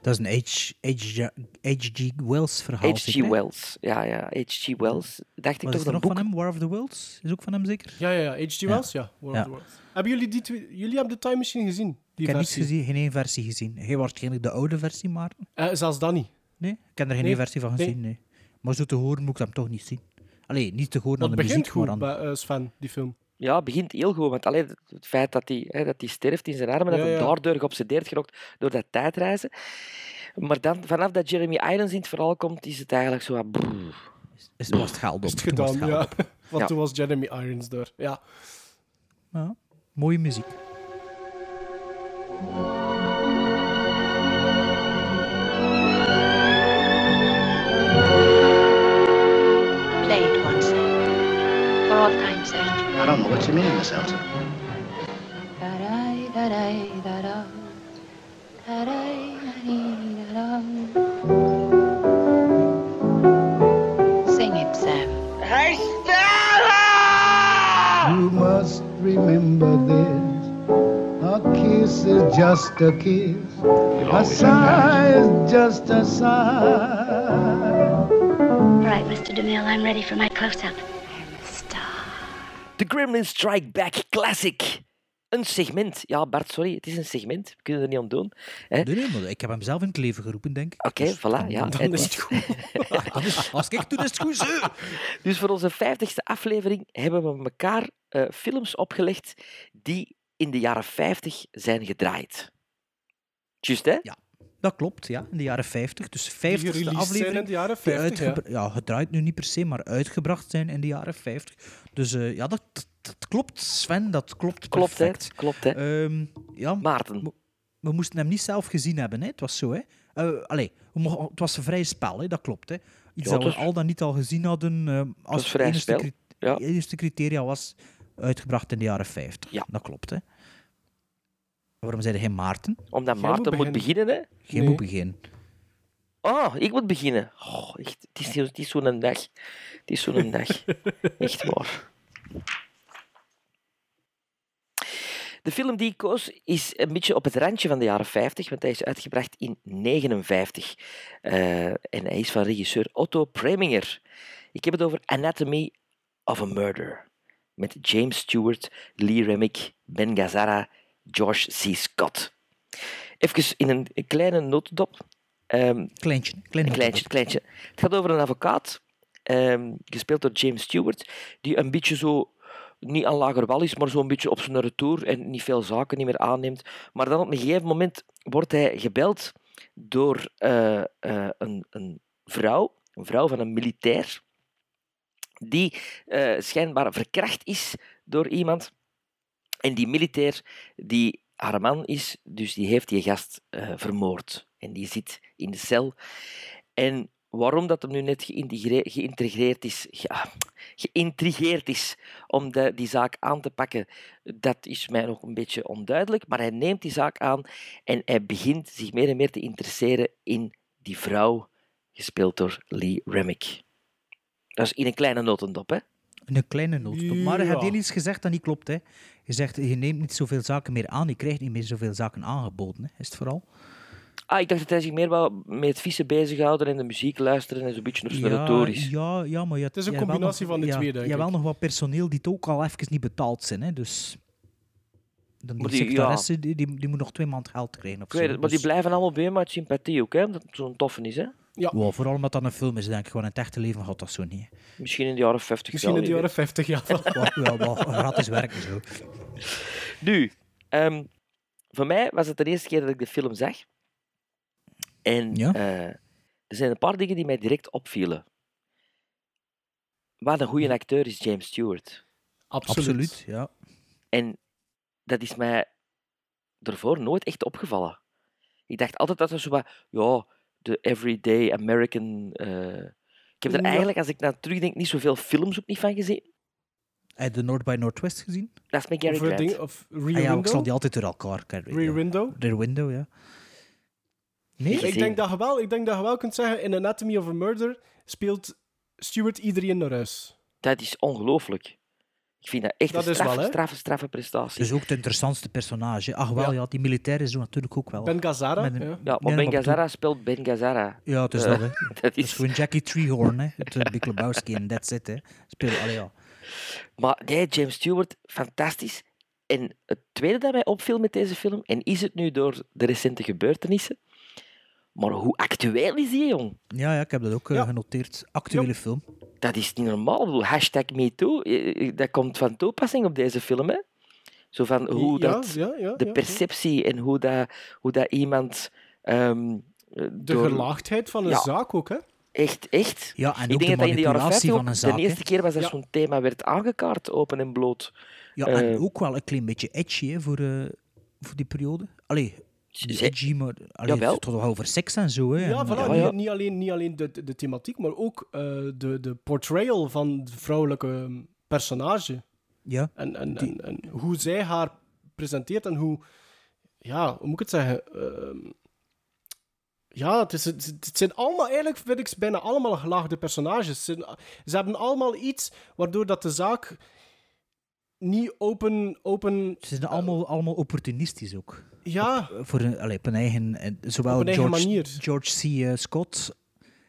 Speaker 6: Dat is een H.G. H, H.G. Wells verhaal.
Speaker 4: H.G.
Speaker 6: zeker, hè?
Speaker 4: Wells. Ja, ja, H.G. Wells. Dacht ik
Speaker 6: Wat
Speaker 4: toch dat
Speaker 6: is er
Speaker 4: een
Speaker 6: nog
Speaker 4: boek...
Speaker 6: van hem? War of the Worlds is ook van hem zeker?
Speaker 5: Ja, ja, ja. H.G. Wells, ja. War of
Speaker 6: Ja.
Speaker 5: the Worlds. Hebben jullie die twee... Jullie hebben de Time Machine gezien? Die
Speaker 6: Ik heb niets
Speaker 5: versie.
Speaker 6: gezien, geen één versie gezien. Heel waarschijnlijk de oude versie, maar
Speaker 5: Eh, zelfs dat niet.
Speaker 6: nee, ik heb er geen
Speaker 5: Nee,
Speaker 6: één versie van
Speaker 5: nee.
Speaker 6: gezien. Nee. Maar zo te horen moet ik hem toch niet zien. Allee, niet te horen aan
Speaker 5: Dat
Speaker 6: de
Speaker 5: begint
Speaker 6: muziek,
Speaker 5: goed,
Speaker 6: maar aan
Speaker 5: bij, eh, Sven, die film.
Speaker 4: Ja, het begint heel goed, want alleen het feit dat hij, hè, dat hij sterft in zijn armen, dat
Speaker 5: Ja,
Speaker 4: hij
Speaker 5: ja.
Speaker 4: daardoor geobsedeerd geraakt door dat tijdreizen. Maar dan, vanaf dat Jeremy Irons in het verhaal komt, is het eigenlijk zo wat... brrr.
Speaker 6: is, was het gehaald op.
Speaker 5: Is het
Speaker 6: toen was
Speaker 5: gedaan,
Speaker 6: gehaald
Speaker 5: ja.
Speaker 6: op.
Speaker 5: Want
Speaker 4: Ja.
Speaker 5: toen was Jeremy Irons door. Ja.
Speaker 6: Ja, Mooie muziek.
Speaker 4: Eh.
Speaker 10: Play it once. For all time's sake.
Speaker 3: I don't know what you mean, Miss Elsa.
Speaker 10: Da-dai, da-dai, da-da. Da-dai, da-dee, da-da. Sing it, Sam.
Speaker 3: You must remember this. A kiss
Speaker 11: kiss is just a kiss. A sigh is just a sigh.
Speaker 10: All right, Mr. DeMille, I'm ready for my close-up.
Speaker 4: The Gremlin Strike Back Classic. Een segment. Ja, Bart, sorry, het is een segment. We kunnen er niet aan doen. Hè?
Speaker 6: Nee, nee, maar ik heb hem zelf in het leven geroepen, denk ik.
Speaker 4: Oké,
Speaker 6: Dus
Speaker 4: voilà. Ja.
Speaker 5: Dan is het goed.
Speaker 6: dat is- als ik doe, is het goed. zo.
Speaker 4: Dus voor onze vijftigste aflevering hebben we elkaar eh, films opgelegd die in de jaren 50 zijn gedraaid. Juist, hè?
Speaker 6: Dat klopt, ja. In de jaren 50. Dus
Speaker 5: Die
Speaker 6: 50
Speaker 5: gereleased zijn in
Speaker 6: aflevering.
Speaker 5: de jaren
Speaker 6: die
Speaker 5: 50. ja.
Speaker 6: uitgebra- ja. gedraaid nu niet per se, maar uitgebracht zijn in de jaren 50. Dus eh, ja, dat, dat, dat klopt, Sven. Dat klopt
Speaker 4: Klopt, hè?
Speaker 6: perfect.
Speaker 4: Klopt,
Speaker 5: Eh,
Speaker 4: hè?
Speaker 6: Ehm, ja,
Speaker 4: Maarten.
Speaker 6: we moesten hem niet zelf gezien hebben, hè. Het was zo, hè. Eh, allee, we mogen- het was een vrij spel, hè. Dat klopt, hè. Iets
Speaker 4: Ja,
Speaker 6: dat
Speaker 4: het
Speaker 6: we
Speaker 4: was-
Speaker 6: al dan niet al gezien hadden. ehm, als
Speaker 4: was vrij
Speaker 6: eerste
Speaker 4: spel,
Speaker 6: cri-
Speaker 4: ja.
Speaker 6: eerste criteria was uitgebracht in de jaren 50.
Speaker 4: Ja.
Speaker 6: Dat klopt, hè. Waarom zeiden geen Maarten?
Speaker 4: Omdat
Speaker 5: Jij
Speaker 4: Maarten
Speaker 5: moet
Speaker 4: moet beginnen, hè?
Speaker 6: Geen
Speaker 5: Nee.
Speaker 6: moet begin.
Speaker 4: Oh, ik moet beginnen. Oh, echt, het is, het is zo'n dag. Het is zo'n dag. Echt waar. De film die ik koos is een beetje op het randje van de jaren 50, want hij is uitgebracht in 1959. en hij is van regisseur Otto Preminger. Ik heb het over Anatomy of a Murder. Met James Stewart, Lee Remick, Ben Gazzara, George C. Scott. Even in een een kleine notendop. Ehm,
Speaker 6: Kleintje. Klein
Speaker 4: een kleintje, een kleintje. Het gaat over een advocaat, ehm, gespeeld door James Stewart, die een beetje zo, niet aan lager wal is, maar zo'n beetje op zijn retour en niet veel zaken niet meer aanneemt. Maar dan op een gegeven moment wordt hij gebeld door eh, eh, een, een vrouw, een vrouw van een militair, die eh, schijnbaar verkracht is door iemand. En die militair, die haar man is, dus die heeft die gast eh, vermoord. En die zit in de cel. En waarom dat hem nu net geïntegre- geïntegreerd is, ja, geïntrigeerd is om de- die zaak aan te pakken, dat is mij nog een beetje onduidelijk. Maar hij neemt die zaak aan en hij begint zich meer en meer te interesseren in die vrouw, gespeeld door Lee Remick. Dat is in een kleine notendop, hè?
Speaker 6: Een kleine noodstop. Maar je
Speaker 5: Ja.
Speaker 6: hebt heel iets gezegd dat niet klopt. Hè. Je zegt, je neemt niet zoveel zaken meer aan. Je krijgt niet meer zoveel zaken aangeboden. Hè. Is het vooral?
Speaker 4: Ah, ik dacht dat hij zich meer wou met het vissen bezighouden en de muziek luisteren en zo'n beetje op zijn retorisch.
Speaker 6: ja, ja, maar je,
Speaker 5: Het is een combinatie van de
Speaker 6: ja,
Speaker 5: twee, denk
Speaker 6: Je hebt
Speaker 5: ik.
Speaker 6: wel nog wat personeel die het ook al even niet betaald zijn. Hè. Dus dan die,
Speaker 4: Maar die- ja.
Speaker 6: secretaresse, die, die, die moet nog twee maand geld krijgen. Of
Speaker 4: Ik weet
Speaker 6: zo.
Speaker 4: het, maar die
Speaker 6: Dus-
Speaker 4: blijven allemaal bij hem uit sympathie ook, hè? Omdat het zo'n toffe is, hè?
Speaker 6: Wow, vooral omdat dat een film is, denk ik. Gewoon in het echte leven had dat zo niet. hè.
Speaker 4: Misschien in de jaren 50.
Speaker 5: Misschien
Speaker 4: wel,
Speaker 5: in de
Speaker 4: ik weet
Speaker 5: jaren 50, ja.
Speaker 6: Wat, ja, wat gratis werken zo.
Speaker 4: Nu, ehm, voor mij was het de eerste keer dat ik de film zag. En
Speaker 6: Ja.
Speaker 4: eh, er zijn een paar dingen die mij direct opvielen. Wat een goede acteur is James Stewart.
Speaker 5: Absoluut.
Speaker 6: Absoluut, ja.
Speaker 4: En dat is mij daarvoor nooit echt opgevallen. Ik dacht altijd dat er zo wat, ja, de everyday American. eh, ik heb er
Speaker 5: Ja.
Speaker 4: eigenlijk, als ik naar terugdenk, niet zoveel films ook niet van gezien.
Speaker 6: Heb je de North by Northwest gezien?
Speaker 4: Dat is mijn Gary
Speaker 5: Of, eh,
Speaker 4: Grant.
Speaker 5: ding, of Rear
Speaker 6: Ah ja, ik zal
Speaker 5: Window.
Speaker 6: die altijd door elkaar kijken.
Speaker 5: Rear
Speaker 6: ja.
Speaker 5: Window.
Speaker 6: Rear Window, ja. Nee?
Speaker 5: Ik
Speaker 4: gezien.
Speaker 5: denk, dat je wel, ik denk dat je wel kunt zeggen, in Anatomy of a Murder speelt Stewart iedereen naar huis.
Speaker 4: Dat is ongelooflijk. Ik vind dat echt
Speaker 5: Dat
Speaker 4: een
Speaker 5: is wel,
Speaker 4: straffe,
Speaker 5: hè?
Speaker 4: straffe, straffe prestatie.
Speaker 6: Dus ook het interessantste personage. Ach wel,
Speaker 5: Ja.
Speaker 6: ja, die militairen doen natuurlijk ook wel.
Speaker 5: Ben Gazzara.
Speaker 6: Met een-
Speaker 5: ja.
Speaker 4: Ja, Nou, maar
Speaker 6: Ja,
Speaker 4: Ben
Speaker 6: maar
Speaker 4: Gazzara speelt Ben Gazzara.
Speaker 6: Ja, het is
Speaker 4: Eh,
Speaker 6: dat, hè.
Speaker 4: Dat
Speaker 6: Dat is
Speaker 4: is...
Speaker 6: gewoon Jackie Treehorn, hè. Het uh, Big Lebowski en That's It, hè. Speel, allee, ja.
Speaker 4: Maar nee, James Stewart, fantastisch. En het tweede dat mij opviel met deze film, en is het nu door de recente gebeurtenissen, maar hoe actueel is die, jong?
Speaker 6: Ja, ja, ik heb dat ook eh,
Speaker 5: Ja.
Speaker 6: genoteerd. Actuele film.
Speaker 4: Dat is niet normaal. Ik bedoel, Hashtag MeToo, eh, eh, dat komt van toepassing op deze film, hè? Zo van hoe
Speaker 5: Ja,
Speaker 4: dat...
Speaker 5: ja, ja,
Speaker 4: De
Speaker 5: ja.
Speaker 4: perceptie en hoe dat, hoe dat iemand... ehm, eh,
Speaker 5: De
Speaker 4: door-
Speaker 5: gelaagdheid van een
Speaker 4: Ja.
Speaker 5: zaak ook, hè.
Speaker 4: Echt, echt.
Speaker 6: Ja, en
Speaker 4: ik denk
Speaker 6: ook de
Speaker 4: dat dat in de jaren
Speaker 6: manipulatie
Speaker 4: 50
Speaker 6: van
Speaker 4: ook
Speaker 6: een zaak,
Speaker 4: de
Speaker 6: hè.
Speaker 4: eerste keer was dat
Speaker 5: Ja.
Speaker 4: zo'n thema werd aangekaart, open en bloot.
Speaker 6: Ja,
Speaker 4: Eh.
Speaker 6: en ook wel een klein beetje edgy, hè, voor, eh, voor die periode. Allee, niet
Speaker 4: Ze-
Speaker 6: edgy, maar... Allee,
Speaker 4: Jawel.
Speaker 6: het gaat wel over seks en zo, hè.
Speaker 5: Ja,
Speaker 6: en,
Speaker 5: voilà,
Speaker 6: eh,
Speaker 4: ja,
Speaker 5: niet-
Speaker 4: ja.
Speaker 5: Niet, alleen, niet alleen de, de, de thematiek, maar ook eh, de, de portrayal van de vrouwelijke ehm, personage.
Speaker 6: ja.
Speaker 5: En, en, en, en hoe zij haar presenteert en hoe... Ja, hoe moet ik het zeggen? Ehm, ja, het, is, het, het zijn allemaal... Eigenlijk vind ik ze bijna allemaal gelaagde personages. Ze, zijn- ze hebben allemaal iets waardoor dat de zaak niet open... open
Speaker 6: Ze zijn allemaal, allemaal opportunistisch ook.
Speaker 5: Ja.
Speaker 6: Voor een, allee, op een eigen, en zowel
Speaker 5: Op een eigen
Speaker 6: George,
Speaker 5: manier.
Speaker 6: George C. eh, Scott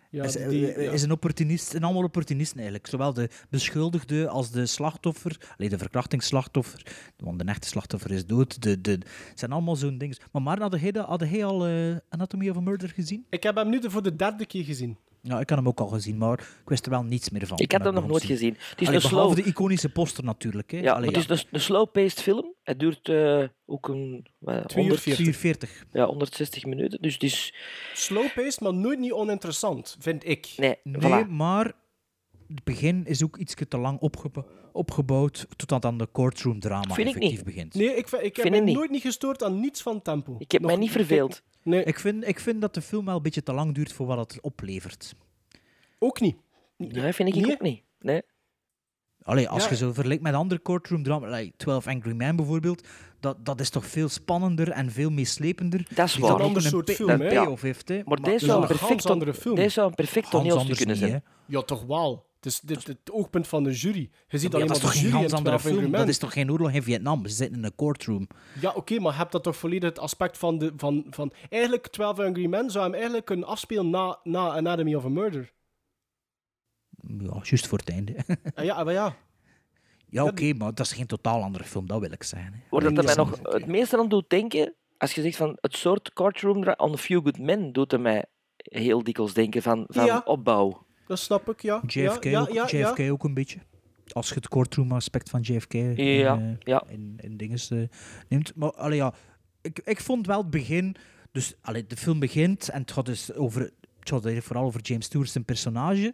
Speaker 5: Ja,
Speaker 6: is, eh,
Speaker 5: die- ja.
Speaker 6: is een opportunist, en allemaal opportunisten eigenlijk. Zowel de beschuldigde als de slachtoffer, allee, de verkrachtingsslachtoffer, want de echte slachtoffer is dood. De, de, het zijn allemaal zo'n dingen. Maar Maarten, had hij, dat- had hij al eh, Anatomy of a Murder gezien?
Speaker 5: Ik heb hem nu de- voor de derde keer gezien.
Speaker 6: Ja, ik had hem ook al gezien, maar ik wist er wel niets meer van.
Speaker 4: Ik
Speaker 6: toen
Speaker 4: had hem nog
Speaker 6: hem
Speaker 4: nooit
Speaker 6: zag.
Speaker 4: gezien. Het is
Speaker 6: Allee,
Speaker 4: een
Speaker 6: behalve
Speaker 4: slow,
Speaker 6: de iconische poster natuurlijk. Hè.
Speaker 4: ja,
Speaker 6: Allee,
Speaker 4: het is dus een, een slow-paced film. Het duurt eh, ook een eh, 100,
Speaker 6: 240.
Speaker 4: ja, 160 minuten. Dus het is...
Speaker 5: Slow-paced, maar nooit niet oninteressant, vind ik.
Speaker 4: Nee,
Speaker 6: Nee,
Speaker 4: voilà.
Speaker 6: maar het begin is ook iets te lang opgebouwd opgebouwd totdat dan de courtroom drama
Speaker 4: Vind ik
Speaker 6: effectief
Speaker 4: niet.
Speaker 6: begint.
Speaker 5: Nee, ik, vind- ik heb
Speaker 4: Vind
Speaker 5: me
Speaker 4: ik niet.
Speaker 5: nooit niet gestoord aan niets van tempo.
Speaker 4: Ik heb
Speaker 5: Nog-
Speaker 4: mij niet verveeld.
Speaker 5: Nee,
Speaker 6: Ik, vind, ik vind dat de film wel een beetje te lang duurt voor wat het oplevert.
Speaker 5: ook niet.
Speaker 4: Nee, vind ik
Speaker 5: Nee.
Speaker 4: ook niet. Nee.
Speaker 6: Allee, als
Speaker 5: Ja.
Speaker 6: je zo vergelijkt met andere courtroom drama, like 12 Angry Men bijvoorbeeld, dat, dat is toch veel spannender en veel meeslepender.
Speaker 4: Dat is
Speaker 6: Die
Speaker 4: waar.
Speaker 6: ook
Speaker 4: Een
Speaker 5: ander
Speaker 6: een
Speaker 5: soort
Speaker 6: pay-
Speaker 5: film,
Speaker 6: een
Speaker 5: hè?
Speaker 6: payoff heeft. Hè.
Speaker 4: Maar deze
Speaker 5: is
Speaker 4: zou, een
Speaker 5: wel een
Speaker 4: perfect
Speaker 5: ganz
Speaker 4: ton-
Speaker 5: andere film.
Speaker 4: deze zou een perfect
Speaker 6: Hans
Speaker 4: toneelstuk
Speaker 6: anders
Speaker 4: kunnen
Speaker 6: niet,
Speaker 4: zijn.
Speaker 6: hè.
Speaker 5: Ja, toch wel. Het is dit, het oogpunt van de jury. Je ziet
Speaker 6: Ja,
Speaker 5: alleen
Speaker 6: dat is
Speaker 5: maar de
Speaker 6: toch geen
Speaker 5: jury en
Speaker 6: ganz andere
Speaker 5: 12 Angry
Speaker 6: film? Dat
Speaker 5: Men.
Speaker 6: is toch geen oorlog in Vietnam? Ze zitten in een courtroom.
Speaker 5: Ja, oké, maar heb dat toch volledig het aspect van, de, van, van... Eigenlijk, 12 Angry Men zou hem eigenlijk kunnen afspelen na, na Anatomy of a Murder.
Speaker 6: Ja, juist voor het einde.
Speaker 5: Ah ja, ah, maar ja.
Speaker 6: Ja, oké, maar dat is geen totaal andere film, dat wil ik zeggen. hè.
Speaker 4: Waar dat er
Speaker 6: Allee,
Speaker 4: mij
Speaker 6: dat
Speaker 4: nog
Speaker 6: is
Speaker 4: eh,
Speaker 6: niet-
Speaker 4: het meeste aan doet denken, als je zegt van het soort courtroom dra- on the few good men, doet er mij heel dikwijls denken van, van
Speaker 5: Ja.
Speaker 4: opbouw.
Speaker 5: Dat snap ik, ja.
Speaker 6: JFK,
Speaker 5: ja, ja,
Speaker 6: ook,
Speaker 5: ja, ja.
Speaker 6: JFK ook een beetje. Als je het courtroom aspect van JFK in,
Speaker 4: Ja,
Speaker 6: eh,
Speaker 4: ja.
Speaker 6: in, in dinges, eh, neemt. Maar allee, ja, ik, ik vond wel het begin... Dus allee, de film begint en het gaat dus over, het gaat eigenlijk vooral over James Stewart zijn personage.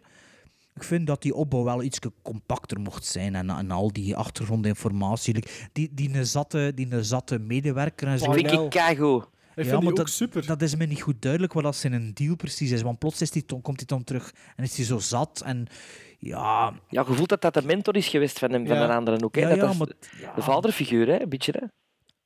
Speaker 6: Ik vind dat die opbouw wel iets compacter mocht zijn en, en al die achtergrondinformatie. like, Die, die, een zatte, die een zatte medewerker en zo.
Speaker 5: Parnell.
Speaker 4: Vind ik keigoed.
Speaker 5: Ik vind die ook
Speaker 6: dat,
Speaker 5: super.
Speaker 6: dat is me niet goed duidelijk wat dat zijn deal precies is. Want plots is die, dan- komt hij dan terug en is hij zo zat. En ja,
Speaker 4: Ja, je voelt dat dat de mentor is geweest van hem, van
Speaker 5: Ja.
Speaker 4: een andere ook. Hè?
Speaker 6: Ja,
Speaker 4: dat
Speaker 6: ja,
Speaker 4: is
Speaker 6: maar-
Speaker 4: De vaderfiguur, hè? een beetje. Hè?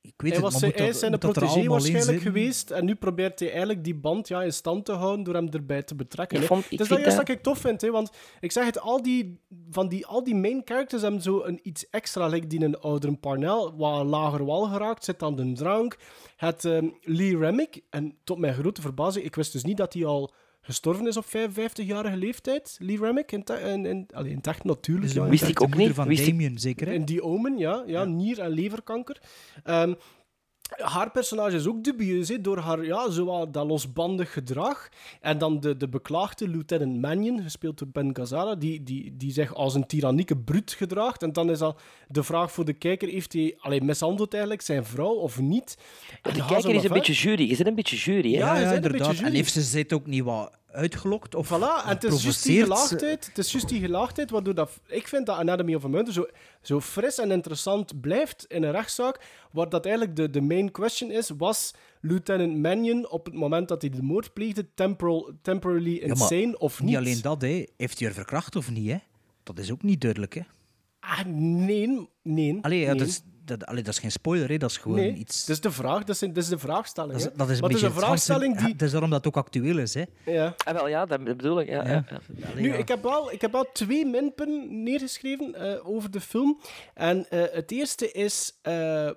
Speaker 6: ik weet
Speaker 5: Hij
Speaker 6: het,
Speaker 5: was zijn,
Speaker 6: maar moet dat-
Speaker 5: hij is zijn
Speaker 6: moet dat er
Speaker 5: protégé
Speaker 6: allemaal in
Speaker 5: waarschijnlijk
Speaker 6: zitten?
Speaker 5: geweest en nu probeert hij eigenlijk die band ja, in stand te houden door hem erbij te betrekken.
Speaker 4: Ik
Speaker 5: hè.
Speaker 4: vond- ik
Speaker 5: het is dat
Speaker 4: vind
Speaker 5: juist
Speaker 4: dat-
Speaker 5: dat ik tof vind, hè, want ik zeg het, al die, van die, al die main characters hebben zo een iets extra, like die een oudere Parnell, wat een lager wal geraakt, zit aan de drank. Het ehm, Lee Remick, en tot mijn grote verbazing, ik wist dus niet dat hij al gestorven is op 55-jarige leeftijd, Lee Remick, in, ta- in, in, allee, in tacht natuurlijk.
Speaker 6: Dus
Speaker 5: ja,
Speaker 6: de
Speaker 5: in
Speaker 4: wist
Speaker 6: moeder-
Speaker 4: ik ook
Speaker 6: de
Speaker 4: niet,
Speaker 6: moeder
Speaker 4: wist ik-
Speaker 6: van Damien, zeker. Hè?
Speaker 5: in die omen, ja. ja, Nier- en leverkanker. Ehm, haar personage is ook dubieus, hè, door haar, ja, zowel dat losbandig gedrag. En dan de, de beklaagde Lieutenant Mannion, gespeeld door Ben Gazzara, die, die, die zich als een tyrannieke bruut gedraagt. En dan is al de vraag voor de kijker, heeft hij alleen mishandeld eigenlijk zijn vrouw of niet? En
Speaker 4: De
Speaker 5: Hazel
Speaker 4: kijker is een
Speaker 5: Lafin-
Speaker 4: beetje jury. Je zit een beetje jury, hè?
Speaker 5: Ja, hij is een beetje
Speaker 6: En
Speaker 5: jury.
Speaker 6: heeft ze zit ook niet wat uitgelokt of
Speaker 5: Voilà, en het is juist die
Speaker 6: geprovoceerd?
Speaker 5: gelaagdheid, het is juist die gelaagdheid waardoor dat, ik vind dat Anatomy of a Murder zo, zo fris en interessant blijft in een rechtszaak, waar dat eigenlijk de, de main question is, was Lieutenant Mannion op het moment dat hij de moord pleegde temporal, temporarily
Speaker 6: maar
Speaker 5: insane of niet?
Speaker 6: Niet alleen dat, hè. heeft hij haar verkracht of niet? Hè? Dat is ook niet duidelijk. Hè?
Speaker 5: Ah, nee, nee.
Speaker 6: Allee, ja,
Speaker 5: nee.
Speaker 6: dat, is, dat, allee, dat is geen spoiler, hè. dat is gewoon
Speaker 5: Nee,
Speaker 6: iets...
Speaker 5: dat is de vraag, dat is, dat is de vraagstelling.
Speaker 6: dat is,
Speaker 5: hè.
Speaker 6: dat is een
Speaker 5: maar het is
Speaker 6: beetje
Speaker 5: een vraagstelling die...
Speaker 6: Het is daarom dat het ook actueel is. Hè?
Speaker 5: Ja.
Speaker 4: Ah, wel, ja, dat bedoel ik. Ja, ja. ja.
Speaker 6: Allee,
Speaker 5: Nu,
Speaker 6: ja.
Speaker 5: ik heb, wel, ik heb wel twee minpunten neergeschreven eh, over de film. En eh, het eerste is eh,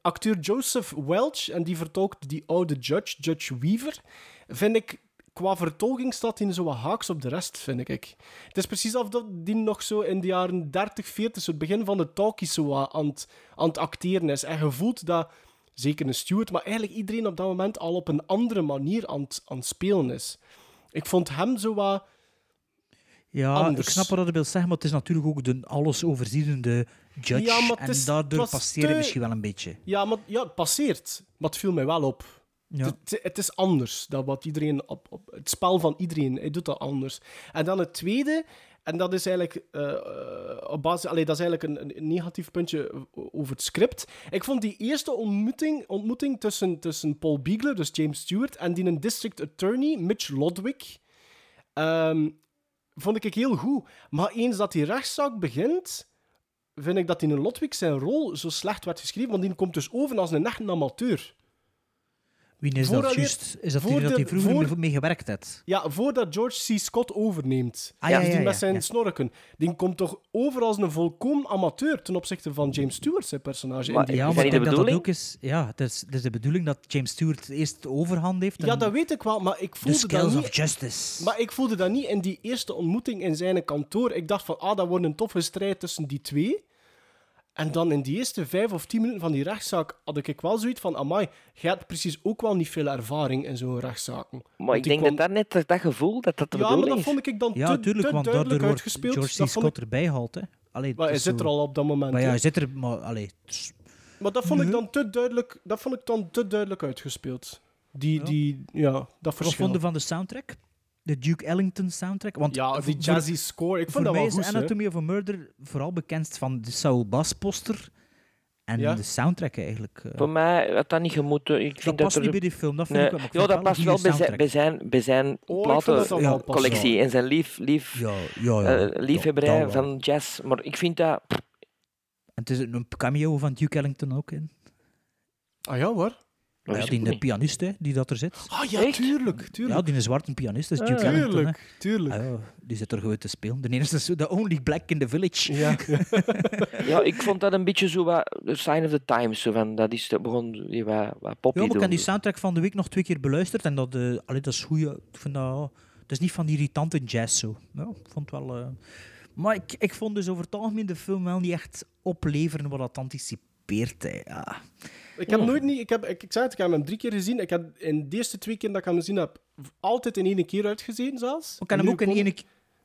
Speaker 5: acteur Joseph Welch, en die vertolkt die oude judge, Judge Weaver. Vind ik, qua vertolking staat hij zo wat haaks op de rest, vind ik. Het is precies alsof dat die nog zo in de jaren 30, 40, zo het begin van de talkies zo wat aan het, aan het acteren is. En je voelt dat, zeker een Stewart, maar eigenlijk iedereen op dat moment al op een andere manier aan het, aan het spelen is. Ik vond hem zo wat...
Speaker 6: Ja,
Speaker 5: anders.
Speaker 6: ik snap wat je wilt zeggen, maar het is natuurlijk ook de allesoverzienende judge.
Speaker 5: Ja, maar het
Speaker 6: en
Speaker 5: is- het
Speaker 6: daardoor
Speaker 5: was
Speaker 6: passeert het
Speaker 5: te-
Speaker 6: misschien wel een beetje.
Speaker 5: Ja, maar ja, het passeert. Maar het viel mij wel op.
Speaker 6: Ja.
Speaker 5: Het, het is anders dan wat iedereen op, op het spel van iedereen. Hij doet dat anders. En dan het tweede, en dat is eigenlijk eh, eh, op basis, allee, dat is eigenlijk een, een negatief puntje o- over het script. Ik vond die eerste ontmoeting, ontmoeting tussen, tussen Paul Biegler, dus James Stewart, en die een district attorney, Mitch Lodwick, ehm, vond ik heel goed. Maar eens dat die rechtszaak begint, vind ik dat in een Lodwick zijn rol zo slecht werd geschreven, want die komt dus over als een echte amateur.
Speaker 6: Wie is dat
Speaker 5: Vooraleer-
Speaker 6: juist? Is dat
Speaker 5: voor
Speaker 6: die dat
Speaker 5: de-
Speaker 6: hij vroeger
Speaker 5: voor-
Speaker 6: mee- mee gewerkt heeft?
Speaker 5: Ja, voordat George C. Scott overneemt.
Speaker 6: Ah, ja,
Speaker 5: dus
Speaker 6: ja,
Speaker 5: die
Speaker 6: ja,
Speaker 5: met zijn
Speaker 6: ja.
Speaker 5: snorken. Die komt toch over als een volkomen amateur ten opzichte van James Stewart, zijn personage.
Speaker 4: Maar
Speaker 5: in die
Speaker 4: ja,
Speaker 6: Ja,
Speaker 4: Is
Speaker 6: maar
Speaker 4: dat
Speaker 6: ik
Speaker 4: niet
Speaker 6: denk
Speaker 4: de
Speaker 6: dat dat
Speaker 4: bedoeling?
Speaker 6: ook is. Ja, het is, het is de bedoeling dat James Stewart eerst de overhand heeft.
Speaker 5: ja,
Speaker 6: en
Speaker 5: dat weet ik wel, maar ik
Speaker 6: de
Speaker 5: voelde dat
Speaker 6: skills
Speaker 5: niet.
Speaker 6: of justice.
Speaker 5: Maar ik voelde dat niet in die eerste ontmoeting in zijn kantoor. Ik dacht van, ah, dat wordt een toffe strijd tussen die twee. En dan in die eerste vijf of tien minuten van die rechtszaak had ik wel zoiets van, amai, jij hebt precies ook wel niet veel ervaring in zo'n rechtszaken.
Speaker 4: Maar ik denk dat dat net dat- dat gevoel, dat dat de
Speaker 5: Ja, maar
Speaker 4: bedoeling
Speaker 5: dat
Speaker 4: is.
Speaker 5: vond ik dan
Speaker 6: ja,
Speaker 5: te,
Speaker 6: tuurlijk,
Speaker 5: te
Speaker 6: want
Speaker 5: duidelijk
Speaker 6: daardoor wordt
Speaker 5: uitgespeeld.
Speaker 6: George C.
Speaker 5: dat vond
Speaker 6: Scott
Speaker 5: ik,
Speaker 6: erbij gehaald. Hè. Allee,
Speaker 5: maar hij
Speaker 6: dat is
Speaker 5: zit er
Speaker 6: Dus zo-
Speaker 5: al op dat moment.
Speaker 6: Maar ja,
Speaker 5: hè.
Speaker 6: hij zit er... Mhm. Maar, allee, het is-
Speaker 5: Maar dat vond ik dan te duidelijk, dat vond ik dan te duidelijk uitgespeeld. Die,
Speaker 6: Ja.
Speaker 5: Die, ja, dat
Speaker 6: Wat
Speaker 5: verschil.
Speaker 6: vonden van de soundtrack? De Duke Ellington soundtrack? Want
Speaker 5: ja, die
Speaker 6: voor-
Speaker 5: jazzy score, ik
Speaker 6: voor
Speaker 5: vond dat
Speaker 6: mij
Speaker 5: wel
Speaker 6: is
Speaker 5: goed. hè.
Speaker 6: Anatomy of a Murder vooral bekend van de Saul Bass poster en
Speaker 5: Ja.
Speaker 6: de soundtrack eigenlijk. eh.
Speaker 4: Voor mij had dat niet gemoeten. Ik
Speaker 6: dat
Speaker 4: vind
Speaker 6: past
Speaker 4: dat
Speaker 6: niet
Speaker 4: er...
Speaker 6: bij die film. Dat vind
Speaker 4: Nee.
Speaker 6: ik wel, maar ik
Speaker 4: Ja,
Speaker 6: vind
Speaker 4: dat
Speaker 6: het
Speaker 4: past wel
Speaker 6: wel een
Speaker 4: bij
Speaker 6: goede
Speaker 4: zijn, bij zijn, bij zijn
Speaker 5: Oh, ik vond dat dan wel pas
Speaker 4: platencollectie en zijn lief, lief,
Speaker 6: soundtrack. Ja, ja, ja.
Speaker 4: eh,
Speaker 6: dat-
Speaker 4: liefhebberij
Speaker 6: dat wel.
Speaker 4: van jazz. Maar ik vind dat...
Speaker 6: En het is een cameo van Duke Ellington ook in.
Speaker 5: Ah ja, hoor.
Speaker 4: Dat
Speaker 6: Ja,
Speaker 4: wist
Speaker 6: die
Speaker 4: ik
Speaker 6: de
Speaker 4: niet.
Speaker 6: pianist hè, die dat er zit.
Speaker 5: Ah ja,
Speaker 4: Echt?
Speaker 5: tuurlijk, tuurlijk.
Speaker 6: Ja, die een zwarte pianist is Duke Ellington. hè.
Speaker 5: tuurlijk, tuurlijk.
Speaker 6: Ah, ja, die zit er gewoon te spelen. De enige is The Only Black in the Village.
Speaker 5: Ja.
Speaker 4: Ja, ik vond dat een beetje zo wat de sign of the times. Zo van, dat is dat begon die wat, wat poppy
Speaker 6: Ja, maar ik
Speaker 4: doen.
Speaker 6: heb die soundtrack van de week nog twee keer beluisterd. En dat, eh allee, dat is goed. ja. Ik vind dat, oh, dat is niet van die irritante jazz zo. Ja, ik vond het wel... eh, maar ik, ik vond dus over het algemeen de film wel niet echt opleveren wat dat anticipeert. Hè. Ja.
Speaker 5: Ik
Speaker 6: Oh.
Speaker 5: heb nooit niet... Ik, heb, ik, ik zei het, ik heb hem drie keer gezien. Ik heb in de eerste twee keer dat ik hem gezien heb, altijd in één keer uitgezien zelfs.
Speaker 6: Ik heb hem
Speaker 5: En
Speaker 6: ook
Speaker 5: nu
Speaker 6: in
Speaker 5: kon-
Speaker 6: één,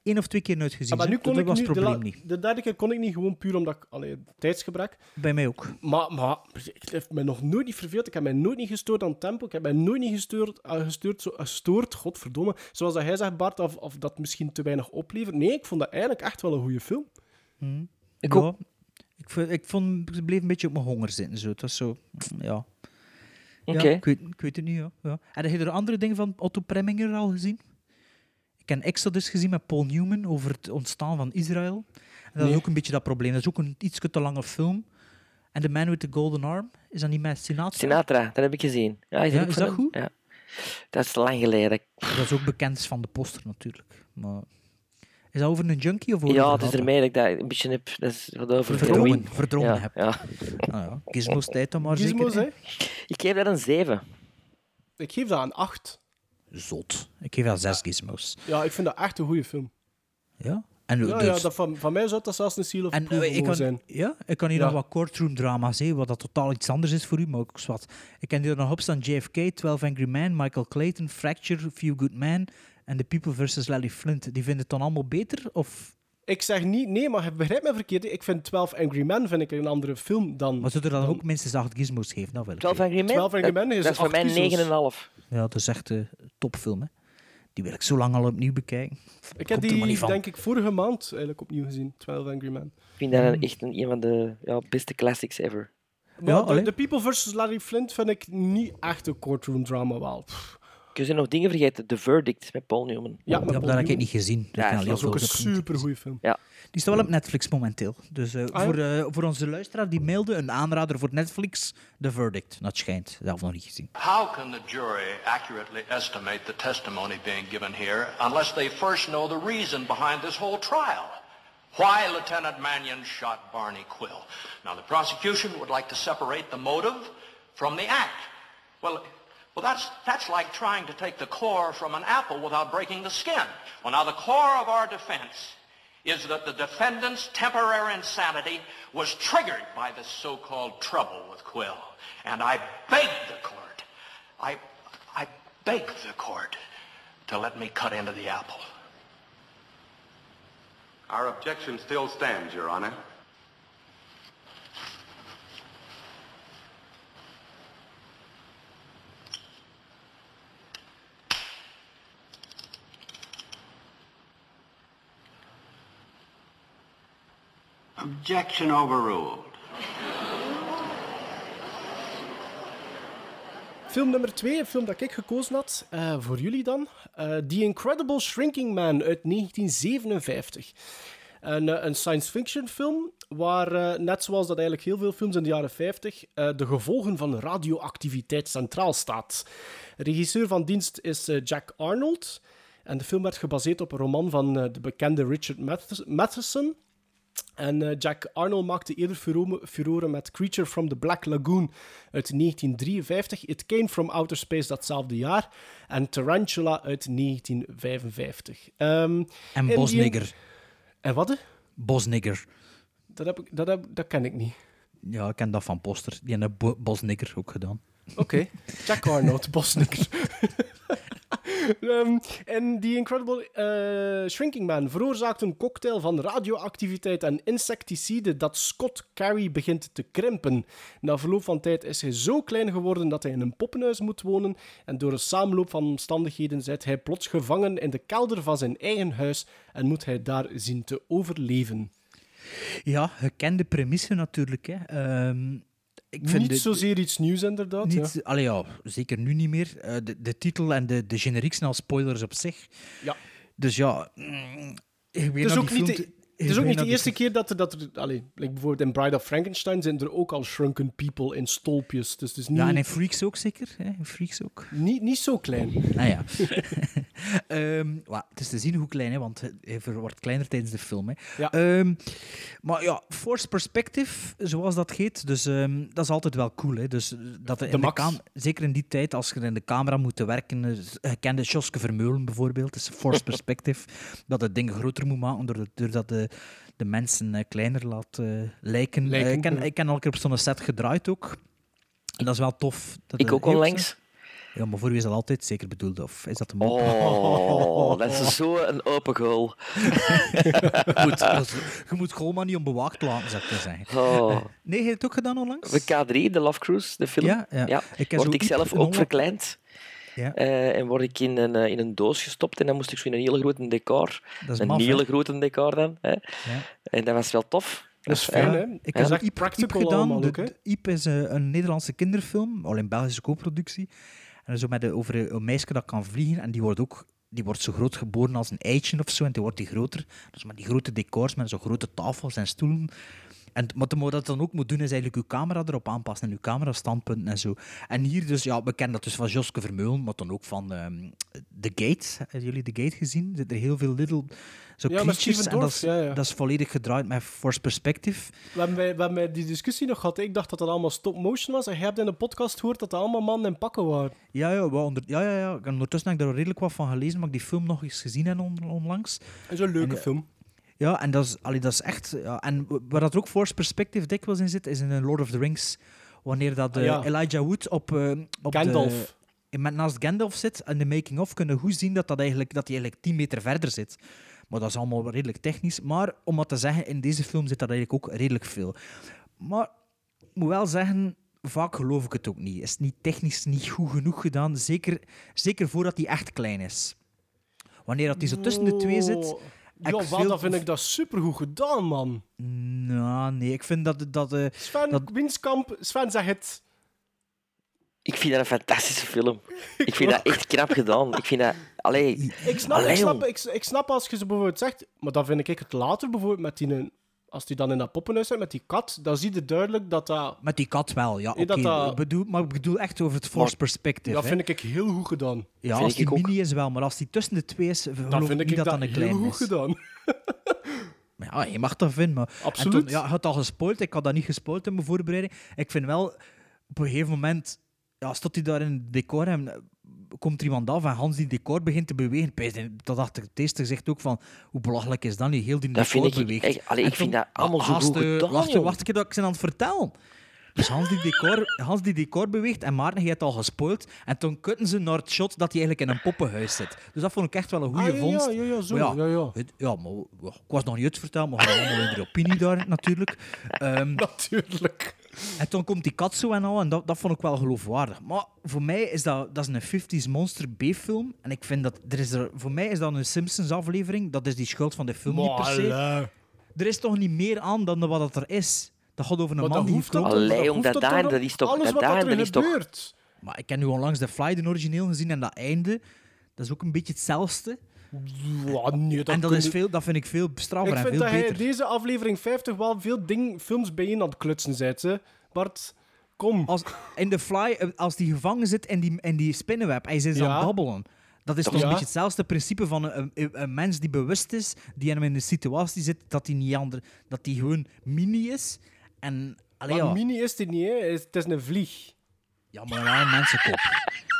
Speaker 6: één of twee keer nooit gezien.
Speaker 5: Ah, maar
Speaker 6: hè.
Speaker 5: nu kon
Speaker 6: dat
Speaker 5: ik
Speaker 6: was
Speaker 5: nu,
Speaker 6: het
Speaker 5: de, la-
Speaker 6: probleem niet.
Speaker 5: de derde keer kon ik niet, gewoon puur omdat ik... Allee, tijdsgebrek.
Speaker 6: Bij mij ook.
Speaker 5: Maar, maar ik heb mij nog nooit niet verveeld. Ik heb mij nooit niet gestoord aan het tempo. Ik heb mij nooit niet gestoord, eh, gestoord, zo, gestoord godverdomme. Zoals dat jij zegt, Bart, of, of dat misschien te weinig oplevert. Nee, ik vond dat eigenlijk echt wel een goede film.
Speaker 4: Ik
Speaker 6: Ja.
Speaker 4: ook.
Speaker 6: Ik, vond- ik vond, ik bleef een beetje op mijn honger zitten. Zo. Het was zo... Ja.
Speaker 4: Oké.
Speaker 6: Ja, ik, weet, ik weet het niet, ja. ja. En heb je er andere dingen van Otto Preminger al gezien? Ik heb Exodus gezien met Paul Newman over het ontstaan van Israël. En dat is ook een beetje dat probleem. Dat is ook een iets te lange film. En The Man with the Golden Arm, is dat niet met Sinatra?
Speaker 4: Sinatra, dat heb ik gezien. Ja, is,
Speaker 6: Ja,
Speaker 4: ook
Speaker 6: is
Speaker 4: van
Speaker 6: dat
Speaker 4: hem.
Speaker 6: goed?
Speaker 4: Ja. Dat is lang geleden.
Speaker 6: Dat is ook bekend van de poster natuurlijk. Maar is dat over een junkie of over
Speaker 4: Ja,
Speaker 6: een
Speaker 4: het is
Speaker 6: verhaal?
Speaker 4: ermee dat ik dat een beetje heb... Dat is wat over
Speaker 6: verdrongen,
Speaker 4: heroïne.
Speaker 6: verdrongen
Speaker 4: ja,
Speaker 6: heb.
Speaker 4: ja.
Speaker 6: Ah, ja. Gizmo's tijd dan maar
Speaker 5: Gizmo's,
Speaker 6: zeker.
Speaker 5: hè?
Speaker 6: hè?
Speaker 4: Ik geef dat een 7.
Speaker 5: Ik geef dat een 8.
Speaker 6: Zot. Ik geef wel zes gizmos.
Speaker 5: Ja, ik vind dat echt een goede film.
Speaker 6: Ja? En
Speaker 5: Ja,
Speaker 6: dus-
Speaker 5: ja dat van, van mij zou dat zelfs een seal of
Speaker 6: En
Speaker 5: approval
Speaker 6: eh, ik
Speaker 5: mogen
Speaker 6: kan,
Speaker 5: zijn.
Speaker 6: Ja, ik kan hier
Speaker 5: Ja.
Speaker 6: nog wat courtroom drama's hè, wat dat totaal iets anders is voor u, maar ook zwart. Ik kan hier nog op staan JFK, 12 Angry Men, Michael Clayton, Fracture, Few Good Men en The People versus Larry Flint. Die vinden het dan allemaal beter? Of
Speaker 5: Ik zeg niet, nee, maar je begrijpt me verkeerd. hè. Ik vind 12 Angry Men vind ik een andere film dan...
Speaker 6: maar zullen er dan ook minstens acht gizmos geven? Dat wil ik
Speaker 4: 12 Angry Men?
Speaker 5: 12 Angry
Speaker 4: Dat-
Speaker 5: Men is
Speaker 4: Dat is voor
Speaker 5: acht
Speaker 4: mij
Speaker 5: kiezels.
Speaker 4: 9,5.
Speaker 6: weten. Ja, dat is echt een topfilm. Hè. Die wil ik zo lang al opnieuw bekijken.
Speaker 5: ik heb
Speaker 6: komt er maar niet
Speaker 5: die,
Speaker 6: van.
Speaker 5: denk ik, vorige maand eigenlijk opnieuw gezien, 12 Angry Men.
Speaker 4: Ik vind dat
Speaker 6: Hmm.
Speaker 4: een- echt een, een van de ja, beste classics ever.
Speaker 5: Maar de,
Speaker 6: allee.
Speaker 5: The People vs. Larry Flint vind ik niet echt een courtroom drama wel. Pff,
Speaker 4: Je zijn nog dingen vergeten. The Verdict met Paul Newman.
Speaker 5: Ja,
Speaker 6: Ja,
Speaker 5: maar
Speaker 6: maar dat heb ik niet gezien.
Speaker 4: Ja,
Speaker 6: kan
Speaker 4: dat
Speaker 6: heel
Speaker 5: Dat is ook
Speaker 6: veel
Speaker 5: een
Speaker 6: zeggen.
Speaker 5: supergoeie film.
Speaker 6: Die staat wel op Netflix momenteel. Dus eh,
Speaker 5: Ah, ja?
Speaker 6: voor, eh, voor onze luisteraar die mailde, een aanrader voor Netflix, The Verdict. Dat schijnt. Zelf nog niet gezien.
Speaker 12: How can the jury accurately estimate the testimony being given here unless they first know the reason behind this whole trial? Why Lieutenant Mannion shot Barney Quill? Now, the prosecution would like to separate the motive from the act. Well, well, that's, that's like trying to take the core from an apple without breaking the skin. Well, now, the core of our defense is that the defendant's temporary insanity was triggered by this so-called trouble with Quill. And I beg the court, I, I beg the court to let me cut into the apple.
Speaker 13: Our objection still stands, Your Honor.
Speaker 12: Objection overruled.
Speaker 5: Film nummer twee, een film dat ik gekozen had, eh, voor jullie dan. Eh The Incredible Shrinking Man uit 1957. Eh, Een, eh, een science fiction film waar, eh, net zoals dat eigenlijk heel veel films in de jaren 50, eh, de gevolgen van radioactiviteit centraal staat. Regisseur van dienst is eh, Jack Arnold. En de film werd gebaseerd op een roman van eh, de bekende Richard Mathes- Matheson. En eh, Jack Arnold maakte eerder furore, furore met Creature from the Black Lagoon uit 1953, It Came from Outer Space datzelfde jaar en Tarantula uit 1955. Ehm,
Speaker 6: En
Speaker 5: Indian-
Speaker 6: Bosnigger.
Speaker 5: En wat? hè?
Speaker 6: Bosnigger.
Speaker 5: Dat, heb ik, dat, heb, dat ken ik niet.
Speaker 6: Ja, ik ken dat van Poster. Die hebben Bo- Bosnigger ook gedaan.
Speaker 5: Oké, Jack Arnold, Bosnikker. Ehm, en die Incredible eh, Shrinking Man veroorzaakt een cocktail van radioactiviteit en insecticide dat Scott Carey begint te krimpen. Na verloop van tijd is hij zo klein geworden dat hij in een poppenhuis moet wonen en door een samenloop van omstandigheden zit hij plots gevangen in de kelder van zijn eigen huis en moet hij daar zien te overleven.
Speaker 6: Ja, gekende premisse natuurlijk. Hè. Ehm, ik vind
Speaker 5: Niet
Speaker 6: de-
Speaker 5: zozeer iets nieuws inderdaad.
Speaker 6: Niet,
Speaker 5: ja.
Speaker 6: Allee, ja, zeker nu niet meer. Eh, de, de titel en de, de generiek zijn al spoilers op zich.
Speaker 5: Ja.
Speaker 6: Dus ja... mm, ik weet
Speaker 5: Het is
Speaker 6: nog
Speaker 5: Dus ook
Speaker 6: die
Speaker 5: niet
Speaker 6: film
Speaker 5: de,
Speaker 6: te-
Speaker 5: het
Speaker 6: ik
Speaker 5: is ook niet
Speaker 6: weet nog
Speaker 5: de
Speaker 6: die
Speaker 5: eerste keer dat er... Dat er allee, like bijvoorbeeld in Bride of Frankenstein zijn er ook al shrunken people in stolpjes. Dus het is niet,
Speaker 6: Ja, en in Freaks ook zeker. Hè? In Freaks ook.
Speaker 5: niet, niet zo klein.
Speaker 6: Nou ja. Ehm, wa, het is te zien hoe klein, hè, want hij ver- wordt kleiner tijdens de film. Hè. Ehm, maar ja, Force Perspective, zoals dat heet, dus, ehm, dat is altijd wel cool. Hè. Dus eh, dat er
Speaker 5: De
Speaker 6: in de
Speaker 5: max.
Speaker 6: kam- zeker in die tijd, als je in de camera moet werken, eh, s- gekende Joske Vermeulen bijvoorbeeld, is Force Perspective, dat het dingen groter moet maken doordat- doordat de, de mensen eh, kleiner laat eh, lijken. Eh,
Speaker 4: Lijken,
Speaker 6: ik, ken,
Speaker 4: ja.
Speaker 6: ik ken al een keer op zo'n set gedraaid ook. En dat is wel tof. Dat
Speaker 4: Ik
Speaker 6: het
Speaker 4: ook
Speaker 6: heel
Speaker 4: onlangs.
Speaker 6: zo- Ja, maar voor u is dat altijd zeker bedoeld, of is dat een mop?
Speaker 4: Oh, dat is zo'n open goal.
Speaker 6: Goed, dat is- je moet gewoon maar niet onbewaakt laten, zou ik maar zeggen.
Speaker 4: Oh.
Speaker 6: Nee, heb je het ook gedaan onlangs?
Speaker 4: De K3, de Love Cruise, de film.
Speaker 6: Ja, ja. Ik heb
Speaker 4: word
Speaker 6: zo
Speaker 4: ik
Speaker 6: iets
Speaker 4: zelf
Speaker 6: een
Speaker 4: ook
Speaker 6: honderd-
Speaker 4: verkleind.
Speaker 6: Ja.
Speaker 4: Eh, en word ik in een, eh, in een doos gestopt en dan moest ik zo in een hele grote decor.
Speaker 6: Dat is
Speaker 4: een
Speaker 6: maf, hè?
Speaker 4: hele grote decor dan. Hè. En dat was wel tof. Eh,
Speaker 5: Dat is fijn,
Speaker 4: ja.
Speaker 5: hè?
Speaker 6: Ik
Speaker 4: Ja.
Speaker 6: heb zo
Speaker 5: echt
Speaker 6: Iep, Iep
Speaker 5: practical
Speaker 6: gedaan.
Speaker 5: allemaal
Speaker 6: De,
Speaker 5: ook, hè?
Speaker 6: de Iep is eh, een Nederlandse kinderfilm, al in Belgische co-productie. En zo met eh, over een- een meisje dat kan vliegen. En die wordt ook die wordt zo groot geboren als een eitje of zo. En die wordt die groter. Dus met die grote decors, met zo'n grote tafels en stoelen. En, maar wat dat dan ook moet doen, is eigenlijk uw camera erop aanpassen en uw camerastandpunten en zo. En hier dus, ja, we kennen dat dus van Joske Vermeulen, maar dan ook van ehm, The Gate. Hebben jullie The Gate gezien? Er zitten heel veel little zo
Speaker 5: Ja, met
Speaker 6: creatures.
Speaker 5: Steven
Speaker 6: En dat
Speaker 5: Dorff,
Speaker 6: is,
Speaker 5: ja, ja.
Speaker 6: dat is volledig gedraaid met Force Perspective.
Speaker 5: We hebben, wij- we hebben die discussie nog gehad. Ik dacht dat dat allemaal stop-motion was. En jij hebt in de podcast gehoord dat dat allemaal mannen in pakken waren.
Speaker 6: Ja, ja, wel onder, ja, ja, ja. Ik- Ondertussen heb ik daar al redelijk wat van gelezen, maar ik die film nog eens gezien en on- onlangs.
Speaker 5: Dat is een leuke
Speaker 6: En, eh,
Speaker 5: film.
Speaker 6: Ja, en dat is, allee, dat is echt... Ja, en w- waar dat er ook Force Perspective dikwijls in zit, is in eh, Lord of the Rings. Wanneer dat
Speaker 5: Ah,
Speaker 6: eh,
Speaker 5: ja.
Speaker 6: Elijah Wood op, eh, op de-
Speaker 5: Gandalf.
Speaker 6: in- met naast Gandalf zit en de making-of kunnen goed zien dat, dat, eigenlijk, dat hij eigenlijk 10 meter verder zit. Maar dat is allemaal redelijk technisch. Maar om wat te zeggen, in deze film zit dat eigenlijk ook redelijk veel. Maar ik moet wel zeggen, vaak geloof ik het ook niet. Is het niet technisch niet goed genoeg gedaan? Zeker, zeker voordat hij echt klein is. Wanneer dat hij zo tussen de twee zit.
Speaker 5: Oh.
Speaker 6: heb
Speaker 5: Ja,
Speaker 6: ik
Speaker 5: wat,
Speaker 6: veel-
Speaker 5: dan vind ik dat supergoed gedaan, man.
Speaker 6: Nou, nee, ik vind dat... dat eh,
Speaker 5: Sven
Speaker 6: Dat-
Speaker 5: Winskamp, Sven, zeg het.
Speaker 4: Ik vind dat een fantastische film. Ik vind dat echt knap gedaan. Ik vind dat... Allee,
Speaker 5: Ik snap,
Speaker 4: allee,
Speaker 5: ik, snap,
Speaker 4: jong.
Speaker 5: ik, ik snap als je ze bijvoorbeeld zegt, maar dan vind ik het later bijvoorbeeld met die, als die dan in dat poppenhuis zit met die kat, dan zie je duidelijk dat dat,
Speaker 6: Met die kat wel, ja.
Speaker 5: Nee,
Speaker 6: Oké,
Speaker 5: dat dat-
Speaker 6: ik bedoel, maar ik bedoel echt over het force perspective.
Speaker 5: dat
Speaker 6: hè.
Speaker 5: vind ik heel goed gedaan.
Speaker 6: ja,
Speaker 4: vind
Speaker 6: als die
Speaker 4: ik ook.
Speaker 6: mini is wel, maar als die tussen de twee is,
Speaker 5: Dan
Speaker 6: geloof ik
Speaker 5: vind ik,
Speaker 6: niet dat
Speaker 5: dat,
Speaker 6: dan een
Speaker 5: heel
Speaker 6: klein
Speaker 5: goed
Speaker 6: is.
Speaker 5: gedaan.
Speaker 6: Maar Ja, je mag dat vinden, maar... en
Speaker 5: Absoluut.
Speaker 6: toen- ja, je had al gespoild, ik had dat niet gespoild in mijn voorbereiding. Ik vind wel, op een gegeven moment, ja, stond hij daar in het decor en eh, komt er iemand af en Hans die decor begint te bewegen. Ik pijs, Dat dacht ik het eerste gezicht ook van, hoe belachelijk is dat nu? Heel die
Speaker 4: Dat
Speaker 6: decor
Speaker 4: vind ik
Speaker 6: beweegt.
Speaker 4: echt- allee,
Speaker 6: En
Speaker 4: ik vind
Speaker 6: toen-
Speaker 4: dat allemaal zo
Speaker 6: Haast,
Speaker 4: goed
Speaker 6: eh,
Speaker 4: gedaan,
Speaker 6: Wacht,
Speaker 4: joh.
Speaker 6: wacht een keer dat ik ze aan het vertellen. Dus Hans die decor, Hans die decor beweegt en Maarten, je hebt al gespoild. En toen kutten ze naar het shot dat hij eigenlijk in een poppenhuis zit. Dus dat vond ik echt wel een goede
Speaker 5: Ah, ja,
Speaker 6: vondst.
Speaker 5: ja, ja, ja, zo,
Speaker 6: Maar
Speaker 5: ja, ja.
Speaker 6: het- ja, maar ja, ik was nog niet uitverteld, maar we hadden allemaal in de opinie daar natuurlijk. Ehm,
Speaker 5: Natuurlijk.
Speaker 6: en toen komt die kat zo en al, en dat, dat vond ik wel geloofwaardig. Maar voor mij is dat, dat is een 50s monster B-film. En ik vind dat, er is er, voor mij is dat een Simpsons-aflevering. Dat is die schuld van de film niet per se.
Speaker 5: Maar,
Speaker 6: Er is toch niet meer aan dan wat dat er is. Dat gaat over een
Speaker 5: maar
Speaker 6: man
Speaker 5: dat
Speaker 6: die
Speaker 5: hoeft toch
Speaker 6: geklopt
Speaker 4: Allee,
Speaker 5: dat
Speaker 4: om dat
Speaker 5: hoeft toch
Speaker 4: daar-
Speaker 5: nog-
Speaker 4: dat is toch-
Speaker 5: Alles
Speaker 4: dat
Speaker 5: wat
Speaker 4: daar-
Speaker 5: dat er
Speaker 4: dat is toch-
Speaker 5: gebeurt.
Speaker 6: Maar ik heb nu onlangs de Fly, de origineel, gezien en dat einde. Dat is ook een beetje hetzelfde.
Speaker 5: Ja, Ah, nee, dat
Speaker 6: en dat,
Speaker 5: kun
Speaker 6: is
Speaker 5: je-
Speaker 6: veel, dat vind ik veel strafbaar
Speaker 5: Ik
Speaker 6: en
Speaker 5: vind
Speaker 6: veel
Speaker 5: dat hij
Speaker 6: beter.
Speaker 5: deze aflevering 50 wel veel ding, films bijeen aan het klutsen bent, hè. Bart, kom.
Speaker 6: Als, in The Fly, eh, als die gevangen zit in die, in die spinnenweb, hij is
Speaker 5: Ja.
Speaker 6: aan het babbelen. Dat is
Speaker 5: Dat is-
Speaker 6: toch een
Speaker 5: Ja.
Speaker 6: beetje hetzelfde principe van een, een, een mens die bewust is, die in een situatie zit, dat hij niet ander, dat die gewoon mini is. En, allee,
Speaker 5: maar
Speaker 6: ja,
Speaker 5: mini is het niet, hè. Het is- Het is een vlieg.
Speaker 6: ja, maar wel een mensenkop.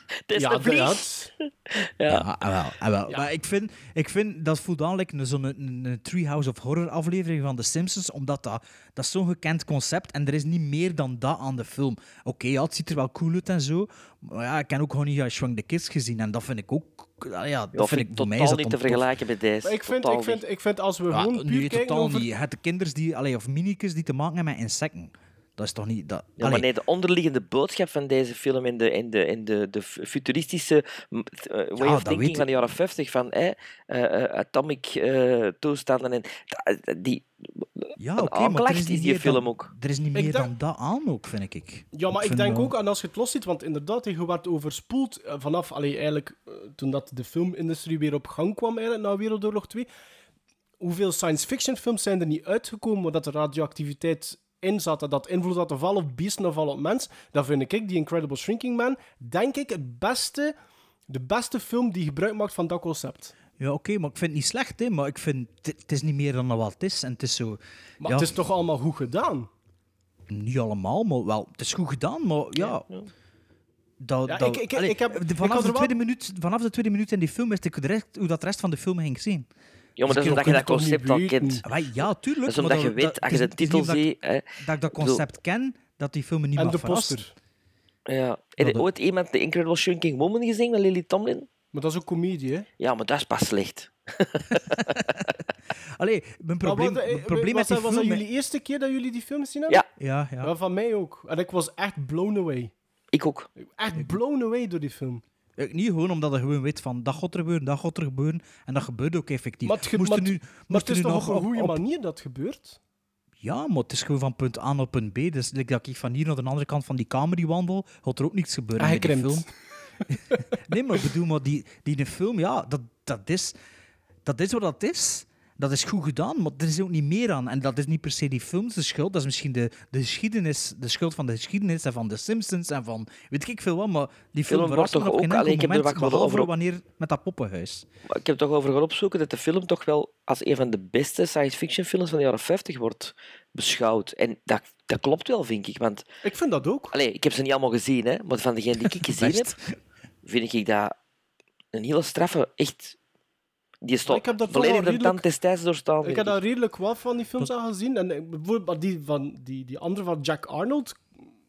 Speaker 4: Het is
Speaker 5: Ja,
Speaker 4: een vlieg.
Speaker 5: dat.
Speaker 4: Ja.
Speaker 6: Ja, ah, wel, ah, wel. Maar ik vind, ik vind dat voelt aan like een- zo'n een, een Treehouse of Horror aflevering van The Simpsons, omdat dat, dat is zo'n gekend concept en er is niet meer dan dat aan de film. Oké, ja, het ziet er wel cool uit en zo, maar ja, ik heb ook gewoon niet ja, Shrunk the Kids gezien en dat vind ik ook... ah, Ja, dat
Speaker 4: Dat
Speaker 6: vind
Speaker 4: vind
Speaker 6: ik
Speaker 4: ik
Speaker 6: voor mij is
Speaker 4: totaal niet
Speaker 6: dat
Speaker 4: te
Speaker 6: dan tof.
Speaker 4: vergelijken met deze.
Speaker 5: Maar ik vind,
Speaker 4: Totaal
Speaker 5: ik, vind,
Speaker 4: niet.
Speaker 5: ik vind als we
Speaker 6: Ja,
Speaker 5: gewoon puur
Speaker 6: nu
Speaker 5: kijken
Speaker 6: totaal
Speaker 5: over...
Speaker 6: niet. Het de kinders die, allee, of minicus die te maken hebben met insecten. Dat is toch niet... Dat,
Speaker 4: Ja, maar
Speaker 6: allee,
Speaker 4: nee, de onderliggende boodschap van deze film en de, en de, en de, de fu- futuristische mm, t- eh, way
Speaker 6: Ja,
Speaker 4: of
Speaker 6: dat weet
Speaker 4: thinking
Speaker 6: ik.
Speaker 4: van de jaren 50, van eh, eh, eh, atomic eh, toestanden, en, da- die
Speaker 6: ja,
Speaker 4: een
Speaker 6: oké, maar er
Speaker 4: aanklacht
Speaker 6: is
Speaker 4: is
Speaker 6: niet
Speaker 4: die
Speaker 6: meer
Speaker 4: film
Speaker 6: dan-
Speaker 4: ook.
Speaker 6: Er is niet
Speaker 5: Ik
Speaker 6: meer
Speaker 5: dacht-
Speaker 6: dan dat aan ook, vind ik.
Speaker 5: Ja, maar ik
Speaker 6: vind
Speaker 5: denk
Speaker 6: wel-
Speaker 5: ook aan als je het los ziet, want inderdaad, je werd overspoeld eh, vanaf, allee, eigenlijk, eh, toen dat de filmindustrie weer op gang kwam, eigenlijk, na Wereldoorlog 2. Hoeveel science fiction films zijn er niet uitgekomen waar dat er radioactiviteit in zat, en dat invloed had of al op beesten of al op mens? Dat vind ik, die Incredible Shrinking Man, denk ik het beste, de beste film die gebruik maakt van dat concept.
Speaker 6: Ja, oké, maar ik vind het niet slecht, hè, maar ik vind het- het is niet meer dan wat het is. En het is zo.
Speaker 5: Maar
Speaker 6: ja,
Speaker 5: het is toch allemaal goed gedaan?
Speaker 6: Niet allemaal, maar wel. Het is goed gedaan, maar ja. Dat,
Speaker 5: Ja,
Speaker 6: dat-
Speaker 5: ik- ik-
Speaker 6: allee,
Speaker 5: ik heb-
Speaker 6: de-
Speaker 5: ik had
Speaker 6: vanaf,
Speaker 5: er
Speaker 6: de
Speaker 5: wel-
Speaker 6: tweede minuut, vanaf de tweede minuut in die film wist ik direct hoe dat de rest van de film ging zien.
Speaker 4: Ja, maar dat is omdat je dat concept al kent.
Speaker 6: Wij- ja, tuurlijk.
Speaker 4: Dat is
Speaker 6: maar
Speaker 4: omdat je weet, als je
Speaker 6: het
Speaker 4: de
Speaker 6: is- het
Speaker 4: titel
Speaker 6: is niet
Speaker 4: ziet...
Speaker 6: Dat, ik- dat ik dat concept ken, dat die film me niet
Speaker 5: En
Speaker 6: mag
Speaker 5: de
Speaker 6: verrassen.
Speaker 5: poster.
Speaker 4: Ja. Heb je
Speaker 6: dat-
Speaker 4: ooit iemand de Incredible Shrinking Woman gezien met Lily Tomlin?
Speaker 5: Maar dat is ook comedie, hè?
Speaker 4: Ja, maar dat is pas slecht.
Speaker 6: Allee, mijn
Speaker 5: Maar
Speaker 6: probleem,
Speaker 5: wat- eh,
Speaker 6: mijn probleem
Speaker 5: was
Speaker 6: met die
Speaker 5: dat, Was
Speaker 6: film...
Speaker 5: dat jullie eerste keer dat jullie die film zien hebben?
Speaker 4: Ja,
Speaker 6: Ja, ja.
Speaker 5: Ja, van mij ook. En ik was echt blown away.
Speaker 4: ik ook.
Speaker 5: Echt blown away door die film.
Speaker 6: Ik niet gewoon omdat je gewoon weet van dat gaat er gebeuren, dat gaat er gebeuren. En dat gebeurt ook effectief.
Speaker 5: Maar het, ge-
Speaker 6: Moest
Speaker 5: maar
Speaker 6: er
Speaker 5: het-
Speaker 6: nu,
Speaker 5: maar
Speaker 6: moest
Speaker 5: het is
Speaker 6: er nu
Speaker 5: toch
Speaker 6: nog
Speaker 5: op een goede
Speaker 6: op-
Speaker 5: manier dat gebeurt?
Speaker 6: Ja, maar het is gewoon van punt A naar punt B. Dus like dat ik van hier naar de andere kant van die kamer die wandel, gaat er ook niets gebeuren
Speaker 5: Ah,
Speaker 6: met die
Speaker 5: gekrimpt.
Speaker 6: film. nee, maar ik bedoel, maar die, die de film, ja, dat, dat, is, dat is wat dat is. Dat is goed gedaan, maar er is ook niet meer aan. En dat is niet per se die films de schuld. Dat is misschien de, de geschiedenis, de schuld van de geschiedenis en van de Simpsons en van weet ik veel wat. Maar die film
Speaker 4: Film
Speaker 6: verrast me
Speaker 4: wordt
Speaker 6: op
Speaker 4: toch
Speaker 6: geen
Speaker 4: ook-
Speaker 6: enkel
Speaker 4: allee, ik heb er
Speaker 6: moment,
Speaker 4: wat
Speaker 6: behalve
Speaker 4: over-
Speaker 6: wanneer met dat poppenhuis.
Speaker 4: Maar ik heb toch over gaan opzoeken dat de film toch wel als een van de beste science fiction films van de jaren 50 wordt beschouwd. En dat, dat klopt wel, vind ik. Want
Speaker 5: Ik vind dat ook.
Speaker 4: Allee, ik heb ze niet allemaal gezien, hè, maar van degene die ik gezien
Speaker 6: Best.
Speaker 4: heb, vind ik dat een hele straffe, echt... Die
Speaker 5: Maar ik
Speaker 4: stond
Speaker 5: heb dat toch
Speaker 4: volledig
Speaker 5: wel
Speaker 4: de tand
Speaker 5: redelijk-
Speaker 4: des tijds doorstaan.
Speaker 5: Ik
Speaker 4: vind
Speaker 5: heb
Speaker 4: ik.
Speaker 5: daar redelijk wat van die films aan gezien. En ik- bijvoorbeeld maar die, van, die, die andere van Jack Arnold.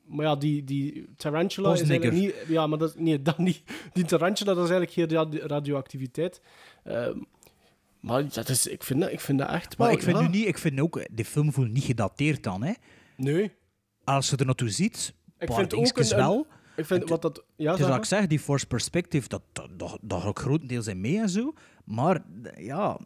Speaker 5: Maar ja, die, die Tarantula is
Speaker 6: Bosnikker.
Speaker 5: eigenlijk niet... Ja, maar dat, is- nee, dat niet. Die Tarantula, dat is eigenlijk geen radi- radioactiviteit. Ehm, maar dat is, ik, vind dat, ik vind dat echt
Speaker 6: Maar
Speaker 4: Oh,
Speaker 5: wel,
Speaker 6: ik vind
Speaker 5: ja.
Speaker 6: nu niet, ik vind ook, de film voelt niet gedateerd dan. Hè.
Speaker 5: Nee.
Speaker 6: Als je er naartoe ziet, een
Speaker 5: Ik
Speaker 6: paar
Speaker 5: vind ook
Speaker 6: dingetjes
Speaker 5: een...
Speaker 6: wel.
Speaker 5: een- ik vind wat dat... Ja,
Speaker 6: Het is
Speaker 5: zeg
Speaker 6: wat
Speaker 5: maar.
Speaker 6: ik zeg, die Force Perspective, dat, dat, dat, dat ook grotendeels in mee en zo. Maar d- ja,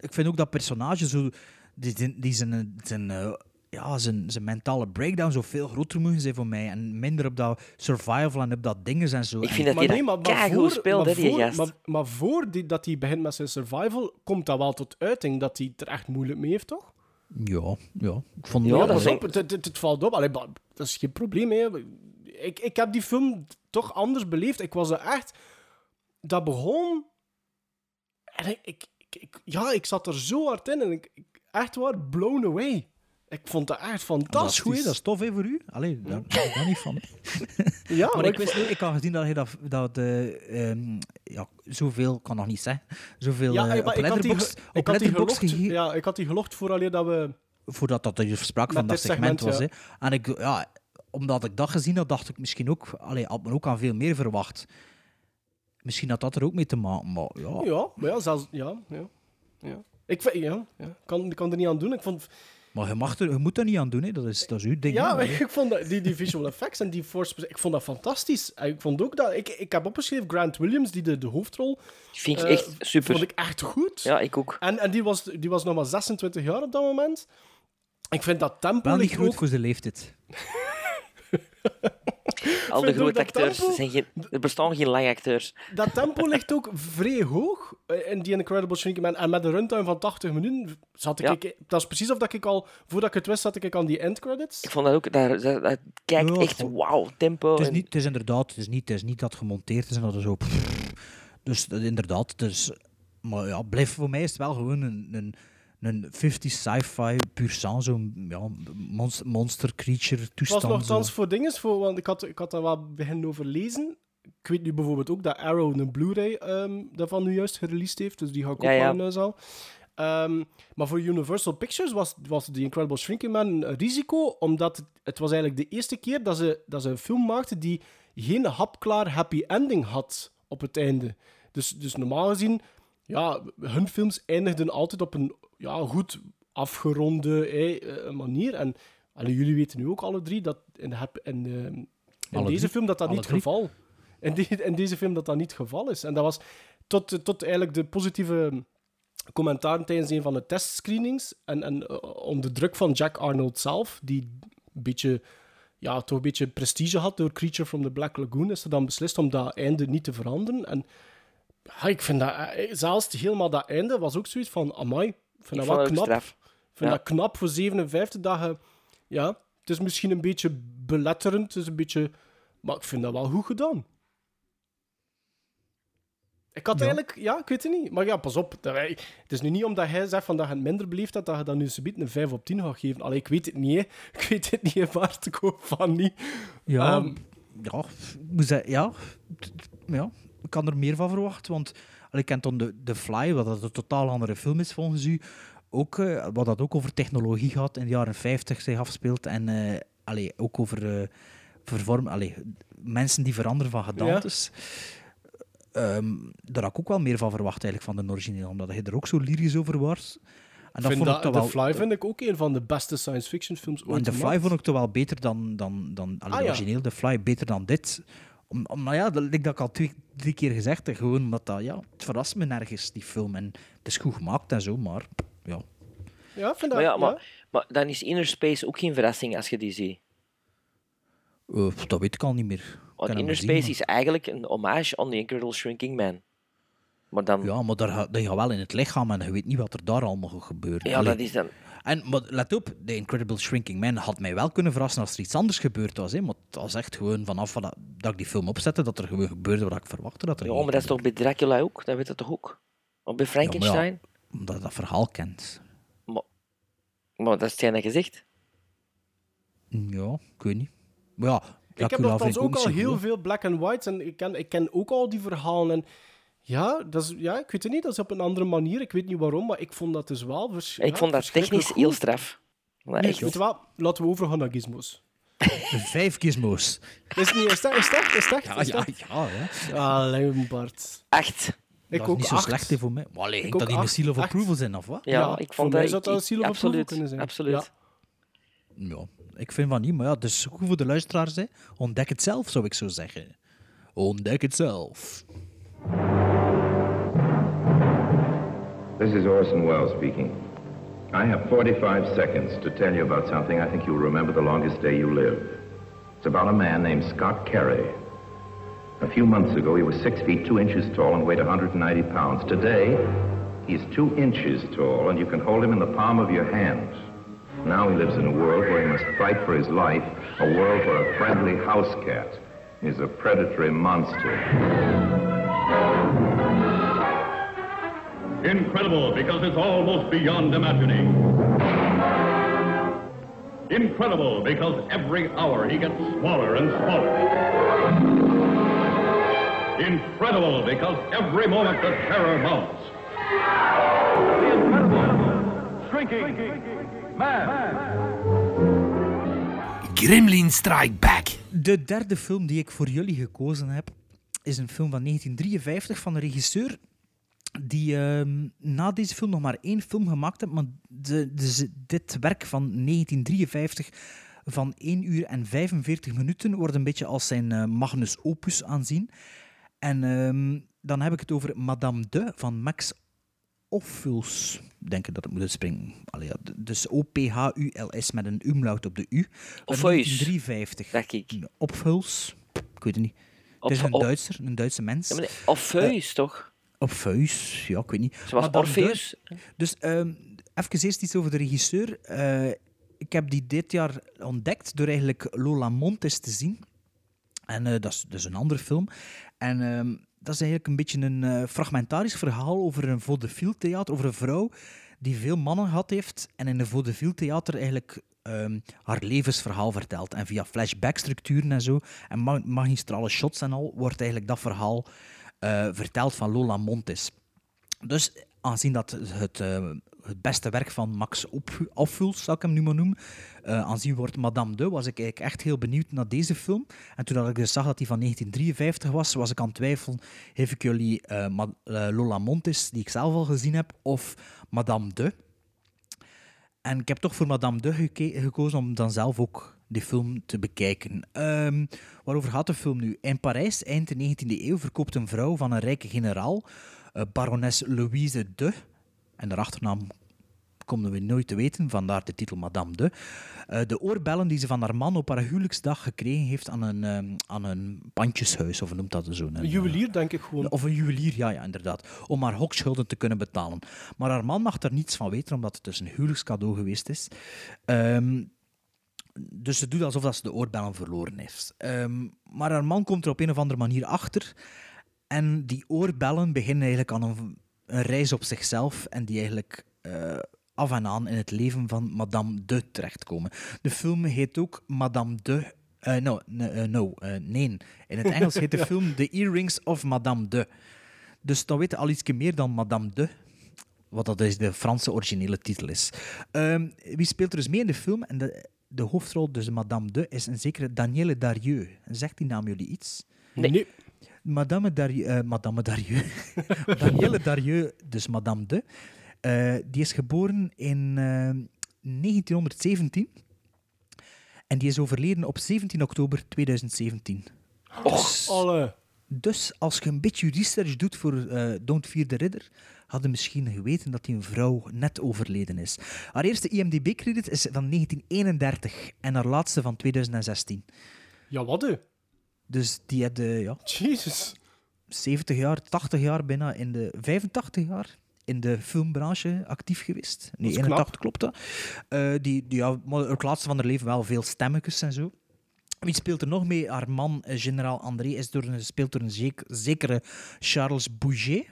Speaker 6: ik vind ook dat personage zo... Die, die, die zijn, zijn, eh, ja, zijn, zijn mentale breakdown zo veel groter mogen zijn voor mij. En minder op dat survival en op dat dingen en zo.
Speaker 4: Ik
Speaker 6: En-
Speaker 4: vind dat hij dat keigoed speelt, hè,
Speaker 5: maar
Speaker 4: die
Speaker 5: voor,
Speaker 4: gast.
Speaker 5: maar, maar voor die, dat hij begint met zijn survival, komt dat wel tot uiting dat hij het er echt moeilijk mee heeft, toch?
Speaker 6: Ja, ja. Ik vond
Speaker 4: Ja,
Speaker 5: Ja,
Speaker 4: dat
Speaker 5: pas
Speaker 4: is
Speaker 5: op, het, het, het valt op. Allee, maar dat is geen probleem, hè. Ik, ik heb die film toch anders beleefd. Ik was er echt... Dat begon... En ik, ik, ik- ik- ja, ik zat er zo hard in en ik, ik- echt waar, blown away. Ik vond dat echt
Speaker 6: dat is
Speaker 5: fantastisch.
Speaker 6: goed, hè, dat is tof hè, voor u. Allee, daar daar ben ik niet van.
Speaker 5: Ja,
Speaker 6: Maar
Speaker 5: maar
Speaker 6: ik wist niet, ik had gezien dat hij dat, dat eh, ehm, ja, zoveel, ik kan nog niet zeggen, zoveel
Speaker 5: Ja,
Speaker 6: eh,
Speaker 5: maar
Speaker 6: op
Speaker 5: ik had die
Speaker 6: Letterboxd,
Speaker 5: ge- ik
Speaker 6: op
Speaker 5: had die
Speaker 6: Letterboxd
Speaker 5: gelogd-
Speaker 6: gegeven-
Speaker 5: Ja, ik had die gelogd vooraleer dat we...
Speaker 6: voordat dat de sprake
Speaker 5: Met
Speaker 6: van dat
Speaker 5: dit
Speaker 6: segment,
Speaker 5: segment,
Speaker 6: was. Hè. En ik, ja, omdat ik dat gezien had, dacht ik misschien ook, allee, had men ook aan veel meer verwacht. Misschien had dat er ook mee te maken, maar ja.
Speaker 5: Ja, maar ja, zelfs... Ja, ja. ja. Ik vind, ja, ja. Kan, kan er niet aan doen. Ik vond,
Speaker 6: Maar je, mag er, je moet er niet aan doen, hè. Dat, is, dat is uw ding.
Speaker 5: ja,
Speaker 6: hè.
Speaker 5: ik vond dat, die, die visual effects en die force... pers- Ik vond dat fantastisch. En ik vond ook dat... Ik, ik heb opgeschreven Grant Williams, die de, de hoofdrol...
Speaker 4: Vind ik
Speaker 5: eh,
Speaker 4: echt super.
Speaker 5: Vond ik echt goed.
Speaker 4: Ja, ik ook.
Speaker 5: En, en die, was, die was nog maar 26 jaar op dat moment. Ik vind dat tempo...
Speaker 6: Wel niet
Speaker 5: ligt
Speaker 6: groot
Speaker 5: ook-
Speaker 6: voor zijn leeftijd.
Speaker 4: Al de
Speaker 5: Vind ook
Speaker 4: grote
Speaker 5: dat
Speaker 4: acteurs,
Speaker 5: tempo-
Speaker 4: zijn geen, er bestaan geen lange acteurs.
Speaker 5: Dat tempo ligt ook vrij hoog eh, in die Incredible Shrinking Man. En met een runtime van 80 minuten zat ik...
Speaker 4: Ja.
Speaker 5: ik- dat is precies of dat ik al... Voordat ik het wist, zat ik aan die endcredits.
Speaker 4: Ik vond dat ook, daar, daar, daar kijkt echt wauw, tempo.
Speaker 6: Het is,
Speaker 4: en-
Speaker 6: niet, het is inderdaad, het is niet, het is niet dat gemonteerd is en dat er zo. Dus eh, inderdaad, dus, maar ja, blijf, voor mij is het wel gewoon een, een, een 50 sci-fi puur sang, zo'n ja, monster, monster creature
Speaker 5: Het was
Speaker 6: toestand. zo.
Speaker 5: nogthans voor dinges, voor, want ik had, ik had daar wel begin over lezen. Ik weet nu bijvoorbeeld ook dat Arrow een Blu-ray ehm, daarvan nu juist gereleased heeft, dus die ga ik ook
Speaker 4: Ja, ja.
Speaker 5: aan huis al. Ehm, maar voor Universal Pictures was, was The Incredible Shrinking Man een risico, omdat het, het was eigenlijk de eerste keer dat ze, dat ze een film maakten die geen hapklaar happy ending had op het einde. Dus, dus normaal gezien, ja, hun films eindigden altijd op een ja, goed afgeronde eh, eh, manier. En allee, jullie weten nu ook alle drie dat in, de hap- in, eh, in
Speaker 6: Alle
Speaker 5: deze
Speaker 6: drie?
Speaker 5: film dat dat
Speaker 6: Alle
Speaker 5: niet het
Speaker 6: drie?
Speaker 5: geval in, die- in deze film dat dat niet het geval is. En dat was tot, eh, tot eigenlijk de positieve commentaar tijdens een van de testscreenings. En, en eh, onder druk van Jack Arnold zelf, die een beetje, ja, toch een beetje prestige had door Creature from the Black Lagoon, is er dan beslist om dat einde niet te veranderen. En ja, ik vind dat, eh, zelfs helemaal dat einde was ook zoiets van, amai, ik vind
Speaker 4: Ik
Speaker 5: dat wel
Speaker 4: vond het ook
Speaker 5: knap.
Speaker 4: straf.
Speaker 5: Ik vind
Speaker 4: Ja.
Speaker 5: dat knap voor 57 dagen. Ja, het is misschien een beetje beletterend, het is een beetje... Maar ik vind dat wel goed gedaan. Ik had
Speaker 6: Ja.
Speaker 5: eigenlijk... Ja, ik weet het niet. Maar ja, pas op. dat wij- Het is nu niet omdat hij zegt van dat je het minder beleefd hebt, dat je dan nu subiet een 5 op 10 gaat geven. Allee, ik weet het niet, hè. Ik weet het niet, hè, Bart. Ik hoop van niet.
Speaker 6: Ja,
Speaker 5: Ehm,
Speaker 6: ja, moet zeggen, ja, t- t- ja, ik kan er meer van verwachten. Want allee, ik ken dan de, de Fly, wat dat een totaal andere film is volgens u. Ook, eh, wat dat ook over technologie gaat in de jaren 50 zich afspeelt. En eh, allee, ook over eh, vervorm, allee, mensen die veranderen van gedaantes. Ehm, daar had ik ook wel meer van verwacht eigenlijk van de origineel, omdat hij er ook zo lyrisch over was. En
Speaker 5: ik vind
Speaker 6: vond ik
Speaker 5: dat,
Speaker 6: toch
Speaker 5: The
Speaker 6: wel-
Speaker 5: Fly vind ik ook een van de beste science fiction films
Speaker 6: want
Speaker 5: ooit
Speaker 6: de Fly
Speaker 5: gemaakt.
Speaker 6: vond ik toch wel beter dan, dan, dan allee,
Speaker 5: Ah,
Speaker 6: de
Speaker 5: ja.
Speaker 6: origineel. De Fly beter dan dit. Om, om- nou ja, dat, like dat ik al twee, drie keer gezegd heb. Gewoon omdat dat, ja, het verrast me nergens, die film. En het is goed gemaakt en zo, maar ja.
Speaker 5: Ja, ik vind dat...
Speaker 4: Maar ja, maar, maar dan is Inner Space ook geen verrassing als je die ziet.
Speaker 6: Eh, pff, dat weet ik al niet meer. Ik
Speaker 4: Want
Speaker 6: kan hem
Speaker 4: Inner
Speaker 6: maar
Speaker 4: Space
Speaker 6: zien, maar-
Speaker 4: is eigenlijk een hommage aan The Incredible Shrinking Man. Maar dan...
Speaker 6: Ja, maar daar, ga- daar gaat wel in het lichaam en je weet niet wat er daar allemaal gaat gebeuren.
Speaker 4: Ja,
Speaker 6: Allee.
Speaker 4: dat is dan...
Speaker 6: En maar let op, The Incredible Shrinking Man had mij wel kunnen verrassen als er iets anders gebeurd was. Hè? Maar het was echt gewoon vanaf dat, dat ik die film opzette, dat er gewoon gebeurde wat ik verwachtte. Dat er
Speaker 4: Ja,
Speaker 6: ging
Speaker 4: maar dat is toch bij Dracula ook? Dat weet je toch ook? Of bij
Speaker 6: Ja, maar ja,
Speaker 4: Frankenstein?
Speaker 6: omdat je dat verhaal kent.
Speaker 4: Maar dat is het dat gezegd.
Speaker 6: Mm, Ja, ik weet niet. Maar ja,
Speaker 5: Ik heb
Speaker 6: Dracula vind
Speaker 5: nogthans ook
Speaker 6: niet
Speaker 5: al
Speaker 6: zo
Speaker 5: heel
Speaker 6: goed.
Speaker 5: veel black and whites en ik ken, ik ken ook al die verhalen. En ja, dat is, ja, ik weet het niet, dat is op een andere manier. Ik weet niet waarom, maar ik vond dat dus wel vers-
Speaker 4: ik
Speaker 5: ja,
Speaker 4: vond dat
Speaker 5: verschrikkelijk
Speaker 4: technisch
Speaker 5: goed.
Speaker 4: heel straf. Maar
Speaker 5: Nu,
Speaker 4: echt.
Speaker 5: weet je wat, laten we overgaan naar gizmos.
Speaker 6: Vijf gizmos.
Speaker 5: Is het niet, is dat, is dat, is dat?
Speaker 6: Ja,
Speaker 5: is
Speaker 6: ja,
Speaker 5: dat?
Speaker 6: ja. Hè.
Speaker 5: Allee, Bart.
Speaker 4: Echt.
Speaker 5: Ah, Ik
Speaker 6: dat is
Speaker 5: ook
Speaker 6: niet zo
Speaker 5: acht.
Speaker 6: slecht hè, voor mij. Maar allee, ging
Speaker 5: ook
Speaker 6: dat in de
Speaker 5: acht,
Speaker 6: Seal of
Speaker 5: acht.
Speaker 6: Approval zijn, of wat?
Speaker 4: Ja,
Speaker 5: Ja,
Speaker 4: ik
Speaker 5: voor
Speaker 4: vond
Speaker 5: mij
Speaker 4: dat...
Speaker 5: zou het
Speaker 4: ik-
Speaker 5: wel een ziel of approval
Speaker 4: absoluut,
Speaker 5: kunnen zijn.
Speaker 4: Absoluut.
Speaker 5: Ja.
Speaker 6: Ja, ik vind van niet. Maar ja, het is goed voor de luisteraars. Hè. Ontdek het zelf, zou ik zo zeggen. Ontdek het zelf.
Speaker 14: This is Orson Welles speaking. I have 45 seconds to tell you about something I think you'll remember the longest day you live. It's about a man named Scott Carey. A few months ago, he was 6 feet 2 inches tall and weighed 190 pounds. Today, he's 2 inches tall and you can hold him in the palm of your hand. Now he lives in a world where he must fight for his life, a world where a friendly house cat is a predatory monster.
Speaker 15: Incredible because it's almost beyond imagining. Incredible because every hour he gets smaller and smaller. Incredible because every moment the terror mounts. The incredible, shrinking, man.
Speaker 16: Gremlin Strike Back.
Speaker 6: De derde film die ik voor jullie gekozen heb, is een film van 1953 van een regisseur die ehm, na deze film nog maar één film gemaakt heeft, maar de, de- ze- dit werk van 1953 van 1 uur en 45 minuten wordt een beetje als zijn eh, magnus opus aanzien. En ehm, dan heb ik het over Madame de van Max Ophuls denken dat het moet springen. Allee, ja, d- dus O-P-H-U-L-S met een umlaut op de U.
Speaker 4: Ophuis.
Speaker 6: 350.
Speaker 4: Dacht ik.
Speaker 6: Ophuls. Ik weet het niet.
Speaker 4: Op-
Speaker 6: het is een
Speaker 4: op-
Speaker 6: Duitser, een Duitse mens.
Speaker 4: Ja, maar nee, Orpheus,
Speaker 6: Eh,
Speaker 4: toch?
Speaker 6: Ophuis, ja, ik weet niet.
Speaker 4: Zoals
Speaker 6: dan
Speaker 4: Orpheus.
Speaker 6: Duits- Dus ehm even eerst iets over de regisseur. Eh, ik heb die dit jaar ontdekt door eigenlijk Lola Montes te zien. En eh, dat is dus een andere film. En ehm, dat is eigenlijk een beetje een eh, fragmentarisch verhaal over een vaudeville theater, over een vrouw die veel mannen gehad heeft en in een vaudeville theater eigenlijk ehm, haar levensverhaal vertelt. En via flashback-structuren en zo, en ma- magistrale shots en al, wordt eigenlijk dat verhaal eh, verteld van Lola Montes. Dus aangezien dat het, eh, het beste werk van Max Op- Ophuls, zal ik hem nu maar noemen, eh, aanzien wordt Madame de, was ik eigenlijk echt heel benieuwd naar deze film. En toen dat ik dus zag dat die van 1953 was, was ik aan het twijfelen, geef ik jullie eh, Ma- eh, Lola Montes, die ik zelf al gezien heb, of Madame de. En ik heb toch voor Madame de geke- gekozen om dan zelf ook die film te bekijken. Ehm, waarover gaat de film nu? In Parijs, eind de 19e eeuw, verkoopt een vrouw van een rijke generaal, eh, barones Louise de, en haar achternaam komen we nooit te weten, vandaar de titel Madame de, eh, de oorbellen die ze van haar man op haar huwelijksdag gekregen heeft aan een, ehm, aan een pandjeshuis, of hoe noemt dat zo? Een,
Speaker 5: Een juwelier, denk ik gewoon.
Speaker 6: of een juwelier, ja, ja, inderdaad. Om haar hokschulden te kunnen betalen. Maar haar man mag er niets van weten, omdat het dus een huwelijkscadeau geweest is. Ehm, dus ze doet alsof dat ze de oorbellen verloren heeft. Ehm, maar haar man komt er op een of andere manier achter. En die oorbellen beginnen eigenlijk aan een, een reis op zichzelf. En die eigenlijk eh, af en aan in het leven van Madame de terechtkomen. De film heet ook Madame de. eh, no, ne- eh, no eh, nee. In het Engels heet de
Speaker 16: Ja.
Speaker 6: film The Earrings of Madame de. Dus dan weten al iets meer dan Madame de. Wat dat is de Franse originele titel is. Ehm, wie speelt er dus mee in de film? En de, de hoofdrol, dus Madame de, is een zekere Danielle Darieux. Zegt die naam jullie iets?
Speaker 4: Nee.
Speaker 6: Madame Darieux, eh, Madame Darieux. Danielle Darieux, dus Madame de, eh, die is geboren in eh, 1917 en die is overleden op 17 oktober 2017. Dus, dus als je een beetje research doet voor eh, Don't Fear the Ridder, hadden misschien geweten dat die een vrouw net overleden is. Haar eerste IMDb-credit is van 1931 en haar laatste van 2016.
Speaker 5: Ja, wat hè?
Speaker 6: Dus die had eh, ja,
Speaker 5: Jezus.
Speaker 6: 70 jaar, 80 jaar bijna in de 85 jaar in de filmbranche actief geweest. Nee,
Speaker 5: is
Speaker 6: 81 klopt dat. Eh, die, die, ja, maar het laatste van haar leven wel veel stemmetjes en zo. Wie speelt er nog mee? Haar man, eh, generaal André, is door, een- speelt door een zek- zekere Charles Bouget.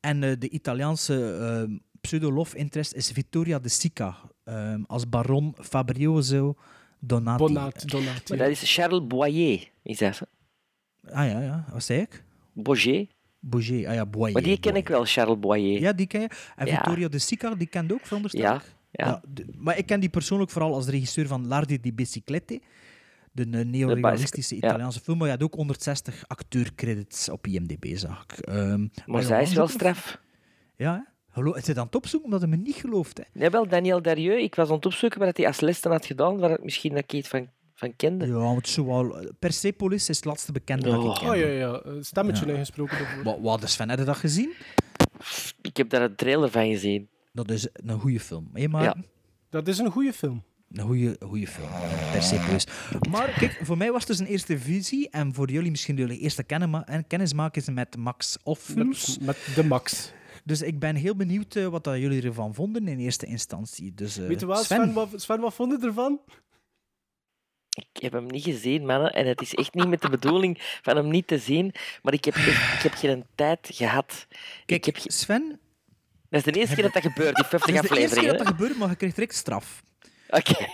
Speaker 6: En eh, de Italiaanse eh, pseudo-love interest is Vittoria de Sica. eh, als baron Fabrioso Donati.
Speaker 4: Maar dat is Charles Boyer, is dat? hè?
Speaker 6: Ah ja, ja. Wat zei ik?
Speaker 4: Boyer.
Speaker 6: Boyer, ah ja, Boyer.
Speaker 4: Maar die ken ik wel, Charles Boyer.
Speaker 6: Ja, die ken je. En
Speaker 4: Ja.
Speaker 6: Vittorio de Sica, die kende ook, veronderstel
Speaker 4: Ja,
Speaker 6: ik.
Speaker 4: ja.
Speaker 6: de- maar ik ken die persoonlijk vooral als regisseur van Lardi di Biciclette, de eh, neorealistische
Speaker 4: ja.
Speaker 6: Italiaanse film. Maar hij had ook 160 acteurcredits op IMDb, zag ik. Ehm,
Speaker 4: Maar
Speaker 6: en
Speaker 4: zij is wel
Speaker 6: onderzoeken-
Speaker 4: straf.
Speaker 6: Ja, hè? Hallo, het is aan het opzoeken omdat hij me niet gelooft. Hè.
Speaker 4: Nee, wel, Daniel Darieux, ik was aan het opzoeken wat hij als lessen had gedaan, waar ik misschien dat ik iets van, van kende.
Speaker 6: Ja, want het is zo wel... Persepolis is het laatste bekende dat ik ken.
Speaker 5: Oh ja, ja. eh, Stemmetje
Speaker 6: Ja.
Speaker 5: ingesproken daarvoor.
Speaker 6: Wat, wat is Sven, heb je dat gezien?
Speaker 4: Ik heb daar een trailer van gezien.
Speaker 6: Dat is een goede film. Hé, maar
Speaker 4: Ja.
Speaker 5: Dat is een goede film.
Speaker 6: Een goede, goede film, eh, Persepolis. Maar kijk, voor mij was het dus een eerste visie en voor jullie misschien jullie eerste kennen, en kennismaken met Max Ophuls.
Speaker 5: Met, met de Max.
Speaker 6: Dus ik ben heel benieuwd eh, wat dat jullie ervan vonden in eerste instantie. Dus, eh,
Speaker 5: Weet je wel, Sven, wat, Sven, wat vond je ervan?
Speaker 4: Ik heb hem niet gezien, mannen. En het is echt niet met de bedoeling van hem niet te zien. Maar ik heb, echt- ik heb geen tijd gehad.
Speaker 6: Kijk, Sven...
Speaker 4: Dat is de eerste keer dat dat gebeurt, die
Speaker 6: Het
Speaker 4: 50
Speaker 6: is de eerste keer
Speaker 4: afleveringen.
Speaker 6: dat dat gebeurt, maar je krijgt direct straf.
Speaker 4: Oké.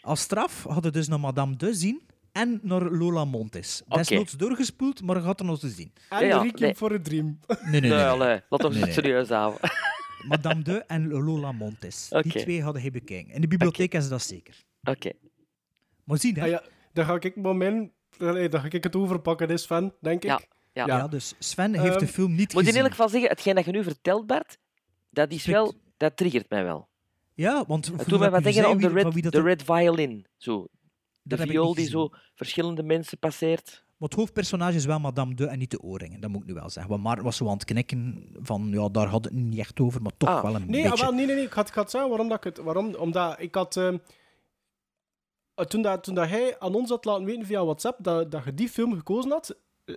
Speaker 6: Als straf hadden dus naar Madame de zien en naar Lola Montes.
Speaker 4: Oké.
Speaker 6: Desnoods doorgespoeld, maar je gaat er nog te zien.
Speaker 5: En
Speaker 4: Ja,
Speaker 5: Requiem
Speaker 4: nee.
Speaker 5: voor een Dream.
Speaker 6: Nee, nee, nee.
Speaker 5: Nou,
Speaker 6: nee.
Speaker 4: allee, Laat ons
Speaker 6: Nee,
Speaker 4: het
Speaker 6: nee.
Speaker 4: serieus houden.
Speaker 6: Madame de en Lola Montes.
Speaker 4: Oké.
Speaker 6: Die twee hadden hij bekeken. In de bibliotheek is dat zeker.
Speaker 4: Oké.
Speaker 6: Maar zien, hè?
Speaker 5: Ah ja, dan ga ik maar mijn... Nee, dan ga ik het overpakken, hè, Sven, denk ik.
Speaker 4: Ja, ja.
Speaker 6: Ja, dus Sven heeft de
Speaker 5: Ehm,
Speaker 6: film niet
Speaker 4: Moet in
Speaker 6: gezien.
Speaker 4: ieder geval zeggen, hetgeen dat je nu vertelt, Bart, dat, is wel, dat triggert mij wel.
Speaker 6: Ja, want voor
Speaker 4: Het doet mij
Speaker 6: dat
Speaker 4: wat
Speaker 6: ik u
Speaker 4: denken
Speaker 6: zei
Speaker 4: aan de
Speaker 6: wie- van wie
Speaker 4: Red,
Speaker 6: dat
Speaker 4: de
Speaker 6: er-
Speaker 4: red Violin. Zo. De
Speaker 6: heb ik
Speaker 4: viool
Speaker 6: niet
Speaker 4: die
Speaker 6: gezien.
Speaker 4: zo verschillende mensen passeert. Dus
Speaker 6: Maar het hoofdpersonage is wel Madame de en niet de oorringen. Dat moet ik nu wel zeggen. Want Maarten was zo aan het knikken van, ja, daar had het niet echt over, maar toch
Speaker 5: Ah,
Speaker 6: wel een
Speaker 5: nee, ah,
Speaker 6: beetje.
Speaker 5: wel, nee, nee, nee. Ik had, ik had zeggen waarom dat ik het... Waarom, omdat ik had... ehm, eh, toen, dat, toen dat hij aan ons had laten weten via WhatsApp dat, dat je die film gekozen had, eh,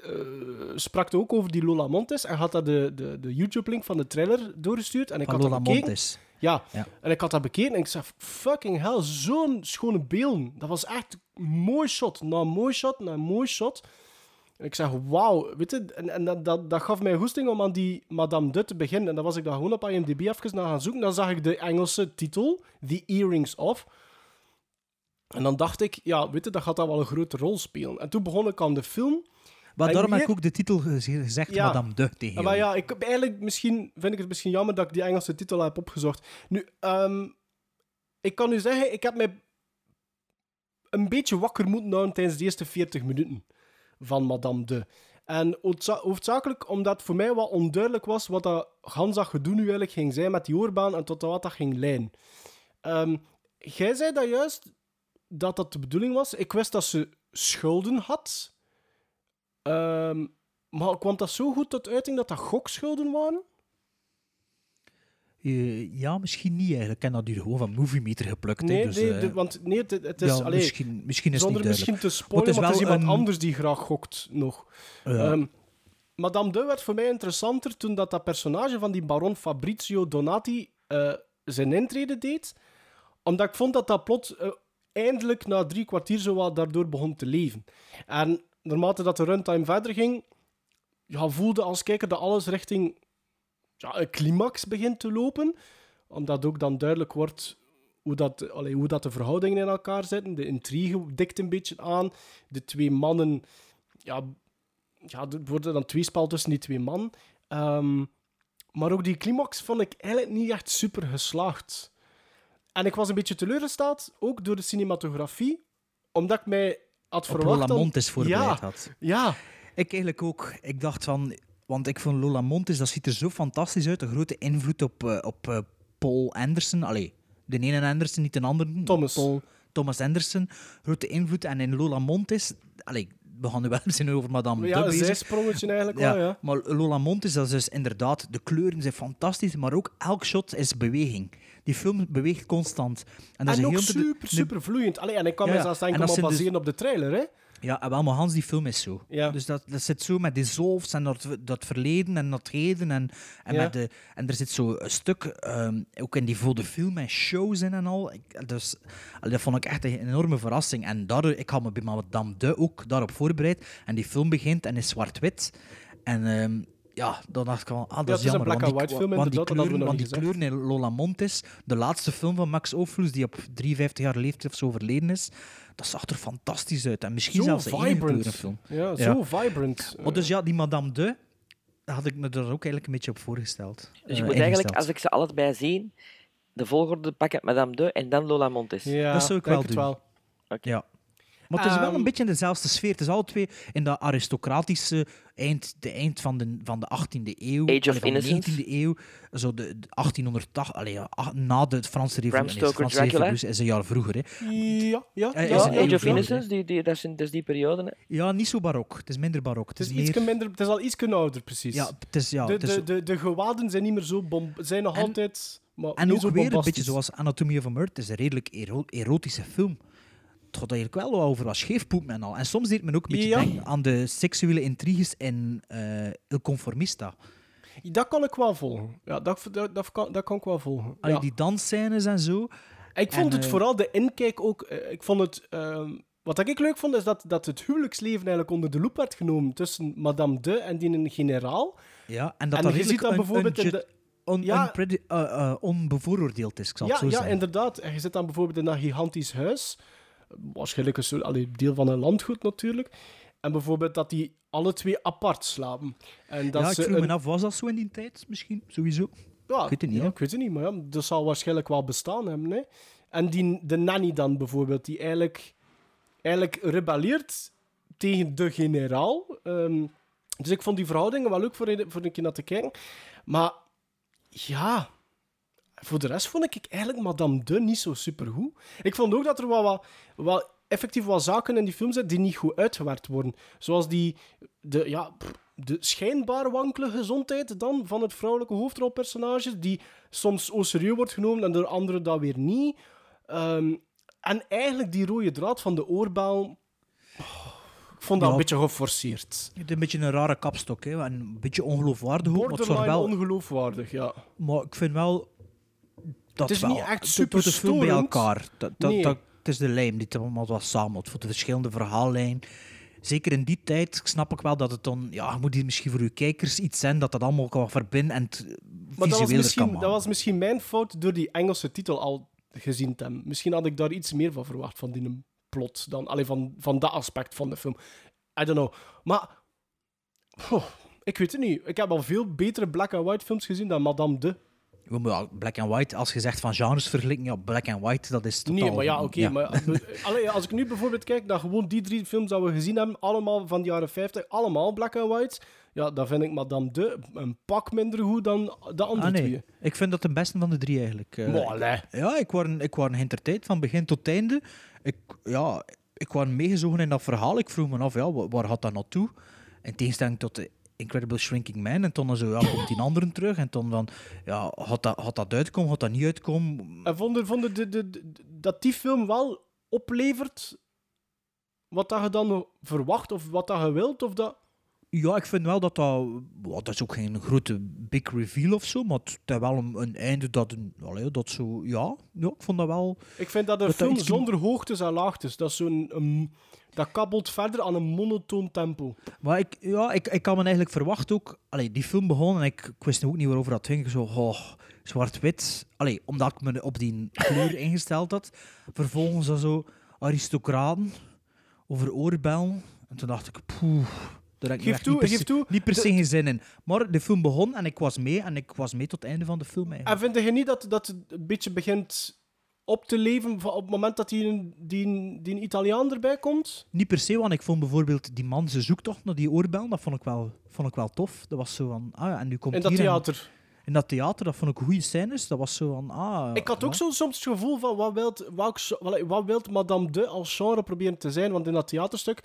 Speaker 5: sprak hij ook over die Lola Montes en had dat de, de, de YouTube-link van de trailer doorgestuurd. En ik
Speaker 6: Van
Speaker 5: had
Speaker 6: Lola
Speaker 5: dat bekeken.
Speaker 6: Montes.
Speaker 5: Ja.
Speaker 6: Ja.
Speaker 5: en ik had dat bekeken en ik zei, fucking hell, zo'n schone beelden. Dat was echt mooi shot, na mooi shot, na mooi shot. En ik zeg, wauw, weet je, en, en dat, dat, dat gaf mij goesting om aan die Madame Dut te beginnen. En dan was ik daar gewoon op IMDb even naar gaan zoeken. Dan zag ik de Engelse titel, The Earrings Off. En dan dacht ik, ja, weet je, dat gaat daar wel een grote rol spelen. En toen begon ik aan de film.
Speaker 6: Maar
Speaker 5: En
Speaker 6: daarom heb
Speaker 5: hier-
Speaker 6: ik ook de titel gez- gezegd,
Speaker 5: Ja. Ah,
Speaker 6: Madame de, tegen
Speaker 5: maar
Speaker 6: jou.
Speaker 5: ja, ik, heb eigenlijk misschien, vind ik het misschien jammer dat ik die Engelse titel heb opgezocht. Nu, ehm, ik kan u zeggen, ik heb mij een beetje wakker moeten houden tijdens de eerste 40 minuten van Madame de. En hoofdza- hoofdzakelijk omdat het voor mij wat onduidelijk was wat dat Hansa gedoe nu eigenlijk ging zijn met die oorbaan en tot wat dat ging leiden. Ehm, jij zei dat juist dat dat de bedoeling was. Ik wist dat ze schulden had. Ehm, maar kwam dat zo goed tot uiting dat dat gokschulden waren?
Speaker 6: Eh, ja, misschien niet eigenlijk. Ik heb dat hier gewoon van Movie Meter geplukt. hè,
Speaker 5: Nee,
Speaker 6: dus,
Speaker 5: nee
Speaker 6: eh,
Speaker 5: de- want nee, het, het is
Speaker 6: ja,
Speaker 5: alleen.
Speaker 6: misschien- misschien is het
Speaker 5: zonder
Speaker 6: niet
Speaker 5: misschien te
Speaker 6: duidelijk.
Speaker 5: spoilen,
Speaker 6: Maar het is
Speaker 5: want er is
Speaker 6: wel
Speaker 5: iemand
Speaker 6: een-
Speaker 5: anders die graag gokt nog.
Speaker 6: Ja.
Speaker 5: Ehm, Madame De werd voor mij interessanter toen dat, dat personage van die baron Fabrizio Donati eh, zijn intrede deed. Omdat ik vond dat dat plot eh, eindelijk na drie kwartier zo wat daardoor begon te leven. En naarmate dat de runtime verder ging, ja, voelde als kijker dat alles richting ja, een climax begint te lopen. Omdat ook dan duidelijk wordt hoe dat, allee, hoe dat de verhoudingen in elkaar zitten. De intrigue dikt een beetje aan. De twee mannen... Ja, ja er worden dan twee spel tussen die twee mannen. Ehm, maar ook die climax vond ik eigenlijk niet echt super geslaagd. En ik was een beetje teleurgesteld, ook door de cinematografie. Omdat ik mij had
Speaker 6: op
Speaker 5: verwacht...
Speaker 6: Lola
Speaker 5: dat-
Speaker 6: Montes voorbereid
Speaker 5: ja,
Speaker 6: had.
Speaker 5: Ja.
Speaker 6: Ik eigenlijk ook. Ik dacht van... Want ik vond Lola Montes, dat ziet er zo fantastisch uit. Een grote invloed op, eh, op eh, Paul Anderson. Allee, de ene Anderson, niet de andere. Thomas. Paul, Thomas Anderson. Grote invloed. En in Lola Montes... Allee, we gaan nu wel eens over Madame
Speaker 5: Ja,
Speaker 6: de
Speaker 5: een
Speaker 6: bezig.
Speaker 5: zijsprongetje eigenlijk wel, ja.
Speaker 6: Maar Lola Montes, dat is dus inderdaad, de kleuren zijn fantastisch, maar ook elk shot is beweging. Die film beweegt constant. En, dat is
Speaker 5: en
Speaker 6: een
Speaker 5: ook
Speaker 6: heel de-
Speaker 5: super,
Speaker 6: de-
Speaker 5: super vloeiend. Allee, en ik kan
Speaker 6: Ja,
Speaker 5: mij
Speaker 6: ja.
Speaker 5: zelfs
Speaker 6: En
Speaker 5: denken
Speaker 6: dat
Speaker 5: maar
Speaker 6: zijn dus-
Speaker 5: baseren op de trailer, hè.
Speaker 6: Ja, en wel, maar Hans, die film is zo. Dus dat, dat zit zo met dissolves en dat, dat verleden en dat heden. En, en,
Speaker 5: Ja.
Speaker 6: met de, en er zit zo een stuk, ehm, ook in die volde film en shows in en al. Ik, dus allee, dat vond ik echt een enorme verrassing. En daar, ik had me bij Madame de ook daarop voorbereid. En die film begint en is zwart-wit. En ehm, ja, dan dacht ik van, ah, dat
Speaker 5: Ja, het
Speaker 6: is
Speaker 5: is een
Speaker 6: jammer.
Speaker 5: black
Speaker 6: want die,
Speaker 5: and white film,
Speaker 6: want die
Speaker 5: inderdaad, dat hadden we
Speaker 6: kleuren,
Speaker 5: nog
Speaker 6: want
Speaker 5: niet
Speaker 6: die kleuren in Lola Montes, de laatste film van Max Ophuls, die op 53 jaar leeftijd of zo overleden is, dat zag er fantastisch uit. En misschien
Speaker 5: Zo
Speaker 6: zelfs de enige
Speaker 5: vibrant.
Speaker 6: kleurenfilm.
Speaker 5: Ja, zo vibrant.
Speaker 6: Maar dus ja, die Madame de, daar had ik me er ook eigenlijk een beetje op voorgesteld.
Speaker 4: Dus je
Speaker 6: Eh,
Speaker 4: moet eigenlijk,
Speaker 6: ingesteld.
Speaker 4: als ik ze allebei zie, de volgorde pakken Madame de en dan Lola Montes.
Speaker 5: Eh,
Speaker 6: Ja, Dat zou ik denk wel het doen. wel. Ja. Maar het is wel
Speaker 4: Ehm.
Speaker 6: een beetje in dezelfde sfeer. Het is alle twee in dat aristocratische eind, de eind van de, van de 18e eeuw.
Speaker 4: Age of
Speaker 6: allee, van de
Speaker 4: Innocence.
Speaker 6: 19e eeuw. Zo de, de 1880, allee, ja, ach- na de Franse
Speaker 4: Bram
Speaker 6: revolutie. nee, de
Speaker 4: Stoker
Speaker 6: Franse
Speaker 4: Dracula.
Speaker 6: revolutie is een jaar vroeger. Hè.
Speaker 5: Ja, ja.
Speaker 6: Eh,
Speaker 4: Ja,
Speaker 6: is een eeuw
Speaker 4: Age of
Speaker 6: vroeger,
Speaker 4: Innocence, die, die, dat, is, dat is die periode. Hè.
Speaker 6: Ja, niet zo barok. Het is minder barok. Het
Speaker 5: Het
Speaker 6: is,
Speaker 5: is, ietske
Speaker 6: meer...
Speaker 5: minder, het is al iets ouder, precies.
Speaker 6: Ja, het is- ja,
Speaker 5: de,
Speaker 6: het is-
Speaker 5: de, de, de gewaden zijn niet meer zo bom, zijn nog altijd. Maar
Speaker 6: En
Speaker 5: niet
Speaker 6: ook
Speaker 5: zo
Speaker 6: weer een
Speaker 5: bombastisch.
Speaker 6: beetje zoals Anatomy of a Murder. Het is een redelijk ero- erotische film. Het gaat eigenlijk wel over wat scheefpoep en al. En soms deed men ook een beetje
Speaker 5: Ja.
Speaker 6: denken aan de seksuele intriges in eh Il Conformista.
Speaker 5: Dat kan ik wel volgen. Ja, dat, dat, dat, kan, dat kan ik wel volgen.
Speaker 6: Allee,
Speaker 5: Ja.
Speaker 6: Die dansscènes en zo.
Speaker 5: Ik vond
Speaker 6: En,
Speaker 5: het
Speaker 6: eh,
Speaker 5: vooral de inkijk ook. eh, Ik vond het, ehm, wat ik leuk vond, is dat, dat het huwelijksleven eigenlijk onder de loep werd genomen tussen Madame de en die een generaal.
Speaker 6: Ja, en dat
Speaker 5: En
Speaker 6: dat
Speaker 5: je
Speaker 6: redelijk
Speaker 5: ziet dat
Speaker 6: un-
Speaker 5: bijvoorbeeld in
Speaker 6: unjust-
Speaker 5: de-
Speaker 6: un-
Speaker 5: Ja.
Speaker 6: unpredi- eh, eh, onbevooroordeeld is, ik zal
Speaker 5: Ja,
Speaker 6: het zo
Speaker 5: ja
Speaker 6: zeggen.
Speaker 5: inderdaad. En je zit dan bijvoorbeeld in dat gigantisch huis. Waarschijnlijk een soort, allee, deel van een landgoed natuurlijk. En bijvoorbeeld dat die alle twee apart slapen. En dat
Speaker 6: ja, ik
Speaker 5: ze
Speaker 6: vroeg
Speaker 5: een-
Speaker 6: me af, was dat zo in die tijd misschien? Sowieso.
Speaker 5: Ja,
Speaker 6: ik weet het niet.
Speaker 5: ja,
Speaker 6: hè.
Speaker 5: ik weet het niet, maar ja, dat zal waarschijnlijk wel bestaan hebben. Hè? En die, de nanny dan bijvoorbeeld, die eigenlijk, eigenlijk rebelleert tegen de generaal. Ehm, dus ik vond die verhoudingen wel leuk voor, een- voor een keer naar te kijken. Maar ja, voor de rest vond ik eigenlijk Madame de niet zo supergoed. Ik vond ook dat er wel wat, wel effectief wat zaken in die film zitten die niet goed uitgewerkt worden. Zoals die, de, ja, pff, de schijnbaar wankele gezondheid dan van het vrouwelijke hoofdrolpersonage, die soms au serieus wordt genomen en door anderen dat weer niet. Ehm, en eigenlijk die rode draad van de oorbel. oh, ik vond dat
Speaker 6: Ja.
Speaker 5: een beetje geforceerd.
Speaker 6: Het is een beetje een rare kapstok, hè? en een beetje ongeloofwaardig ook, maar het zorgt
Speaker 5: Borderline
Speaker 6: wel...
Speaker 5: ongeloofwaardig, ja.
Speaker 6: Maar ik vind wel
Speaker 5: Het
Speaker 6: dat
Speaker 5: is
Speaker 6: wel.
Speaker 5: niet echt
Speaker 6: het doet het veel bij
Speaker 5: superstorend.
Speaker 6: elkaar. Dat, dat,
Speaker 5: Nee.
Speaker 6: dat, het is de lijm die het allemaal wat samelt voor de verschillende verhaallijnen. Zeker in die tijd snap ik wel dat het dan... Ja, je moet hier misschien voor uw kijkers iets zijn dat dat allemaal kan verbinden en het
Speaker 5: Maar dat was,
Speaker 6: visueler kan
Speaker 5: misschien,
Speaker 6: maken.
Speaker 5: dat was misschien mijn fout door die Engelse titel al gezien te hebben. Misschien had ik daar iets meer van verwacht, van die plot, dan alleen van, van dat aspect van de film. I don't know. Maar, oh, ik weet het niet. Ik heb al veel betere black and white films gezien dan Madame de.
Speaker 6: We moeten al- Black and White, als je zegt van genres vergelijken, ja, Black and White, dat is totaal...
Speaker 5: Nee, maar ja, oké. maar, eh, allee, als ik nu bijvoorbeeld kijk naar gewoon die drie films dat we gezien hebben, allemaal van de jaren 50, allemaal black and white, ja, dan vind ik Madame de een pak minder goed dan de andere
Speaker 6: Ah,
Speaker 5: twee.
Speaker 6: nee. Ik vind dat de beste van de drie eigenlijk. eh.
Speaker 5: Maar allee.
Speaker 6: ja, ik was ik was geïnteresseerd van begin tot einde. Ik, ja, ik was meegezogen in dat verhaal. Ik vroeg me af, ja, wa- waar gaat dat naartoe? In tegenstelling tot de Incredible Shrinking Man. En toen dan zo, ja, komt die anderen terug. En toen van, ja, had dat, had dat uitkomen, had dat niet uitkomen?
Speaker 5: En vonden, vonden de, de, de- dat die film wel oplevert wat dat je dan verwacht of wat dat je wilt? Of dat...
Speaker 6: Ja, ik vind wel dat dat... ja, dat is ook geen grote big reveal of zo, maar het het heeft wel een, een einde dat... Een, allee, dat zo, ja, ja, ik vond dat wel...
Speaker 5: Ik vind dat een
Speaker 6: Dat dat
Speaker 5: film
Speaker 6: iets-
Speaker 5: zonder hoogtes en laagtes. Dat, is zo'n, een- dat kabbelt verder aan een monotoon tempo.
Speaker 6: Maar ik, ja, ik, ik kan me eigenlijk verwacht ook... Allee, die film begon en ik, ik wist ook niet waarover dat ging. Ik Zo, oh, zwart-wit. Allee, omdat ik me op die kleur ingesteld had. Vervolgens dan zo aristocraten over oorbellen. En toen dacht ik, poeh... daar heb ik nu
Speaker 5: Geef
Speaker 6: echt
Speaker 5: toe,
Speaker 6: niet per
Speaker 5: geef
Speaker 6: se-
Speaker 5: toe.
Speaker 6: Niet per se
Speaker 5: De-
Speaker 6: geen zin in. Maar de film begon en ik was mee. En ik was mee tot het einde van de film eigenlijk.
Speaker 5: En vind je niet dat dat het een beetje begint op te leven van- op het moment dat die, die, die Italiaan erbij komt?
Speaker 6: Niet per se, want ik vond bijvoorbeeld die man zijn zoektocht naar die oorbel, dat vond ik wel, vond ik wel tof. Dat was zo van, ah ja, en nu komt
Speaker 5: In dat
Speaker 6: hier en-
Speaker 5: theater.
Speaker 6: in dat theater, dat vond ik goede scènes. Dat was zo van, ah...
Speaker 5: Ik had ook
Speaker 6: ja.
Speaker 5: zo soms het gevoel van wat wilt, welk, zo- wel- wat wilt Madame de als genre proberen te zijn? Want in dat theaterstuk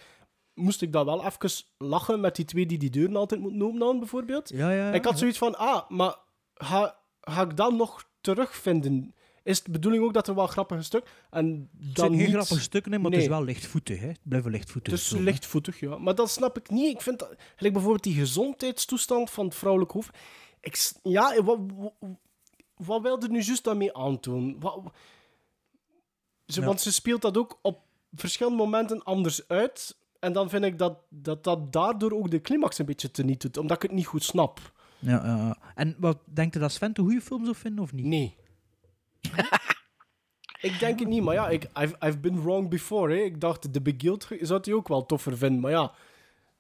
Speaker 5: moest ik dan wel even lachen met die twee die die deuren altijd moeten openen, bijvoorbeeld.
Speaker 6: Ja, ja, ja,
Speaker 5: ik had
Speaker 6: ja.
Speaker 5: zoiets van, ah, maar ga, ga ik dat nog terugvinden? Is de bedoeling ook dat er wel grappige stuk? En dan
Speaker 6: Het zijn geen
Speaker 5: niet...
Speaker 6: grappige stukken, in, maar
Speaker 5: Nee.
Speaker 6: het is wel lichtvoetig. Hè. Het blijven lichtvoetig.
Speaker 5: Het is Dus lichtvoetig, ja. Maar dat snap ik niet. Ik vind dat, gelijk bijvoorbeeld die gezondheidstoestand van het vrouwelijk hoofd. Ik, s- ja, wat, wat, wat wil er nu juist daarmee aandoen? Wat, ze,
Speaker 6: Ja.
Speaker 5: Want ze speelt dat ook op verschillende momenten anders uit. En dan vind ik dat dat, dat daardoor ook de climax een beetje teniet doet, omdat ik het niet goed snap.
Speaker 6: Ja, ja, ja. En wat denkt u dat Sven een goede film zou vinden of niet?
Speaker 5: Nee. Ik denk het niet, maar ja, ik, I've, I've been wrong before. Hè. Ik dacht, The Beguiled zou hij ook wel toffer vinden, maar ja.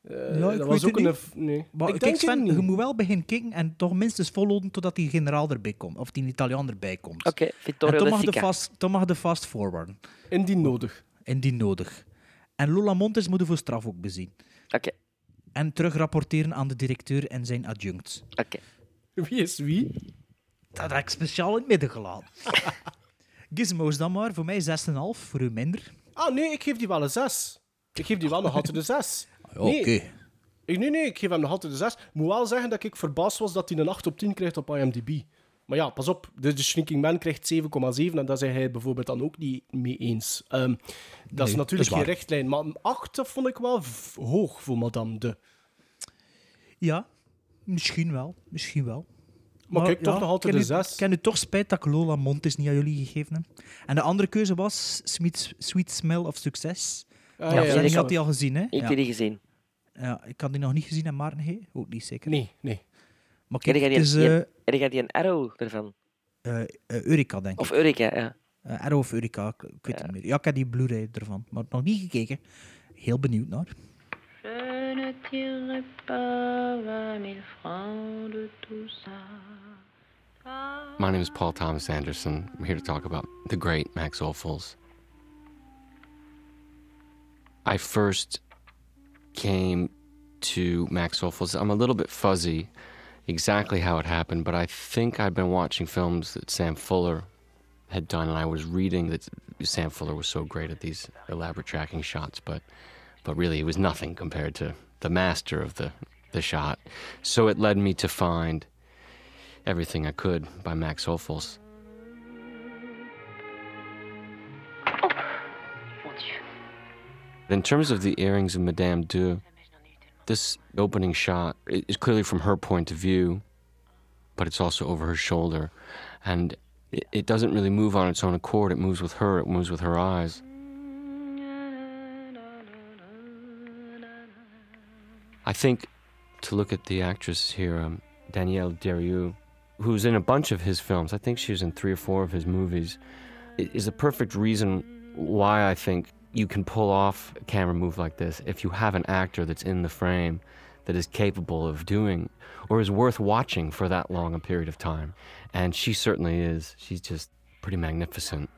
Speaker 5: eh,
Speaker 6: Ja,
Speaker 5: dat
Speaker 6: ik weet
Speaker 5: was ook een.
Speaker 6: het niet.
Speaker 5: f- Nee.
Speaker 6: Maar
Speaker 5: ik
Speaker 6: kijk,
Speaker 5: denk het
Speaker 6: Sven,
Speaker 5: niet.
Speaker 6: je moet wel beginnen kijken en toch minstens volhouden totdat die generaal erbij komt. Of die Italiaan erbij komt.
Speaker 4: Oké, Vittorio
Speaker 6: en dan
Speaker 4: De
Speaker 6: mag, de
Speaker 4: Sica.
Speaker 6: fast, dan mag de fast forwarden.
Speaker 5: Indien nodig.
Speaker 6: Indien nodig. En Lola Montes moet je voor straf ook bezien.
Speaker 4: Oké.
Speaker 6: En terugrapporteren aan de directeur en zijn adjunct.
Speaker 4: Oké.
Speaker 5: Wie is wie?
Speaker 6: Dat heb ik speciaal in het midden gelaten. Gizmo's dan maar. Voor mij 6,5. Voor u minder.
Speaker 5: Ah, nee, ik geef die wel een 6. Ik geef die wel nog altijd een 6.
Speaker 6: Ah, Ja,
Speaker 5: Nee,
Speaker 6: oké.
Speaker 5: ik, nee, nee, ik geef hem nog altijd een 6. Moet wel zeggen dat ik verbaasd was dat hij een 8 op 10 krijgt op IMDb. Maar ja, pas op, de, de Shrinking Man krijgt 7,7 en daar zijn hij bijvoorbeeld dan ook niet mee eens. Ehm, dat is
Speaker 6: Nee, dat
Speaker 5: natuurlijk
Speaker 6: is waar.
Speaker 5: geen richtlijn, maar een 8 dat vond ik wel v- hoog voor Madame de.
Speaker 6: Ja, misschien wel. Misschien wel.
Speaker 5: Maar kijk, toch nog altijd
Speaker 6: ken
Speaker 5: een
Speaker 6: u-
Speaker 5: zes.
Speaker 6: Ken u toch spijt dat ik Lola Montes niet aan jullie gegeven heb? En de andere keuze was Sweet, Sweet Smell of Success.
Speaker 5: Ah,
Speaker 6: Ja,
Speaker 5: ja,
Speaker 6: Sven,
Speaker 5: ja,
Speaker 6: ik had
Speaker 5: sorry.
Speaker 6: die al gezien, hè?
Speaker 4: Ik heb die gezien.
Speaker 6: Ja, ik had die nog niet gezien en Maarten G. Ook niet zeker.
Speaker 5: Nee, nee.
Speaker 6: Maar
Speaker 4: En
Speaker 6: kijk,
Speaker 4: die gaat
Speaker 6: het
Speaker 4: die, die-
Speaker 6: is eh
Speaker 4: en die gaat die een arrow ervan.
Speaker 6: eh, eh, Eureka, denk ik.
Speaker 4: Of Eureka, ja.
Speaker 6: Eh, Arrow of Eureka, ik, ik weet het niet meer. Ja, ik heb die Blu-ray ervan, maar nog niet gekeken. Heel benieuwd naar.
Speaker 10: Je ne tirerai pas vingt mille francs de tout ça.
Speaker 16: My name is Paul Thomas Anderson. I'm here to talk about the great Max Ophuls. I first came to Max Ophuls. I'm a little bit fuzzy exactly how it happened, but I think I've been watching films that Sam Fuller had done, and I was reading that Sam Fuller was so great at these elaborate tracking shots, but but really it was nothing compared to the master of the the shot. So it led me to find everything I could by Max Ophuls. In terms of the earrings of Madame Deux, this opening shot i- is clearly from her point of view, but it's also over her shoulder. And it, it doesn't really move on its own accord. It moves with her, it moves with her eyes. I think to look at the actress here, um, Danielle Derieux, who's in a bunch of his films, I think she was in three or four of his movies, i- is a perfect reason why I think you can pull off a camera move like this if you have an actor that's in the frame that is capable of doing or is worth watching for that long a period of time. And she certainly is. She's just pretty magnificent.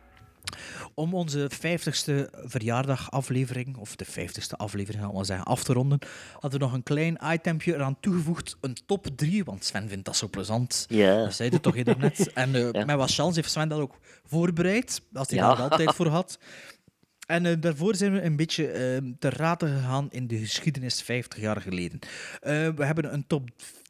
Speaker 6: Om onze 50ste verjaardagaflevering, of de 50ste aflevering, gaan we maar zeggen, af te ronden, hadden we nog een klein itempje eraan toegevoegd. Een top 3, want Sven vindt dat zo plezant.
Speaker 4: Ja.
Speaker 6: Dat zei hij toch eerder net. En eh,
Speaker 4: Ja.
Speaker 6: met wat chance heeft Sven dat ook voorbereid, als hij
Speaker 4: Ja.
Speaker 6: daar altijd voor had. En eh, daarvoor zijn we een beetje eh, te raden gegaan in de geschiedenis 50 jaar geleden. Eh, we hebben een top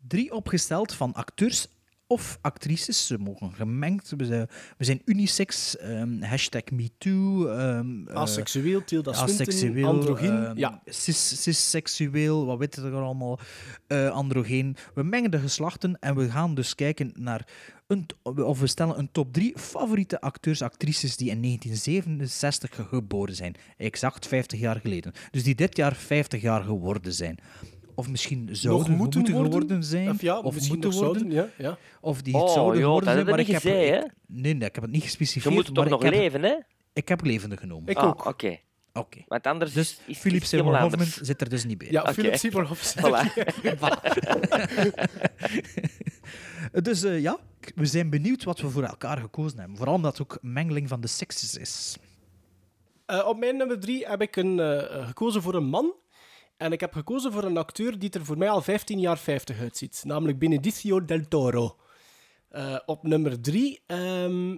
Speaker 6: 3 opgesteld van acteurs of actrices. Ze mogen gemengd. We zijn, we zijn unisex, ehm, hashtag MeToo. ehm, eh,
Speaker 5: Asexueel, Tilda Swinton,
Speaker 6: asexueel,
Speaker 5: androgyn,
Speaker 6: ehm,
Speaker 5: ja.
Speaker 6: cis- cisseksueel, wat weet je er allemaal, eh androgeen. We mengen de geslachten en we gaan dus kijken naar, een, t- of we stellen een top drie favoriete acteurs, actrices die in 1967 ge- geboren zijn. Exact 50 jaar geleden. Dus die dit jaar 50 jaar geworden zijn. Of misschien zouden
Speaker 5: nog moeten, worden,
Speaker 6: geworden zijn.
Speaker 5: Of, ja,
Speaker 6: of
Speaker 5: misschien
Speaker 6: moeten
Speaker 5: nog zouden,
Speaker 6: worden.
Speaker 5: ja, ja.
Speaker 6: Of die
Speaker 4: Oh,
Speaker 6: het zouden
Speaker 4: joh, dat
Speaker 6: geworden zijn,
Speaker 4: hebben
Speaker 6: maar ik
Speaker 4: we
Speaker 6: heb...
Speaker 4: niet gezegd,
Speaker 6: ik- nee, nee, ik heb het niet gespecificeerd.
Speaker 4: moet toch
Speaker 6: maar
Speaker 4: nog
Speaker 6: ik heb-
Speaker 4: leven, hè?
Speaker 6: Ik heb levende genomen.
Speaker 4: Ah, Oké.
Speaker 6: Oké.
Speaker 4: Want anders
Speaker 6: Dus
Speaker 4: is, is
Speaker 6: Philip
Speaker 4: is
Speaker 6: Seymour
Speaker 4: helemaal
Speaker 6: Hoffman
Speaker 4: anders.
Speaker 6: zit er dus niet bij.
Speaker 4: Ja, Oké. Philip Seymour Hoffman. Voilà.
Speaker 6: Voilà. dus eh, ja, k- we zijn benieuwd wat we voor elkaar gekozen hebben. Vooral omdat het ook mengeling van de sexes is.
Speaker 5: Eh, op mijn nummer drie heb ik een, eh, gekozen voor een man. En ik heb gekozen voor een acteur die er voor mij al 15 jaar 50 uitziet. Namelijk Benedicio del Toro. Eh, op nummer drie. ehm,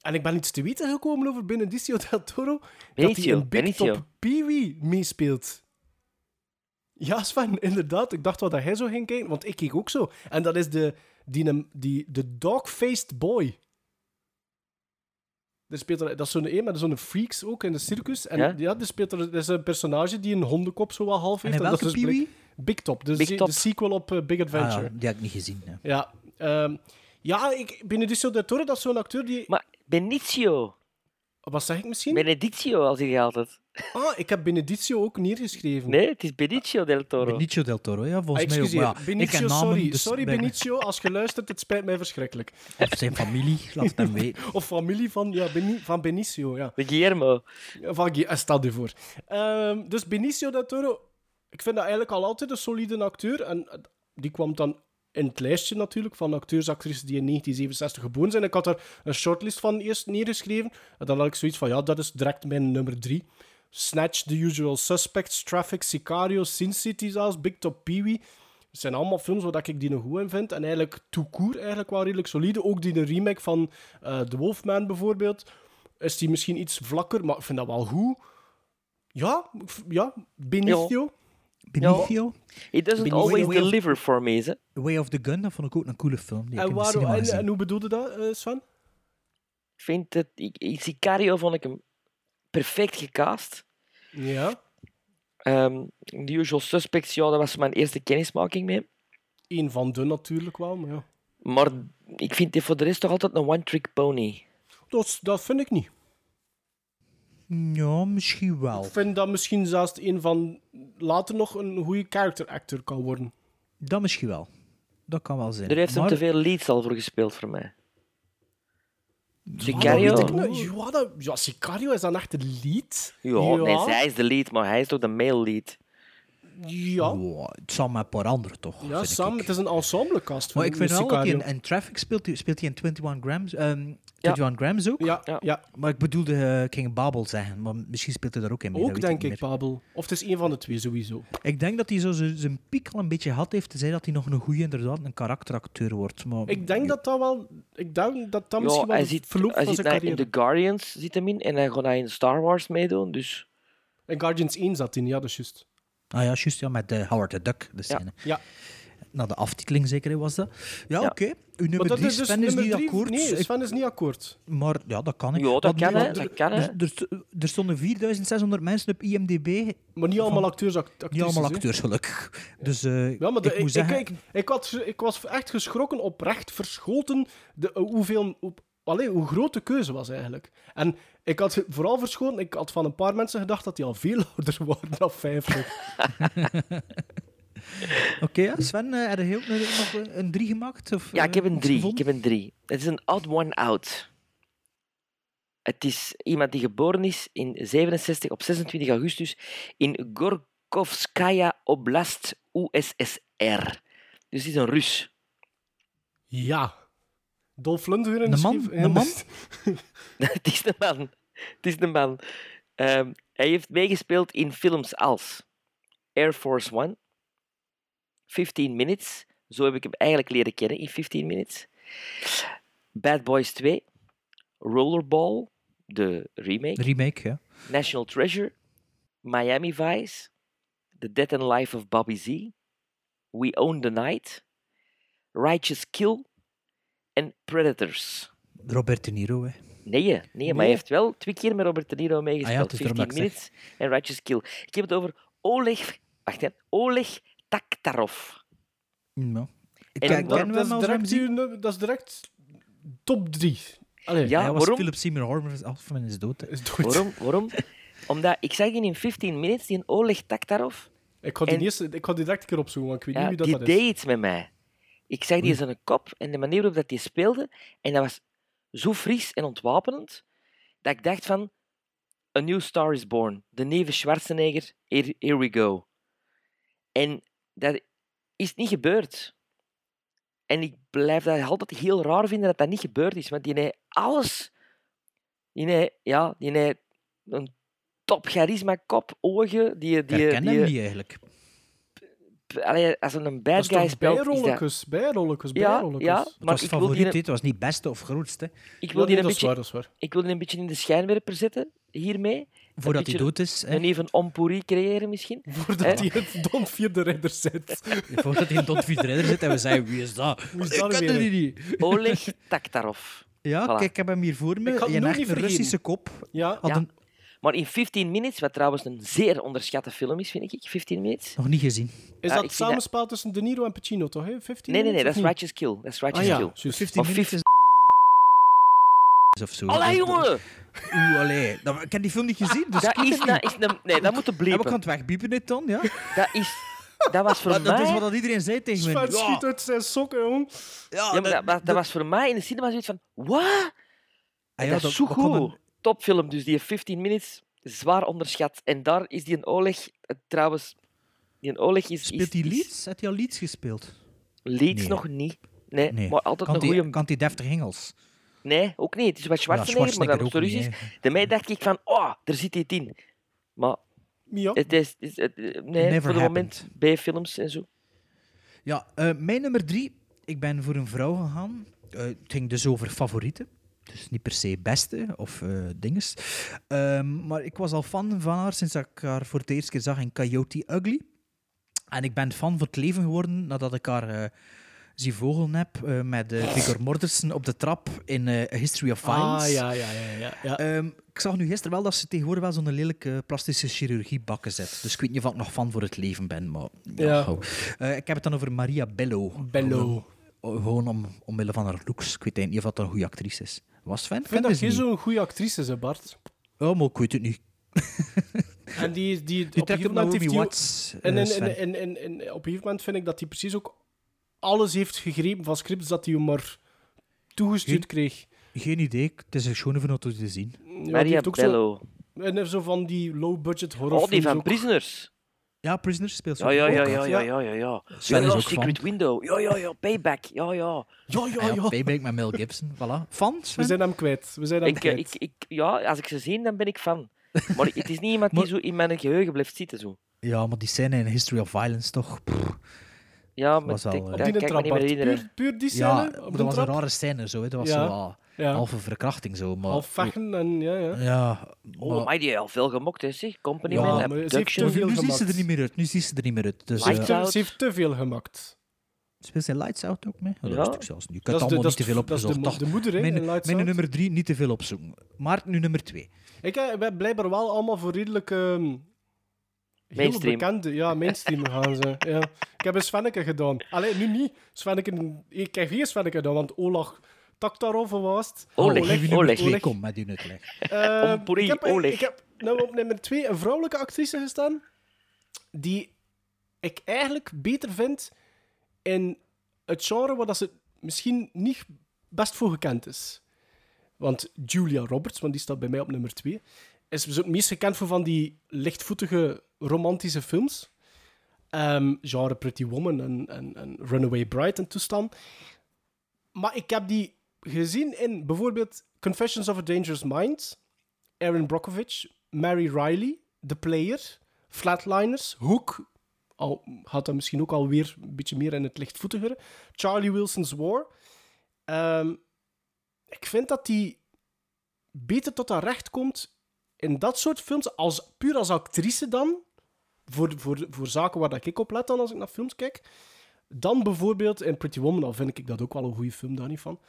Speaker 5: en ik ben iets te weten gekomen over Benedicio del Toro. dat hij
Speaker 4: Benicio,
Speaker 5: een Big
Speaker 4: Benicio.
Speaker 5: Top Peewee meespeelt. Ja, Sven, inderdaad. Ik dacht wel dat hij zo ging kijken, want ik keek ook zo. En dat is de, die, die, de dog-faced boy. Er speelt er, dat is zo'n een, maar dat is zo'n freaks ook in de circus. En
Speaker 4: Ja?
Speaker 5: ja, er speelt er, dat is een personage die een hondenkop zo wel half
Speaker 6: En
Speaker 5: heeft.
Speaker 6: in
Speaker 5: dat
Speaker 6: welke
Speaker 5: is
Speaker 6: Pee-wee?
Speaker 5: blik- Big Top, de,
Speaker 6: Big
Speaker 5: se-
Speaker 6: Top.
Speaker 5: de sequel op eh, Big
Speaker 6: Ah,
Speaker 5: Adventure.
Speaker 6: ja, die heb ik niet gezien. ja.
Speaker 5: ja, ehm, ja ik, Benedicio del Toro, dat is zo'n acteur die...
Speaker 4: Maar Benicio.
Speaker 5: Wat zeg ik misschien?
Speaker 4: Benedicio, als hij altijd.
Speaker 5: Ah, ik heb Benedicio ook neergeschreven.
Speaker 4: Nee, het is Benicio del Toro.
Speaker 6: Benicio del Toro, ja,
Speaker 5: Ah,
Speaker 6: volgens mij ook.
Speaker 5: excuseer.
Speaker 6: Maar ja, ik
Speaker 5: Benicio,
Speaker 6: ken namen,
Speaker 5: sorry.
Speaker 6: dus
Speaker 5: sorry,
Speaker 6: ben ik-
Speaker 5: Benicio, als je luistert, het spijt mij verschrikkelijk.
Speaker 6: Of zijn familie, laat hem weten.
Speaker 5: Of familie van, ja, Beni- van Benicio, ja.
Speaker 4: De Guillermo.
Speaker 5: Van Gui- eh, stel je voor. Ehm, dus Benicio del Toro, ik vind dat eigenlijk al altijd een solide acteur. En eh, die kwam dan in het lijstje natuurlijk van acteurs, actrices die in 1967 geboren zijn. Ik had er een shortlist van eerst neergeschreven. En dan had ik zoiets van, ja, dat is direct mijn nummer drie. Snatch, The Usual Suspects, Traffic, Sicario, Sin City zelfs, Big Top Pee-wee. Het zijn allemaal films waar ik die nog goed in vind. En eigenlijk tout court eigenlijk wel redelijk solide. Ook die de remake van eh The Wolfman bijvoorbeeld. Is die misschien iets vlakker, maar ik vind dat wel goed. Ja, ik v- ja Benicio.
Speaker 6: Benicio?
Speaker 4: It doesn't
Speaker 6: Benicio.
Speaker 4: always
Speaker 6: Way of-
Speaker 4: deliver for me, ze.
Speaker 6: Way of the Gun, dat vond ik ook een coole film. Die ik
Speaker 5: En,
Speaker 6: in de
Speaker 5: waarom,
Speaker 6: cinema
Speaker 5: en,
Speaker 6: gezien.
Speaker 5: en hoe bedoelde dat, eh, Sven?
Speaker 4: Ik vind het... Ik, in Sicario vond ik hem perfect gecast.
Speaker 5: Ja.
Speaker 4: Ehm The Usual Suspects, ja, dat was mijn eerste kennismaking mee.
Speaker 5: Eén van de natuurlijk wel, maar ja.
Speaker 4: Maar ik vind dit voor de rest toch altijd een one-trick pony.
Speaker 5: Dat, is- dat vind ik niet.
Speaker 6: Ja, misschien wel.
Speaker 5: Ik vind dat misschien zelfs een van later nog een goede character actor kan worden.
Speaker 6: Dat misschien wel. Dat kan wel zijn.
Speaker 4: Er heeft hem
Speaker 6: Maar-
Speaker 4: te veel leads al voor gespeeld voor mij.
Speaker 5: Ja,
Speaker 4: Sicario?
Speaker 5: dat weet ik nou- niet. Ja, dat- ja, Sicario is dan echt de lead.
Speaker 4: Ja, nee, zij is de lead, maar hij is toch de male lead.
Speaker 5: Ja.
Speaker 6: Wow, het zal met een paar anderen toch.
Speaker 5: Ja, Sam, het is een ensemble cast. van
Speaker 6: Maar Oh, ik vind wel dat hij
Speaker 5: Sicario.
Speaker 6: in, in Traffic speelt, hij- speelt hij in 21 Grams. ehm, Ja. John Grams ook?
Speaker 5: Ja, ja.
Speaker 6: Maar ik bedoelde eh, ik ging Babel zeggen, maar misschien speelt hij daar ook in mee. dat
Speaker 5: Ook
Speaker 6: weet
Speaker 5: denk
Speaker 6: niet
Speaker 5: ik,
Speaker 6: meer.
Speaker 5: Babel. Of het is één van de twee sowieso.
Speaker 6: Ik denk dat hij zo z- zijn piek al een beetje had heeft, tenzij dat hij nog een goede, inderdaad, een karakteracteur wordt. Maar
Speaker 5: Ik denk dat dat wel. Ik denk dat dat misschien
Speaker 4: Ja,
Speaker 5: wel
Speaker 4: hij
Speaker 5: de
Speaker 4: zit,
Speaker 5: verloop
Speaker 4: hij
Speaker 5: van
Speaker 4: zit
Speaker 5: zijn
Speaker 4: daar in
Speaker 5: carrière.
Speaker 4: The Guardians zit hem in en hij gaat hij in Star Wars meedoen. Dus
Speaker 5: En Guardians 1 zat in, ja, dat is juist.
Speaker 6: Ah ja, juist, ja, met eh, Howard the Duck, de scène.
Speaker 5: Ja.
Speaker 6: Na de aftiteling zeker hè, was dat. Ja, oké. Uw
Speaker 5: Maar
Speaker 6: nummer
Speaker 5: dat
Speaker 6: drie,
Speaker 5: dus
Speaker 6: Sven is
Speaker 5: nummer
Speaker 6: niet
Speaker 5: drie-
Speaker 6: akkoord.
Speaker 5: Nee,
Speaker 6: Ik-
Speaker 5: Sven is niet akkoord.
Speaker 6: Maar ja, dat kan. hè.
Speaker 5: Ja, dat
Speaker 6: Want-
Speaker 5: kan, hè,
Speaker 6: want
Speaker 5: dat
Speaker 6: er-
Speaker 5: kan, hè.
Speaker 6: er- Er, sto- dus- eh, er stonden 4600 mensen op IMDb.
Speaker 5: Maar niet allemaal acteurs, act-
Speaker 6: Niet
Speaker 5: actrices,
Speaker 6: allemaal
Speaker 5: dus, hè.
Speaker 6: acteurs, gelukkig. Dus eh,
Speaker 5: Ja, maar de-
Speaker 6: ik moet zeggen...
Speaker 5: ik, ik had, ik was echt geschrokken, oprecht verschoten, de, eh, hoeveel, hoe, allee, hoe groot de keuze was eigenlijk. En ik had vooral verschoten, ik had van een paar mensen gedacht dat die al veel ouder waren dan 50.
Speaker 6: Oké, ja, Sven, eh, heb je heel- nog een- een drie gemaakt? Of,
Speaker 4: ja, ik heb
Speaker 6: eh,
Speaker 4: een
Speaker 6: iets
Speaker 4: drie. Ik
Speaker 6: gevonden?
Speaker 4: heb een drie. Het is een odd one out. Het is iemand die geboren is in 67 op 26 augustus in Gorkovskaya Oblast, USSR. Dus het is een Rus.
Speaker 5: ja. Dolph Lundgren
Speaker 4: Een man?
Speaker 5: schreef-
Speaker 4: Een man? het is een man. Het is een man. Ehm, hij heeft meegespeeld in films als Air Force One, 15 Minutes. Zo heb ik hem eigenlijk leren kennen in 15 Minutes. Bad Boys 2, Rollerball, de remake.
Speaker 6: Remake, ja.
Speaker 4: National Treasure, Miami Vice, The Death and Life of Bobby Z, We Own the Night, Righteous Kill en Predators.
Speaker 6: Robert De Niro, hè.
Speaker 4: Nee, nee, maar
Speaker 6: Nee.
Speaker 4: hij heeft wel twee keer met Robert De Niro
Speaker 6: Ah ja,
Speaker 4: meegespeeld.
Speaker 6: het is daarom
Speaker 4: 15
Speaker 6: dat ik
Speaker 4: Minutes en Righteous Kill. Ik heb het over Oleg... Wacht, hè. Oleg Taktarov.
Speaker 6: Mm, Ja.
Speaker 4: En
Speaker 6: Ken-
Speaker 4: dat-
Speaker 6: kennen we
Speaker 5: dat,
Speaker 6: hem
Speaker 5: is
Speaker 6: als
Speaker 5: direct,
Speaker 6: Ramsey?
Speaker 5: uw nu- dat is direct top 3. Allee,
Speaker 4: Ja,
Speaker 6: Hij was
Speaker 4: waarom?
Speaker 6: Philip Seymour Hoffman- Hoffman is dood. hè.
Speaker 4: Waarom? Waarom? Omdat ik zag in 15 Minutes die een Oleg Taktarov...
Speaker 5: Ik ga die,
Speaker 4: En-
Speaker 5: eerste, ik ga die direct een keer opzoeken, want ik weet
Speaker 4: Ja,
Speaker 5: niet wie
Speaker 4: die
Speaker 5: dat, dat is.
Speaker 4: deed iets met mij. Ik zag die eens aan een kop en de manier waarop dat die speelde, en dat was zo fris en ontwapenend, dat ik dacht van, A New Star is Born, de nieuwe Schwarzenegger, here, here we go. En dat is niet gebeurd. En ik blijf dat altijd heel raar vinden dat dat niet gebeurd is, want die heeft alles... Die heeft, ja, die heeft een top charisma, kop, ogen... Die,
Speaker 6: Ik
Speaker 4: die,
Speaker 6: herken
Speaker 4: die, eh,
Speaker 6: hem niet eigenlijk.
Speaker 4: Allee, als een bad
Speaker 5: Dat is
Speaker 4: guy
Speaker 5: toch
Speaker 4: speelt, is dat...
Speaker 5: bijrolletjes, bijrolletjes,
Speaker 4: Ja,
Speaker 5: bijrolletjes.
Speaker 4: ja,
Speaker 6: Het was
Speaker 4: ik wil die-
Speaker 6: favoriet, dit was niet beste of grootste.
Speaker 4: Ik wil
Speaker 5: Ja, nee,
Speaker 4: die een
Speaker 5: dat is
Speaker 4: beetje,
Speaker 5: waar, dat is waar.
Speaker 4: Ik wil die een beetje in de schijnwerper zetten, hiermee.
Speaker 6: Voordat hij
Speaker 4: beetje
Speaker 6: dood is. hè.
Speaker 4: En even ompoerie creëren misschien.
Speaker 5: Voordat hij het Don Vierde Ridder zit.
Speaker 6: Voordat hij in Don Vidredder zit en we zeiden, wie is dat?
Speaker 5: Wie is
Speaker 6: ik
Speaker 5: dat
Speaker 6: ken
Speaker 5: weer?
Speaker 6: die niet.
Speaker 4: Oleg Taktarov.
Speaker 6: Ja,
Speaker 4: Voilà.
Speaker 6: kijk, ik heb hem hier voor me.
Speaker 5: Ik had
Speaker 6: Je
Speaker 5: het nooit
Speaker 6: hebt
Speaker 5: niet
Speaker 6: een
Speaker 5: vergeten.
Speaker 6: Russische kop.
Speaker 5: Ja.
Speaker 6: Had hem
Speaker 4: Maar in 15 Minutes, wat trouwens een zeer onderschatte film is, vind ik, 15 Minutes.
Speaker 6: nog niet gezien.
Speaker 5: Is
Speaker 4: Ja, ik
Speaker 5: dat het
Speaker 4: zie dat-
Speaker 5: samenspel tussen De Niro en Pacino, toch? Hè? 15
Speaker 4: Nee, nee, nee, dat
Speaker 5: minuten,
Speaker 4: is
Speaker 5: of niet?
Speaker 4: Righteous Kill. Dat is Righteous
Speaker 5: Ah, ja.
Speaker 4: Kill.
Speaker 5: Juist.
Speaker 6: 15
Speaker 4: Of
Speaker 6: minuten is of zo.
Speaker 4: Allee,
Speaker 6: Dat-
Speaker 4: jongen!
Speaker 6: Oeh, allee. Dat- Ik heb die film niet gezien, dus
Speaker 4: Dat
Speaker 6: ik weet
Speaker 4: is...
Speaker 6: het
Speaker 4: Dat
Speaker 6: niet.
Speaker 4: is een- nee, dat moet er
Speaker 6: Ja, maar ik kan
Speaker 4: blijven.
Speaker 6: het wegbiepen dit dan, ja.
Speaker 4: Dat is... Dat was voor
Speaker 6: Maar dat is
Speaker 4: mij...
Speaker 6: wat dat iedereen zei tegen me.
Speaker 5: Sven schiet
Speaker 6: Ja,
Speaker 5: uit zijn sokken, jong.
Speaker 6: ja,
Speaker 4: Ja, maar dat, dat, dat was voor mij in de cinema zoiets van... Wat?
Speaker 6: Ah ja,
Speaker 4: dat is zo
Speaker 6: we konden-
Speaker 4: goed. Topfilm, dus die 15 minutes, zwaar onderschat. En daar is die een Oleg, eh, trouwens, die een Oleg is.
Speaker 6: Speelt hij
Speaker 4: is, is-
Speaker 6: Leeds? Had hij al Leeds gespeeld?
Speaker 4: Leeds
Speaker 6: Nee.
Speaker 4: nog niet. Nee,
Speaker 6: Nee.
Speaker 4: maar altijd
Speaker 6: Kan
Speaker 4: een
Speaker 6: die-
Speaker 4: goede.
Speaker 6: Kan hij deftig Engels?
Speaker 4: Nee, ook niet. Het is wat Schwarzenegger, maar dat nog zo
Speaker 6: Schwarzenegger ook
Speaker 4: Russisch.
Speaker 6: niet,
Speaker 4: is. De mij dacht ik van, oh, daar zit hij in. Maar
Speaker 5: Ja.
Speaker 4: het is, het is- het- eh, nee,
Speaker 6: Never
Speaker 4: voor het moment
Speaker 6: happened.
Speaker 4: B-films en zo.
Speaker 6: Ja, eh, mijn nummer drie. Ik ben voor een vrouw gegaan. Eh, het ging dus over favorieten. Dus niet per se beste of eh dinges. Ehm, maar ik was al fan van haar sinds dat ik haar voor het eerst keer zag in Coyote Ugly. En ik ben fan voor het leven geworden nadat ik haar eh zie vogelen heb eh, met eh Vigor Mortensen op de trap in eh, A History of Violence.
Speaker 5: Ah, ja, ja, ja. ja, ja.
Speaker 6: Ehm, ik zag nu gisteren wel dat ze tegenwoordig wel zo'n lelijke plastische chirurgie bakken zet. Dus ik weet niet of ik nog fan voor het leven ben, maar... Ja.
Speaker 5: Ja.
Speaker 6: gauw. Eh, ik heb het dan over Maria Bello.
Speaker 5: Bello.
Speaker 6: Gewoon, oh, gewoon om, omwille van haar looks. Ik weet eigenlijk niet of dat een goede actrice is. Was Sven?
Speaker 5: Ik vind dat je
Speaker 6: zo...
Speaker 5: zo'n goede actrice bent, Bart.
Speaker 6: Oh, maar ik weet het niet.
Speaker 5: En die, die,
Speaker 6: Je
Speaker 5: op een
Speaker 6: trekt
Speaker 5: gegeven
Speaker 6: op
Speaker 5: moment
Speaker 6: Naomi
Speaker 5: heeft die...
Speaker 6: Watts,
Speaker 5: En,
Speaker 6: eh,
Speaker 5: en,
Speaker 6: Sven.
Speaker 5: en, en, en, en op een gegeven moment vind ik dat hij precies ook alles heeft gegrepen van scripts dat hij maar toegestuurd
Speaker 6: Geen-
Speaker 5: kreeg.
Speaker 6: Geen idee. Het is een schone van te zien.
Speaker 5: Ja, die
Speaker 4: Maria
Speaker 5: heeft ook zo-
Speaker 4: Bello.
Speaker 5: En heeft zo van die low-budget
Speaker 4: Oh, die
Speaker 5: horrorfilms
Speaker 4: van
Speaker 5: ook.
Speaker 4: Prisoners.
Speaker 6: Ja, Prisoners speelt ze
Speaker 4: Ja, ja,
Speaker 6: ook.
Speaker 4: ja, ja, ja, ja, ja, ja.
Speaker 6: Sven is ook
Speaker 4: Secret
Speaker 6: fan.
Speaker 4: Window. Ja, ja, ja. Payback. Ja, ja.
Speaker 5: Ja,
Speaker 6: Ja, ja. Payback met Mel Gibson, voilà. Fans,
Speaker 5: We
Speaker 6: Sven?
Speaker 5: zijn hem kwijt. We zijn hem
Speaker 4: Ik, eh,
Speaker 5: kwijt.
Speaker 4: ik, ik, ja, als ik ze zie, dan ben ik fan. Maar het is niet iemand die zo in mijn geheugen blijft zitten. Zo.
Speaker 6: Ja, maar die scène in History of Violence toch? Pff,
Speaker 4: Ja, maar
Speaker 6: was
Speaker 4: ik
Speaker 6: wel,
Speaker 4: denk,
Speaker 6: eh,
Speaker 4: ja,
Speaker 5: Die
Speaker 4: ik kan me
Speaker 5: trap,
Speaker 4: niet meer
Speaker 5: Bart.
Speaker 4: herinneren.
Speaker 5: puur, puur die
Speaker 6: ja,
Speaker 5: scène? op
Speaker 6: dat
Speaker 5: de
Speaker 6: was een
Speaker 5: trap?
Speaker 6: rare scène, zo, hè. dat was
Speaker 5: Ja,
Speaker 6: zo ah. wat
Speaker 5: ja.
Speaker 6: halve verkrachting. Zo, maar,
Speaker 5: Half vechten en ja, ja.
Speaker 6: Ja,
Speaker 4: Oh, maar die heeft al veel gemokt, hè, zeg. Company
Speaker 6: Ja,
Speaker 4: Man,
Speaker 5: maar ze heeft
Speaker 4: Abduction.
Speaker 5: te veel
Speaker 6: nu ziet
Speaker 5: gemaakt.
Speaker 6: ze er niet meer uit. Nu ziet ze er niet meer uit. Dus,
Speaker 5: Ze
Speaker 4: Lights
Speaker 6: eh,
Speaker 5: heeft te-
Speaker 4: out.
Speaker 5: ze heeft te veel gemaakt.
Speaker 6: speelt zijn Lights Out ook mee? Oh,
Speaker 4: Ja.
Speaker 6: dat wist ik zelfs niet. Ik had
Speaker 5: Dat is de- dat
Speaker 6: allemaal niet
Speaker 5: is
Speaker 6: te
Speaker 5: de-
Speaker 6: veel
Speaker 5: dat is de
Speaker 6: opgezocht.
Speaker 5: mo-
Speaker 6: Dacht,
Speaker 5: de moeder, hè, in
Speaker 6: Mijn,
Speaker 5: Lights
Speaker 6: mijn
Speaker 5: Out.
Speaker 6: nummer drie, niet te veel opzoeken. Maar nu nummer twee.
Speaker 5: Ik eh, ben blijkbaar wel allemaal voor redelijk... ehm, heel
Speaker 4: Mainstream.
Speaker 5: bekende, ja, mainstream gaan ze. Ja. Ik heb een Svenneke gedaan. Allee, nu niet. Svenneke, ik heb geen Svenneke gedaan, want Olag Taktarov of wat was het?
Speaker 4: Oleg,
Speaker 6: Geef je
Speaker 5: Oleg.
Speaker 6: nummer
Speaker 4: Oleg.
Speaker 6: twee,
Speaker 5: Oleg.
Speaker 6: Kom met die uitleg.
Speaker 5: Eh,
Speaker 4: Ompuri,
Speaker 5: ik, heb,
Speaker 4: Oleg.
Speaker 5: ik heb nou op nummer twee een vrouwelijke actrice gestaan, die ik eigenlijk beter vind in het genre waar dat ze misschien niet best voor gekend is. Want Julia Roberts, want die staat bij mij op nummer twee, is zo het meest gekend voor van die lichtvoetige romantische films. Ehm, genre Pretty Woman en, en, en Runaway Bride en toestand. Maar ik heb die gezien in bijvoorbeeld Confessions of a Dangerous Mind, Aaron Brockovich, Mary Riley, The Player, Flatliners, Hook, al had dat misschien ook alweer een beetje meer in het lichtvoetigere, Charlie Wilson's War. Ehm, ik vind dat die beter tot haar recht komt in dat soort films, als, puur als actrice dan, voor, voor, voor zaken waar dat ik op let dan als ik naar films kijk, dan bijvoorbeeld in Pretty Woman, al vind ik dat ook wel een goede film, daar niet van.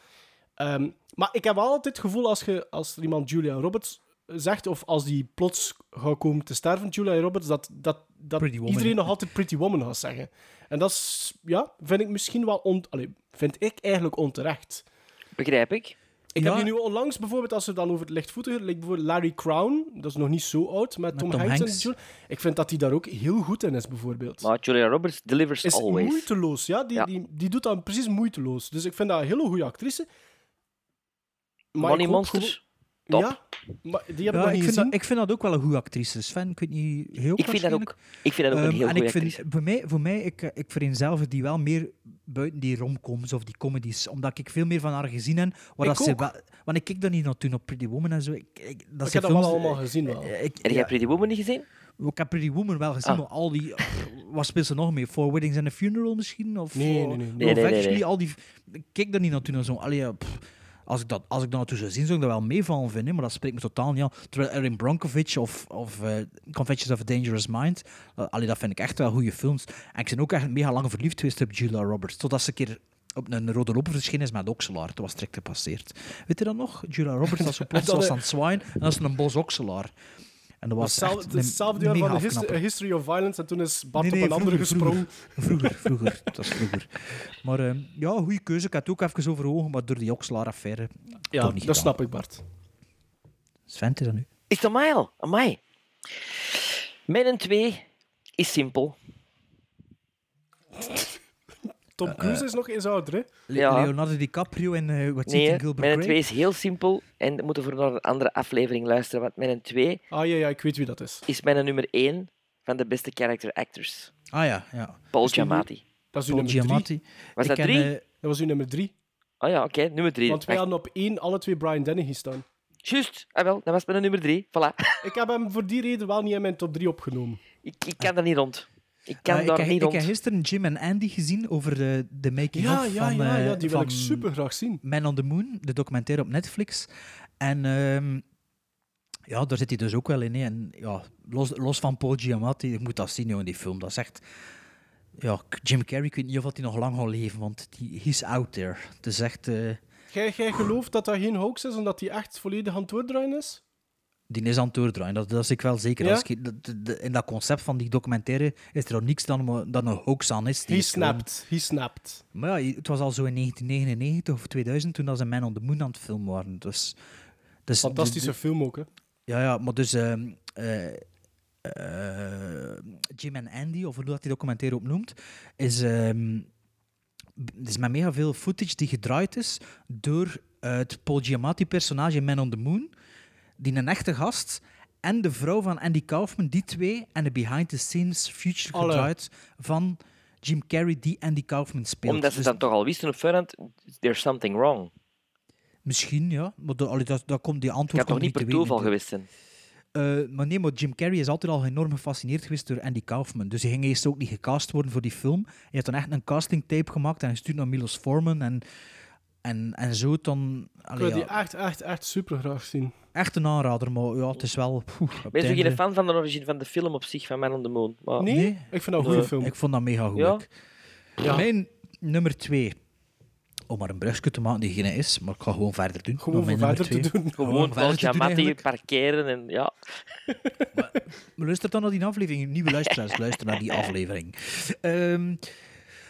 Speaker 5: Ehm, maar ik heb altijd het gevoel als, je, als er iemand Julia Roberts zegt, of als die plots gaat komen te sterven, Julia Roberts, dat, dat, dat
Speaker 6: Pretty Woman.
Speaker 5: iedereen nog altijd Pretty Woman gaat zeggen. En dat is, ja, vind ik misschien wel on, allee, vind ik eigenlijk onterecht.
Speaker 4: Begrijp ik.
Speaker 5: Ik
Speaker 6: Ja.
Speaker 5: heb die nu onlangs bijvoorbeeld, als we dan over het lichtvoetiger, like bijvoorbeeld Larry Crown, dat is nog niet zo oud, met, Tom,
Speaker 6: Tom
Speaker 5: Hanks. en
Speaker 6: Hanks.
Speaker 5: Julia- Ik vind dat hij daar ook heel goed in is, bijvoorbeeld.
Speaker 4: Maar Julia Roberts delivers
Speaker 5: is
Speaker 4: always.
Speaker 5: moeiteloos, ja? Die,
Speaker 4: Ja.
Speaker 5: Die, die doet dat precies moeiteloos. Dus ik vind dat een hele goede actrice.
Speaker 4: Money
Speaker 5: ik hoop
Speaker 4: Monsters.
Speaker 5: gewoon-
Speaker 4: top.
Speaker 5: Ja, maar die heb ik
Speaker 6: Ja,
Speaker 5: nog
Speaker 6: ik,
Speaker 5: niet
Speaker 6: vind dat,
Speaker 5: gezien.
Speaker 6: ik vind dat ook wel een goede actrice. Sven, ik weet niet heel
Speaker 4: Ik vind dat
Speaker 6: waarschijnlijk.
Speaker 4: ook, ik vind dat ook een
Speaker 6: Ehm,
Speaker 4: heel
Speaker 6: en
Speaker 4: goede
Speaker 6: ik vind,
Speaker 4: actrice.
Speaker 6: Voor mij, voor mij ik, eh, ik vereenzelvig die wel meer buiten die romcoms of die comedies. Omdat ik veel meer van haar gezien heb. Waar
Speaker 5: Ik
Speaker 6: dat ze
Speaker 5: ook.
Speaker 6: wel- want ik kijk dat niet naar toen op Pretty Woman en zo. Ik, ik, dat
Speaker 5: Ik heb
Speaker 6: zijn
Speaker 5: dat wel
Speaker 6: films-
Speaker 5: allemaal gezien, wel.
Speaker 6: eh, Ik,
Speaker 4: Heb jij
Speaker 6: ja,
Speaker 4: Pretty Woman niet gezien?
Speaker 6: ik heb Pretty Woman wel gezien,
Speaker 4: Ah.
Speaker 6: maar al die... pff, Wat speelt ze nog meer? Four Weddings and a Funeral misschien? Of
Speaker 5: Nee,
Speaker 6: eh,
Speaker 5: nee, nee, nee.
Speaker 6: Love
Speaker 4: Nee, nee, nee,
Speaker 6: Actually,
Speaker 4: nee.
Speaker 6: Al die, ik kijk daar niet naartoe. naar Zo'n, allee, ja, pff, als ik dat, als ik dat naartoe zou zien, zou ik dat wel meevallen vinden, maar dat spreekt me totaal niet aan. Terwijl Erin Bronkovich of, of eh, Confessions of a Dangerous Mind, eh, allee, dat vind ik echt wel goede films. En ik ben ook echt mega lang verliefd geweest op Julia Roberts, totdat ze een keer op een rode loper verschenen is met okselaar. Dat was strikt gepasseerd. Weet je dat nog? Julia Roberts was zo plots
Speaker 5: Dat,
Speaker 6: was
Speaker 5: eh,
Speaker 6: aan het zwaaien en dat is een bos okselaar. En dat was
Speaker 5: Hetzelfde-
Speaker 6: echt een
Speaker 5: Hetzelfde dus jaar
Speaker 6: mega
Speaker 5: van de his-
Speaker 6: afknapper.
Speaker 5: History of Violence en toen is Bart
Speaker 6: Nee, nee,
Speaker 5: op een andere gesprongen.
Speaker 6: Vroeger, vroeger, vroeger. dat is vroeger. Maar ehm, ja, goede keuze. Ik had het ook even overwogen, maar door die Oxlaar-affaire.
Speaker 5: Ja,
Speaker 6: toch
Speaker 5: dat
Speaker 6: niet gedaan.
Speaker 5: snap ik, Bart.
Speaker 6: Sven, het is dat nu?
Speaker 4: Is dat mij al? Amai. Mijn twee is simpel.
Speaker 6: Eh,
Speaker 5: Tom Cruise is nog eens ouder, hè?
Speaker 6: Le-
Speaker 4: Ja.
Speaker 6: Leonardo DiCaprio en eh What's
Speaker 4: Nee, hè.
Speaker 6: Eating Gilbert
Speaker 4: mijn
Speaker 6: Grape?
Speaker 4: twee is heel simpel. En we moeten voor naar een andere aflevering luisteren. Want mijn twee
Speaker 5: Ah ja, ja, ik weet wie dat is.
Speaker 4: is mijn nummer één van de beste character actors.
Speaker 6: Ah ja, ja.
Speaker 4: Paul
Speaker 5: die-
Speaker 4: Giamatti.
Speaker 5: Dat is uw
Speaker 6: Paul
Speaker 5: nummer drie.
Speaker 6: Giamatti.
Speaker 4: Was
Speaker 6: Ik
Speaker 4: dat
Speaker 6: ken,
Speaker 4: drie?
Speaker 6: eh,
Speaker 5: Dat was uw nummer drie.
Speaker 4: Oh ja, oké, nummer drie.
Speaker 5: Want wij
Speaker 4: Wacht,
Speaker 5: hadden op één alle twee Brian Dennehy staan.
Speaker 4: Juist, ah wel, dat was mijn nummer drie. Voilà.
Speaker 5: Ik heb hem voor die reden wel niet in mijn top drie opgenomen.
Speaker 4: Ik, ik kan daar niet rond. Ik kan
Speaker 6: eh, ik,
Speaker 4: daar
Speaker 6: heb-
Speaker 4: niet
Speaker 6: ik
Speaker 4: rond.
Speaker 6: heb gisteren Jim en Andy gezien over de, de making
Speaker 5: Ja,
Speaker 6: of
Speaker 5: ja,
Speaker 6: van,
Speaker 5: ja,
Speaker 6: eh,
Speaker 5: ja, die wil
Speaker 6: van
Speaker 5: ik super graag zien.
Speaker 6: Man on the Moon, de documentaire op Netflix. En ehm, ja, daar zit hij dus ook wel in. hè. En ja, los, los van Paul Giamatti, ik moet dat zien joh, in die film. Dat is echt... Ja, K- Jim Carrey, ik weet niet of dat hij nog lang gaat leven, want die, he's out there. Het is echt... eh,
Speaker 5: Jij, jij gelooft dat dat geen hoax is en dat die echt volledig aan het doordraaien is?
Speaker 6: die is aan het doordraaien, dat, dat is ik wel zeker.
Speaker 5: Ja?
Speaker 6: Als je- dat- dat- dat- in dat concept van die documentaire is er ook niks dan, om- dan een hoax aan is. Die
Speaker 5: He
Speaker 6: is gewoon-
Speaker 5: snapt, he snapt.
Speaker 6: Maar ja, het was al zo in 1999 of 2000 toen dat ze Man on the Moon aan het film waren. Dus, dus
Speaker 5: Fantastische film ook, hè?
Speaker 6: Ja, ja, maar dus ehm, eh, eh, Jim en Andy, of hoe dat die documentaire ook noemt, is, ehm, b- is met mega veel footage die gedraaid is door eh, het Paul Giamatti-personage in Man on the Moon, die een echte gast, en de vrouw van Andy Kaufman, die twee, en de behind-the-scenes future
Speaker 4: Alle.
Speaker 6: gedraaid van Jim Carrey, die Andy Kaufman speelt.
Speaker 4: Omdat ze
Speaker 6: Dus
Speaker 4: dan toch al wisten op voorhand, there's something wrong.
Speaker 6: Misschien, ja. Maar de, allee, dat, dat komt, die antwoord
Speaker 4: Ik had
Speaker 6: komt
Speaker 4: toch niet per
Speaker 6: te weten.
Speaker 4: toeval geweest zijn.
Speaker 6: Eh, maar nee, maar Jim Carrey is altijd al enorm gefascineerd geweest door Andy Kaufman. Dus hij ging eerst ook niet gecast worden voor die film. Hij heeft dan echt een castingtape gemaakt en gestuurd naar Milos Forman. En, en, en zo dan...
Speaker 5: Ik
Speaker 6: Allee,
Speaker 5: wil die
Speaker 6: ja,
Speaker 5: echt, echt, echt super graag zien.
Speaker 6: echt een aanrader, maar ja, het is wel... poeh, op het
Speaker 4: Ben je
Speaker 6: einde-
Speaker 4: geen fan van de origine van de film op zich, van Man on the Moon? Maar-
Speaker 5: Nee? Ik vind dat een goede
Speaker 6: Nee,
Speaker 5: film.
Speaker 6: Ik vond dat mega goed.
Speaker 4: Ja?
Speaker 5: Ja.
Speaker 6: Mijn nummer twee, om maar een brugje te maken die geen is, maar ik ga gewoon verder doen.
Speaker 5: Gewoon
Speaker 6: met mijn
Speaker 5: voor
Speaker 6: nummer
Speaker 5: verder te
Speaker 6: twee.
Speaker 5: doen.
Speaker 6: Gewoon
Speaker 4: Gewoon
Speaker 6: verder
Speaker 4: Paul
Speaker 6: te doen
Speaker 4: Giamatti
Speaker 6: eigenlijk.
Speaker 4: parkeren en ja.
Speaker 6: Maar luister dan naar die aflevering. Nieuwe luisteraars, luister naar die aflevering. Ehm,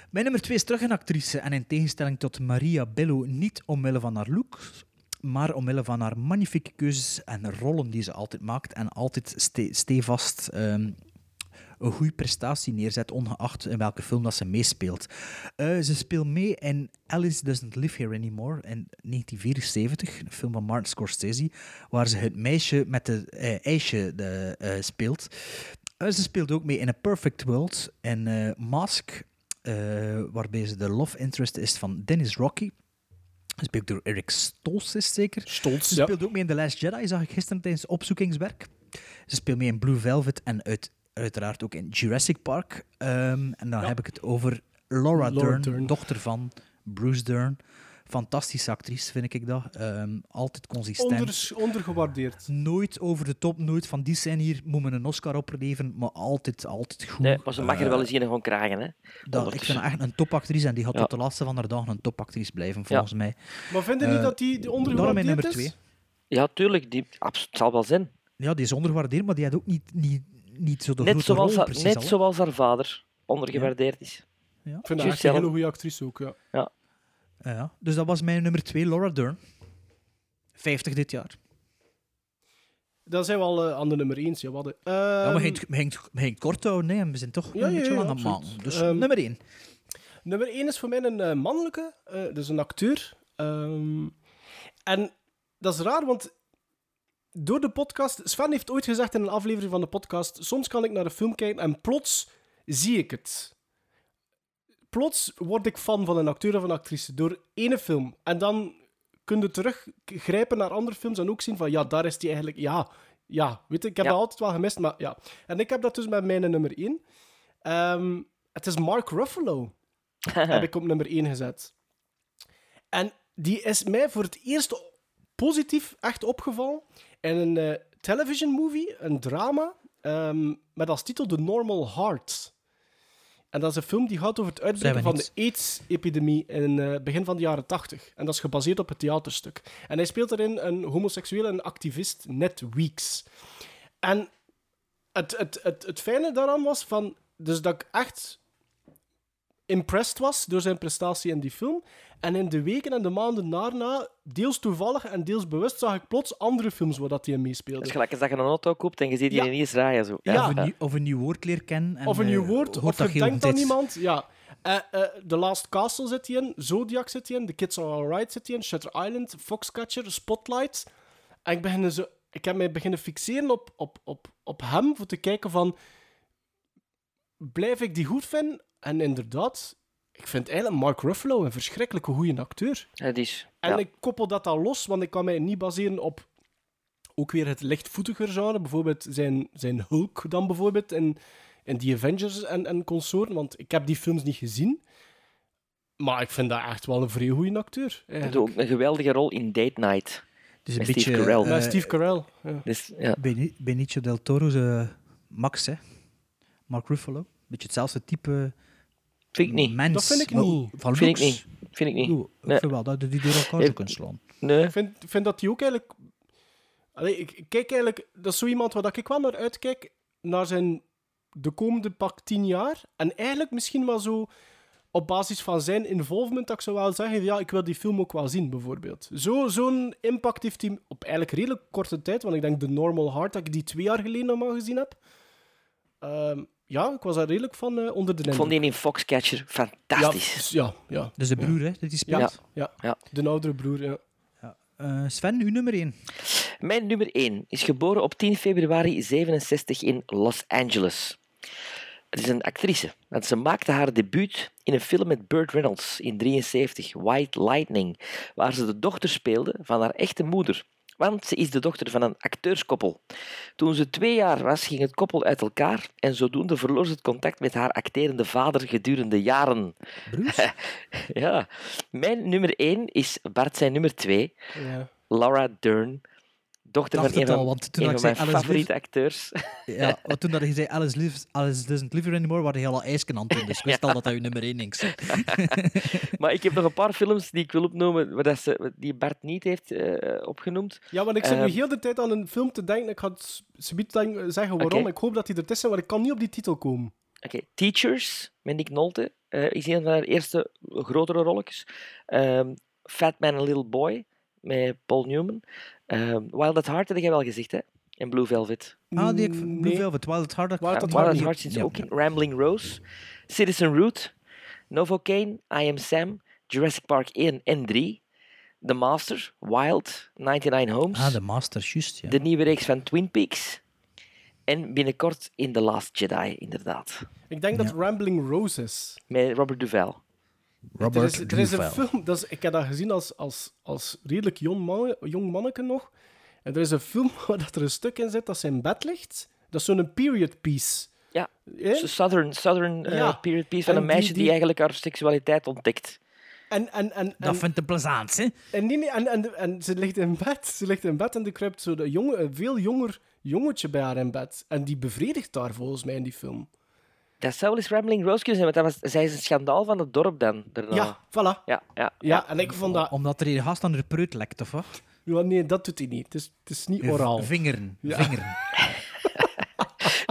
Speaker 6: mijn nummer twee is terug een actrice. En in tegenstelling tot Maria Bello, niet omwille van haar looks, maar omwille van haar magnifieke keuzes en rollen die ze altijd maakt. En altijd ste stevast ehm, een goede prestatie neerzet, ongeacht in welke film dat ze meespeelt. Eh, ze speelt mee in Alice Doesn't Live Here Anymore in 1974, een film van Martin Scorsese, waar ze het meisje met de eh, ijsje de, eh, speelt. Eh, ze speelt ook mee in A Perfect World en eh, Mask, eh, waarbij ze de love interest is van Dennis Rocky. Gespeeld door Eric Stoltz, is zeker.
Speaker 5: Stoltz,
Speaker 6: Ze
Speaker 5: ja.
Speaker 6: speelt ook mee in The Last Jedi, zag ik gisteren tijdens opzoekingswerk. Ze speelt mee in Blue Velvet en uit, uiteraard ook in Jurassic Park. Ehm, en dan heb ik het over Laura,
Speaker 5: Laura
Speaker 6: Dern,
Speaker 5: Dern.
Speaker 6: dochter van Bruce Dern. Fantastische actrice, vind ik dat. Ehm, altijd consistent.
Speaker 5: Onders- ondergewaardeerd.
Speaker 6: Nooit over de top, nooit van die scène hier moet men een Oscar opleveren, maar altijd, altijd goed.
Speaker 4: Nee, maar ze mag er
Speaker 6: Eh,
Speaker 4: wel eens in gaan krijgen, hè.
Speaker 6: dat, ik vind haar echt een topactrice en die gaat
Speaker 4: Ja.
Speaker 6: tot de laatste van haar dagen een topactrice blijven, volgens mij.
Speaker 5: Maar vinden niet
Speaker 6: Eh,
Speaker 5: dat die, die
Speaker 6: daarom mijn
Speaker 5: ondergewaardeerd
Speaker 6: nummer
Speaker 5: is?
Speaker 6: twee.
Speaker 4: Ja, tuurlijk. Die, abs- het zal wel zijn.
Speaker 6: Ja, die is ondergewaardeerd, maar die had ook niet, niet, niet zo de
Speaker 4: Net
Speaker 6: grote
Speaker 4: zoals,
Speaker 6: rol
Speaker 4: haar,
Speaker 6: precies
Speaker 4: net
Speaker 6: al, hè.
Speaker 4: zoals haar vader ondergewaardeerd is.
Speaker 5: Ik vind dat
Speaker 4: Juist
Speaker 5: echt een
Speaker 4: zelf.
Speaker 5: hele goede actrice ook, ja.
Speaker 4: Ja.
Speaker 6: Ja, ja. dus dat was mijn nummer twee, Laura Dern. 50 dit jaar.
Speaker 5: Dan zijn we al eh, aan de nummer 1. Ja, wat, eh.
Speaker 6: ja,
Speaker 5: Ehm,
Speaker 6: maar je ging- je ging kort houden, nee, en we zijn
Speaker 5: Ja,
Speaker 6: toch een
Speaker 5: ja,
Speaker 6: beetje
Speaker 5: ja,
Speaker 6: lang aan het
Speaker 5: absoluut.
Speaker 6: maken. Dus
Speaker 5: Ehm,
Speaker 6: nummer één.
Speaker 5: Nummer 1 is voor mij een eh, mannelijke, eh, dus een acteur. Ehm, en dat is raar, want door de podcast. Sven heeft ooit gezegd in een aflevering van de podcast: soms kan ik naar een film kijken en plots zie ik het. Plots word ik fan van een acteur of een actrice door ene film. En dan kun je teruggrijpen naar andere films en ook zien van ja, daar is die eigenlijk. Ja, ja weet je, ik heb
Speaker 4: Ja.
Speaker 5: dat altijd wel gemist, maar ja. En ik heb dat dus met mijn nummer 1. het is Mark Ruffalo heb ik op nummer 1 gezet. En die is mij voor het eerst positief echt opgevallen in een eh, television movie, een drama, ehm, met als titel The Normal Heart. En dat is een film die gaat over het uitbreken
Speaker 6: Zijn we
Speaker 5: van de
Speaker 6: niet.
Speaker 5: AIDS-epidemie in het begin van de jaren 80. En dat is gebaseerd op het theaterstuk. En hij speelt erin een homoseksuele en activist, Ned Weeks. En het, het, het, het fijne daaraan was van, dus dat ik echt impressed was door zijn prestatie in die film. En in de weken en de maanden daarna, deels toevallig en deels bewust, zag ik plots andere films waar dat hij in
Speaker 4: Het
Speaker 5: meespeelde.
Speaker 4: is gelijk als dat je een auto koopt en je ziet die
Speaker 5: Ja.
Speaker 4: ineens rijden. Zo.
Speaker 5: Ja.
Speaker 6: Of, een, nieuw- of een nieuw woord leren kennen. En,
Speaker 5: of een nieuw
Speaker 6: eh,
Speaker 5: woord,
Speaker 6: hoort
Speaker 5: of
Speaker 6: dat
Speaker 5: je
Speaker 6: heel
Speaker 5: denkt
Speaker 6: goed
Speaker 5: aan
Speaker 6: is.
Speaker 5: iemand. Ja. Eh, eh, The Last Castle zit hij in, Zodiac zit hij in, The Kids Are Alright zit hij in, Shutter Island, Foxcatcher, Spotlight. En ik, begin zo, ik heb mij beginnen fixeren op, op, op, op hem, voor te kijken van... Blijf ik die goed vinden? En inderdaad, ik vind eigenlijk Mark Ruffalo een verschrikkelijke goede acteur.
Speaker 4: Het is.
Speaker 5: En
Speaker 4: ja.
Speaker 5: ik koppel dat dan los, want ik kan mij niet baseren op ook weer het lichtvoetiger genre. Bijvoorbeeld zijn, zijn Hulk dan bijvoorbeeld in, in The Avengers en, en consorten, want ik heb die films niet gezien. Maar ik vind dat echt wel een vrij goede acteur.
Speaker 4: Hij
Speaker 5: eigenlijk.
Speaker 4: doet ook een geweldige rol in Date Night.
Speaker 6: Dus een
Speaker 4: met
Speaker 6: beetje,
Speaker 4: Steve Carell.
Speaker 5: Met
Speaker 6: eh,
Speaker 5: Steve Carell. Ja.
Speaker 4: Dus, ja.
Speaker 6: Beni- Benicio del Toro's eh, Max, hè. Mark Ruffalo. Beetje hetzelfde type
Speaker 4: Vind ik niet.
Speaker 6: mens.
Speaker 5: Dat vind ik
Speaker 6: maar
Speaker 5: niet.
Speaker 6: Van
Speaker 4: Vind ik
Speaker 6: looks.
Speaker 4: niet. Vind ik niet.
Speaker 6: Oeh, ik
Speaker 4: Nee.
Speaker 6: vind wel dat je die door elkaar
Speaker 4: Ik-
Speaker 6: zou kunnen slaan.
Speaker 4: Nee.
Speaker 5: Ik vind, vind dat hij ook eigenlijk... Allee, ik, ik kijk eigenlijk... Dat is zo iemand waar dat ik wel naar uitkijk, naar zijn... De komende pak tien jaar. En eigenlijk misschien wel zo... Op basis van zijn involvement, dat ik zou wel zeggen... Ja, ik wil die film ook wel zien, bijvoorbeeld. Zo- Zo'n impact heeft hij op eigenlijk redelijk korte tijd. Want ik denk The Normal Heart, dat ik die twee jaar geleden nog maar gezien heb. Ehm, ja, ik was daar redelijk van eh, onder de
Speaker 4: Ik vond
Speaker 5: indruk.
Speaker 4: die in Foxcatcher
Speaker 5: Ja,
Speaker 4: fantastisch.
Speaker 5: ja, ja.
Speaker 6: Dus de broer, hè, dat die
Speaker 5: Ja,
Speaker 6: speelt.
Speaker 5: ja.
Speaker 4: Ja.
Speaker 5: De oudere broer, ja.
Speaker 6: Eh, Sven, uw nummer één.
Speaker 4: Eh, Mijn nummer 1 is geboren op 10 februari 67 in Los Angeles. Het is een actrice, want ze maakte haar debuut in een film met Burt Reynolds in 73, White Lightning, waar ze de dochter speelde van haar echte moeder. Want ze is de dochter van een acteurskoppel. Toen ze twee jaar was, ging het koppel uit elkaar en zodoende verloor ze het contact met haar acterende vader gedurende jaren.
Speaker 6: Bruce?
Speaker 4: ja. Mijn nummer 1 is Bart zijn nummer 2.
Speaker 5: Ja.
Speaker 4: Laura Dern, dochter
Speaker 6: dacht
Speaker 4: van een
Speaker 6: het al,
Speaker 4: van,
Speaker 6: want toen
Speaker 4: een
Speaker 6: ik
Speaker 4: van
Speaker 6: zei
Speaker 4: mijn
Speaker 6: Alice
Speaker 4: favoriete
Speaker 6: Liv-
Speaker 4: acteurs.
Speaker 6: Ja, want toen dat je zei Alice, lives, Alice doesn't live here anymore, waren je al ijsken aan het doen. Dus ik wist al dat dat je nummer 1 ding is. Ah,
Speaker 4: maar ik heb nog een paar films die ik wil opnoemen waar dat ze, die Bart niet heeft eh, opgenoemd.
Speaker 5: Ja, want ik zit
Speaker 4: Ehm,
Speaker 5: nu heel de tijd aan een film te denken. Ik ga het subiet zeggen waarom.
Speaker 4: Oké.
Speaker 5: Ik hoop dat hij er is, maar ik kan niet op die titel komen.
Speaker 4: Oké, Teachers met Nick Nolte eh, is een van haar eerste grotere rolletjes. Ehm, Fat Man and Little Boy met Paul Newman. Ehm Wild at Heart heb jij wel gezegd, hè? En Blue Velvet.
Speaker 6: Ah, die ik Blue Velvet, Wild Hard.
Speaker 4: Ja,
Speaker 6: Wild
Speaker 4: Wild at Heart zit ze ook in. Rambling Rose, Citizen Root, Novocaine, I Am Sam, Jurassic Park 1 en 3, The Master, Wild, 99 Homes.
Speaker 6: Ah, de Master, juist. Ja.
Speaker 4: De nieuwe reeks van Twin Peaks. En binnenkort in The Last Jedi, inderdaad.
Speaker 5: Ik denk dat Rambling Roses.
Speaker 4: Met Robert Duval.
Speaker 5: er is, er is een film, dat is, ik heb dat gezien als, als, als redelijk jong, man, jong manneke nog. En er is een film waar dat er een stuk in zit dat ze in bed ligt. Dat is zo'n period piece.
Speaker 4: Ja,
Speaker 5: Eh?
Speaker 4: zo Southern, southern eh,
Speaker 5: Ja.
Speaker 4: period piece van
Speaker 5: En
Speaker 4: een meisje
Speaker 5: die-
Speaker 4: die,
Speaker 5: die-
Speaker 4: eigenlijk haar seksualiteit ontdekt.
Speaker 5: En, en, en,
Speaker 6: Dat
Speaker 5: en,
Speaker 6: vindt hem plezant, hè?
Speaker 5: en, nee, nee, en, en, en ze ligt in bed. Ze ligt in bed en er kruipt zo de jonge, een veel jonger jongetje bij haar in bed. En die bevredigt daar volgens mij in die film.
Speaker 4: Dat zou wel eens Rambling Rose kunnen zijn, want dat was, zij is een schandaal van het dorp dan. Daarna.
Speaker 5: Ja, voilà.
Speaker 4: Ja, ja,
Speaker 5: Ja, en ik vond dat...
Speaker 6: Omdat er hier gast aan de preut lekt, of wat?
Speaker 5: Ja, nee, dat doet hij niet. Het is, het is niet
Speaker 6: Eh,
Speaker 5: oraal.
Speaker 6: Vingeren.
Speaker 5: Ja.
Speaker 6: Vingeren.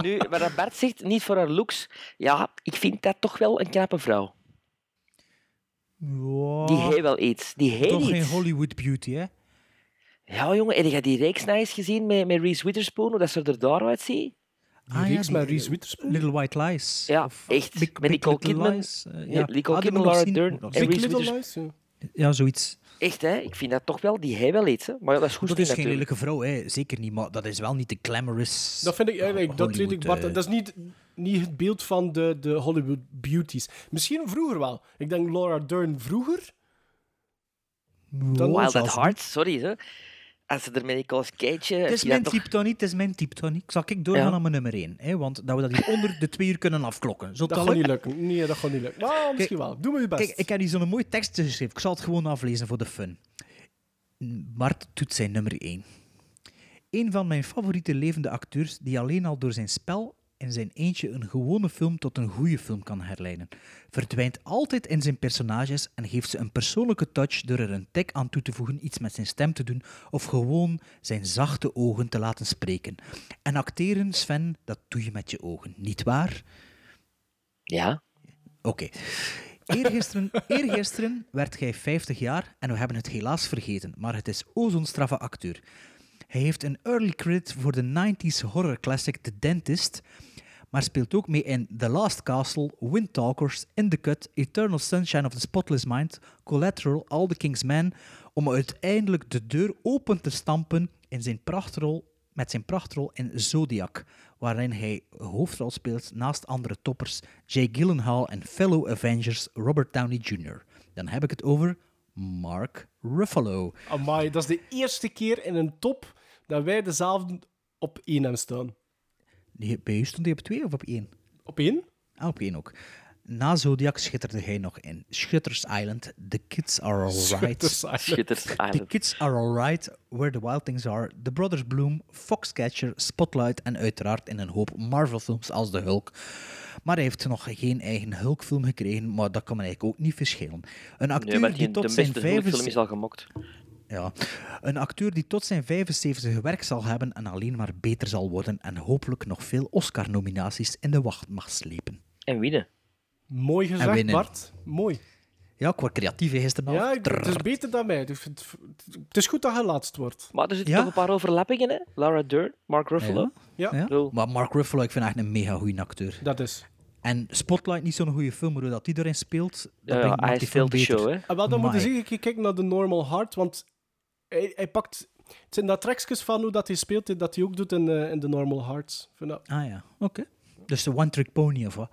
Speaker 4: Nu, maar dat Bart zegt, niet voor haar looks. Ja, ik vind dat toch wel een knappe vrouw. Die heeft wel iets. Die heeft
Speaker 6: Oh. Toch geen
Speaker 4: iets.
Speaker 6: Hollywood beauty, hè?
Speaker 4: Ja, jongen, heb je die reeks nou eens gezien met, met Reese Witherspoon, hoe dat ze er daaruit ziet?
Speaker 6: Ah,
Speaker 5: reeks
Speaker 6: die-
Speaker 5: met Reese Witherspoon?
Speaker 6: Little White Lies.
Speaker 4: Ja, echt.
Speaker 6: Big-
Speaker 4: met
Speaker 6: Big
Speaker 4: Nicole
Speaker 6: Little
Speaker 4: Kidman,
Speaker 6: Lies, eh,
Speaker 4: Nee,
Speaker 6: ja.
Speaker 4: Nicole
Speaker 6: Ah,
Speaker 4: Kidman,
Speaker 6: die moet ik
Speaker 4: Laura
Speaker 6: zien.
Speaker 4: Dern
Speaker 6: Moet
Speaker 4: en
Speaker 6: ik nog
Speaker 4: Reese
Speaker 5: Big
Speaker 6: zien.
Speaker 5: Little
Speaker 4: Witherspoon.
Speaker 5: Lies, ja.
Speaker 6: Ja, zoiets.
Speaker 4: Echt, hè? Ik vind dat toch wel... Die heeft wel iets, hè? Maar ja, dat is goed
Speaker 6: dat is geen
Speaker 4: natuurlijk.
Speaker 6: lelijke vrouw, hè. zeker niet, maar dat is wel niet de glamorous.
Speaker 5: Dat vind ik eigenlijk, dat weet ik,
Speaker 6: Hollywood,
Speaker 5: Bart.
Speaker 6: eh,
Speaker 5: Dat is niet, niet het beeld van de, de Hollywood beauties. Misschien vroeger wel. Ik denk Laura Dern vroeger. Dan
Speaker 4: Wild at
Speaker 6: zoals-
Speaker 4: Heart, sorry. Hè. Als ze er met Nicolas Cage...
Speaker 6: Het is mijn type, Tony. Het is mijn type, Tony. Ik zal ik doorgaan
Speaker 4: Ja.
Speaker 6: naar mijn nummer 1. Hè, want dat we dat hier onder de twee uur kunnen afklokken. Zo
Speaker 5: Dat
Speaker 6: dat
Speaker 5: gaat niet
Speaker 6: lukken?
Speaker 5: lukken. Nee, dat gaat niet lukken. Maar misschien wel. Doe maar je best.
Speaker 6: Kijk, ik heb hier zo'n mooi tekst geschreven. Ik zal het gewoon aflezen voor de fun. Bart doet zijn nummer 1. Een van mijn favoriete levende acteurs die alleen al door zijn spel in zijn eentje een gewone film tot een goede film kan herleiden. Verdwijnt altijd in zijn personages en geeft ze een persoonlijke touch door er een tik aan toe te voegen, iets met zijn stem te doen of gewoon zijn zachte ogen te laten spreken. En acteren, Sven, dat doe je met je ogen, niet waar?
Speaker 4: Ja.
Speaker 6: Oké. Eergisteren, eergisteren werd hij 50 jaar en we hebben het helaas vergeten, maar het is o zo'n straffe acteur. Hij heeft een early credit voor de 90s horror classic The Dentist, maar speelt ook mee in The Last Castle, Wind Talkers, In the Cut, Eternal Sunshine of the Spotless Mind, Collateral, All the King's Men, om uiteindelijk de deur open te stampen in zijn prachtrol, met zijn prachtrol in Zodiac, waarin hij hoofdrol speelt naast andere toppers Jay Gyllenhaal en fellow Avengers Robert Downey Jr. Dan heb ik het over Mark Ruffalo.
Speaker 5: Amai, dat is de eerste keer in een top dat wij dezelfde op één hebben staan.
Speaker 6: Die, bij u stond hij op twee of op één?
Speaker 5: Op één?
Speaker 6: Ah, op één ook. Na Zodiac schitterde hij nog in Shutters Island, The Kids Are Alright.
Speaker 5: Shutters Island.
Speaker 4: Schitters
Speaker 6: The
Speaker 4: Island.
Speaker 6: Kids Are Alright, Where the Wild Things Are, The Brothers Bloom, Foxcatcher, Spotlight en uiteraard in een hoop Marvel-films als de Hulk. Maar hij heeft nog geen eigen Hulk-film gekregen, maar dat kan me eigenlijk ook niet verschillen. Een acteur
Speaker 4: Nee, maar
Speaker 6: die
Speaker 4: die, de
Speaker 6: tot
Speaker 4: beste
Speaker 6: zijn
Speaker 4: film
Speaker 6: vijfde...
Speaker 4: is al gemokt.
Speaker 6: Ja. Een acteur die tot zijn 75 werk zal hebben en alleen maar beter zal worden en hopelijk nog veel Oscar-nominaties in de wacht mag slepen.
Speaker 4: En winnen.
Speaker 5: Mooi gezegd,
Speaker 6: winnen.
Speaker 5: Bart. Mooi.
Speaker 6: Ja, ik word creatief hè, gisteravond.
Speaker 5: Ja, ik- het is beter dan mij. Dus Het het is goed dat je laatst wordt.
Speaker 4: Maar er zitten
Speaker 6: Ja.
Speaker 4: toch een paar overlappingen, hè? Laura Dern, Mark Ruffalo.
Speaker 6: Ja.
Speaker 5: Ja,
Speaker 6: Ja?
Speaker 4: Zo.
Speaker 6: Maar Mark Ruffalo, ik vind echt een mega goede acteur.
Speaker 5: dat is.
Speaker 6: En Spotlight, niet zo'n goede film, maar hoe dat die erin speelt, dat
Speaker 4: Ja,
Speaker 6: brengt
Speaker 4: hij
Speaker 6: maakt
Speaker 4: is
Speaker 6: die
Speaker 4: veel
Speaker 6: film
Speaker 4: te
Speaker 5: Ah,
Speaker 6: beter.
Speaker 4: show, hè?
Speaker 5: En wel, dan moet je
Speaker 6: Amai.
Speaker 5: zeker kijken naar de Normal Heart, want hij, hij pakt... Het zijn dat trekjes van hoe dat hij speelt, die- dat hij ook doet in, eh, in The Normal Hearts. Ik Vind dat...
Speaker 6: Ah ja, oké. Dus de One Trick Pony of wat?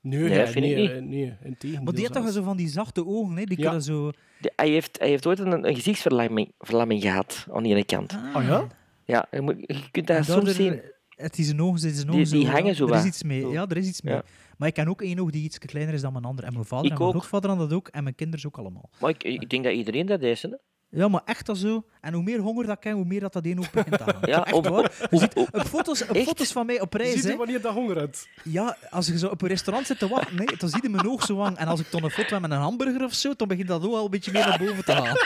Speaker 5: Nee, nee, nee, eh, nee, integendeel
Speaker 6: Maar die had toch
Speaker 5: zelfs.
Speaker 6: zo van die zachte ogen, hè? Die
Speaker 4: Ja.
Speaker 6: kunnen zo...
Speaker 4: De- hij, heeft, hij heeft ooit een, een gezichtsverlamming verlamming gehad aan die ene kant.
Speaker 6: Ah, ja?
Speaker 4: Ja, je, moet- je kunt dat
Speaker 6: En
Speaker 4: soms
Speaker 6: daardoor-
Speaker 4: zien.
Speaker 6: Het is een ogen, het is een
Speaker 4: Die-
Speaker 6: ogen.
Speaker 4: die hangen zo
Speaker 6: Er
Speaker 4: wat.
Speaker 6: is iets mee, ja, er is iets mee.
Speaker 4: Ja.
Speaker 6: Maar ik ken ook één oog die iets kleiner is dan mijn ander. En mijn vader
Speaker 4: Ik
Speaker 6: en mijn
Speaker 4: ook.
Speaker 6: grootvader had dat ook. En mijn kinderen ook allemaal.
Speaker 4: Maar ik, ik denk dat iedereen dat is. Hè?
Speaker 6: Ja, maar echt dat zo. En hoe meer honger dat ik heb, hoe meer dat dat één oog begint te hangen.
Speaker 4: Ja,
Speaker 6: echt
Speaker 4: op-
Speaker 6: waar. Je ziet op foto's, op foto's van mij op reis,
Speaker 5: Ziet
Speaker 6: hè.
Speaker 5: je wanneer dat honger hebt?
Speaker 6: Ja, als je zo op een restaurant zit te wachten, hè, dan zie je mijn oog zo hang. En als ik dan een foto heb met een hamburger of zo, dan begint dat oog al een beetje meer naar boven te gaan.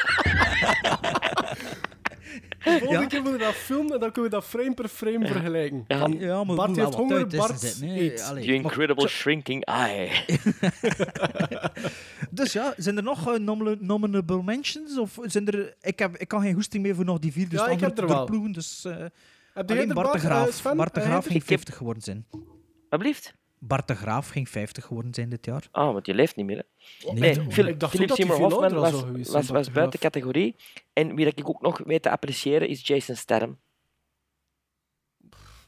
Speaker 5: De volgende
Speaker 6: Ja.
Speaker 5: keer moeten we dat filmen en dan kunnen we dat frame per frame vergelijken.
Speaker 4: Ja.
Speaker 5: Van,
Speaker 4: Ja, maar
Speaker 6: we
Speaker 5: Bart
Speaker 6: moeten
Speaker 5: heeft
Speaker 6: wel wat
Speaker 5: honger,
Speaker 6: tijd tussen
Speaker 5: Bart
Speaker 6: zitten, hè.
Speaker 5: eet.
Speaker 6: Allee.
Speaker 4: The incredible shrinking eye.
Speaker 6: Dus ja, zijn er nog eh, nominal- nominable mentions? Of zijn er, ik, heb, ik kan geen hoesting meer voor nog die vier, dus
Speaker 5: Ja,
Speaker 6: de
Speaker 5: ik heb
Speaker 6: anderen
Speaker 5: er
Speaker 6: te
Speaker 5: wel.
Speaker 6: doorploegen, Dus, eh
Speaker 5: Heb jij
Speaker 6: alleen
Speaker 5: er,
Speaker 6: Bart de
Speaker 5: Bart, eh,
Speaker 6: Graaf.
Speaker 5: Sven?
Speaker 6: Bart de
Speaker 5: Heb
Speaker 6: Graaf
Speaker 5: jij er?
Speaker 6: ging
Speaker 5: Ik heb-
Speaker 6: 50 geworden zijn.
Speaker 4: Wat blieft?
Speaker 6: Bart de Graaf ging 50 geworden zijn dit jaar.
Speaker 4: Ah, want die leeft niet meer. Hè.
Speaker 6: Nee.
Speaker 4: Nee,
Speaker 6: Ik dacht
Speaker 4: Phil-
Speaker 6: ook dat
Speaker 4: Philip
Speaker 6: die
Speaker 4: Seymour
Speaker 6: veel
Speaker 4: Hoffman
Speaker 6: ouder al
Speaker 4: was,
Speaker 6: zou geweest
Speaker 4: was,
Speaker 6: zijn,
Speaker 4: was
Speaker 6: Dr.
Speaker 4: buiten categorie. En wie dat ik ook nog weet te appreciëren is Jason Statham.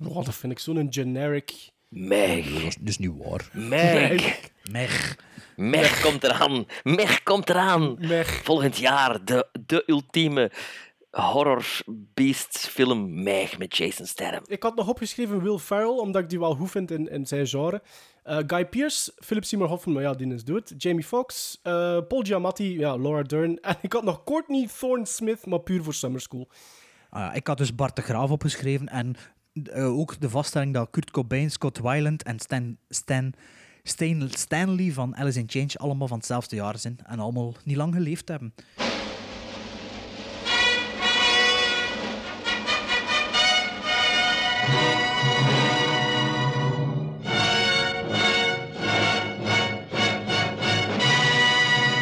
Speaker 5: Oh, dat vind ik zo'n generic...
Speaker 4: Meg.
Speaker 6: Dat is, dat is niet waar.
Speaker 4: Meg.
Speaker 6: Meg.
Speaker 4: Meg komt eraan. Meg komt eraan. Volgend jaar de, de ultieme horror beasts film Meg met Jason Statham.
Speaker 5: Ik had nog opgeschreven Will Ferrell, omdat ik die wel goed vind in, in zijn genre. Eh, Guy Pearce, Philip Seymour Hoffman, maar ja, die is dood. Jamie Foxx, eh, Paul Giamatti, ja, Laura Dern. En ik had nog Courtney Thorne Smith, maar puur voor Summer School.
Speaker 6: Ah, ja, ik had dus Bart de Graaf opgeschreven en eh, ook de vaststelling dat Kurt Cobain, Scott Weiland en Stan, Stan, Stan, Stanley van Alice in Change allemaal van hetzelfde jaar zijn en allemaal niet lang geleefd hebben.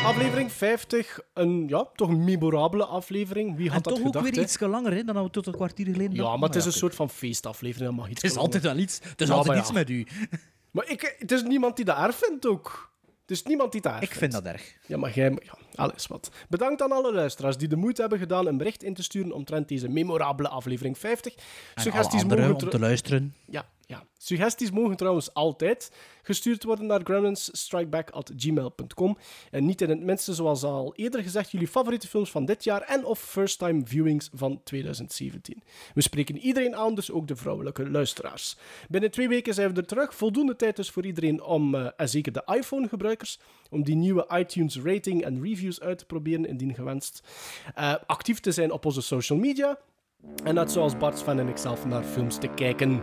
Speaker 5: Aflevering 50, een ja, toch een memorabele aflevering. Wie had
Speaker 6: en
Speaker 5: dat
Speaker 6: toch ook
Speaker 5: gedacht?
Speaker 6: weer
Speaker 5: hè?
Speaker 6: iets langer hè, dan we tot een kwartier geleden
Speaker 5: Ja,
Speaker 6: dachten.
Speaker 5: maar het is een
Speaker 6: kijk.
Speaker 5: soort van feestaflevering. Dat mag iets
Speaker 6: Het is altijd wel iets. Het is altijd iets met u.
Speaker 5: Maar ik, het is niemand die dat erg vindt ook. Het is niemand die dat erg
Speaker 6: Ik vind dat erg.
Speaker 5: Ja, maar jij... Ja, alles wat. Bedankt aan alle luisteraars die de moeite hebben gedaan een bericht in te sturen omtrent deze memorabele aflevering 50.
Speaker 6: En alle anderen
Speaker 5: mogen
Speaker 6: om
Speaker 5: tr-
Speaker 6: te luisteren.
Speaker 5: Ja, ja. Suggesties mogen trouwens altijd gestuurd worden naar gremlinsstrikeback.gmail.com. En niet in het minste, zoals al eerder gezegd, jullie favoriete films van dit jaar en of first-time viewings van 2017. We spreken iedereen aan, dus ook de vrouwelijke luisteraars. Binnen twee weken zijn we er terug. Voldoende tijd dus voor iedereen om, eh, en zeker de iPhone-gebruikers, om die nieuwe iTunes rating en reviews uit te proberen, indien gewenst. Eh, actief te zijn op onze social media. En net zoals Bart, Sven en ikzelf naar films te kijken.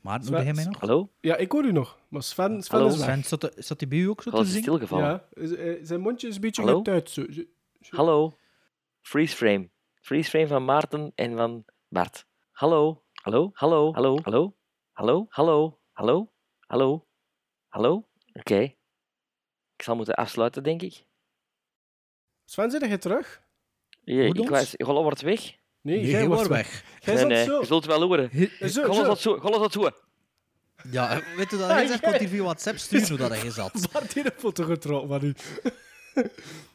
Speaker 6: Maar hoe
Speaker 5: Sven-
Speaker 6: begin jij mij nog?
Speaker 4: Hallo?
Speaker 5: Ja, ik hoor u nog. Maar Sven, Sven
Speaker 4: Hallo?
Speaker 5: is weg.
Speaker 6: Sven, zat de- zat die bij u ook zo
Speaker 4: Ik was
Speaker 6: te zien?
Speaker 4: stilgevallen.
Speaker 5: Ja, z- eh, zijn mondje is een beetje
Speaker 4: Hallo?
Speaker 5: getuit. Zo. Zo-
Speaker 4: Hallo. Freeze frame. Freeze frame van Maarten en van Bart. Hallo. Hallo. Hallo. Hallo. Hallo. Hallo. Hallo. Hallo. Hallo. Hallo. Oké. Ik zal moeten afsluiten, denk ik.
Speaker 5: Sven, zit je terug?
Speaker 4: Ja,
Speaker 5: Goed
Speaker 4: ik
Speaker 5: ons?
Speaker 4: was, Golle wordt weg.
Speaker 5: Nee, jij wordt Jij
Speaker 4: nee,
Speaker 5: zat
Speaker 4: nee.
Speaker 5: zo.
Speaker 4: Je zult wel horen.
Speaker 5: zo,
Speaker 4: Golle
Speaker 5: zo.
Speaker 4: zat zo. Golle zat zo.
Speaker 6: Ja, weet je dat? Hij zegt, komt hier via WhatsApp sturen hoe dat hij zat.
Speaker 5: Bart heeft een foto getrokken van u.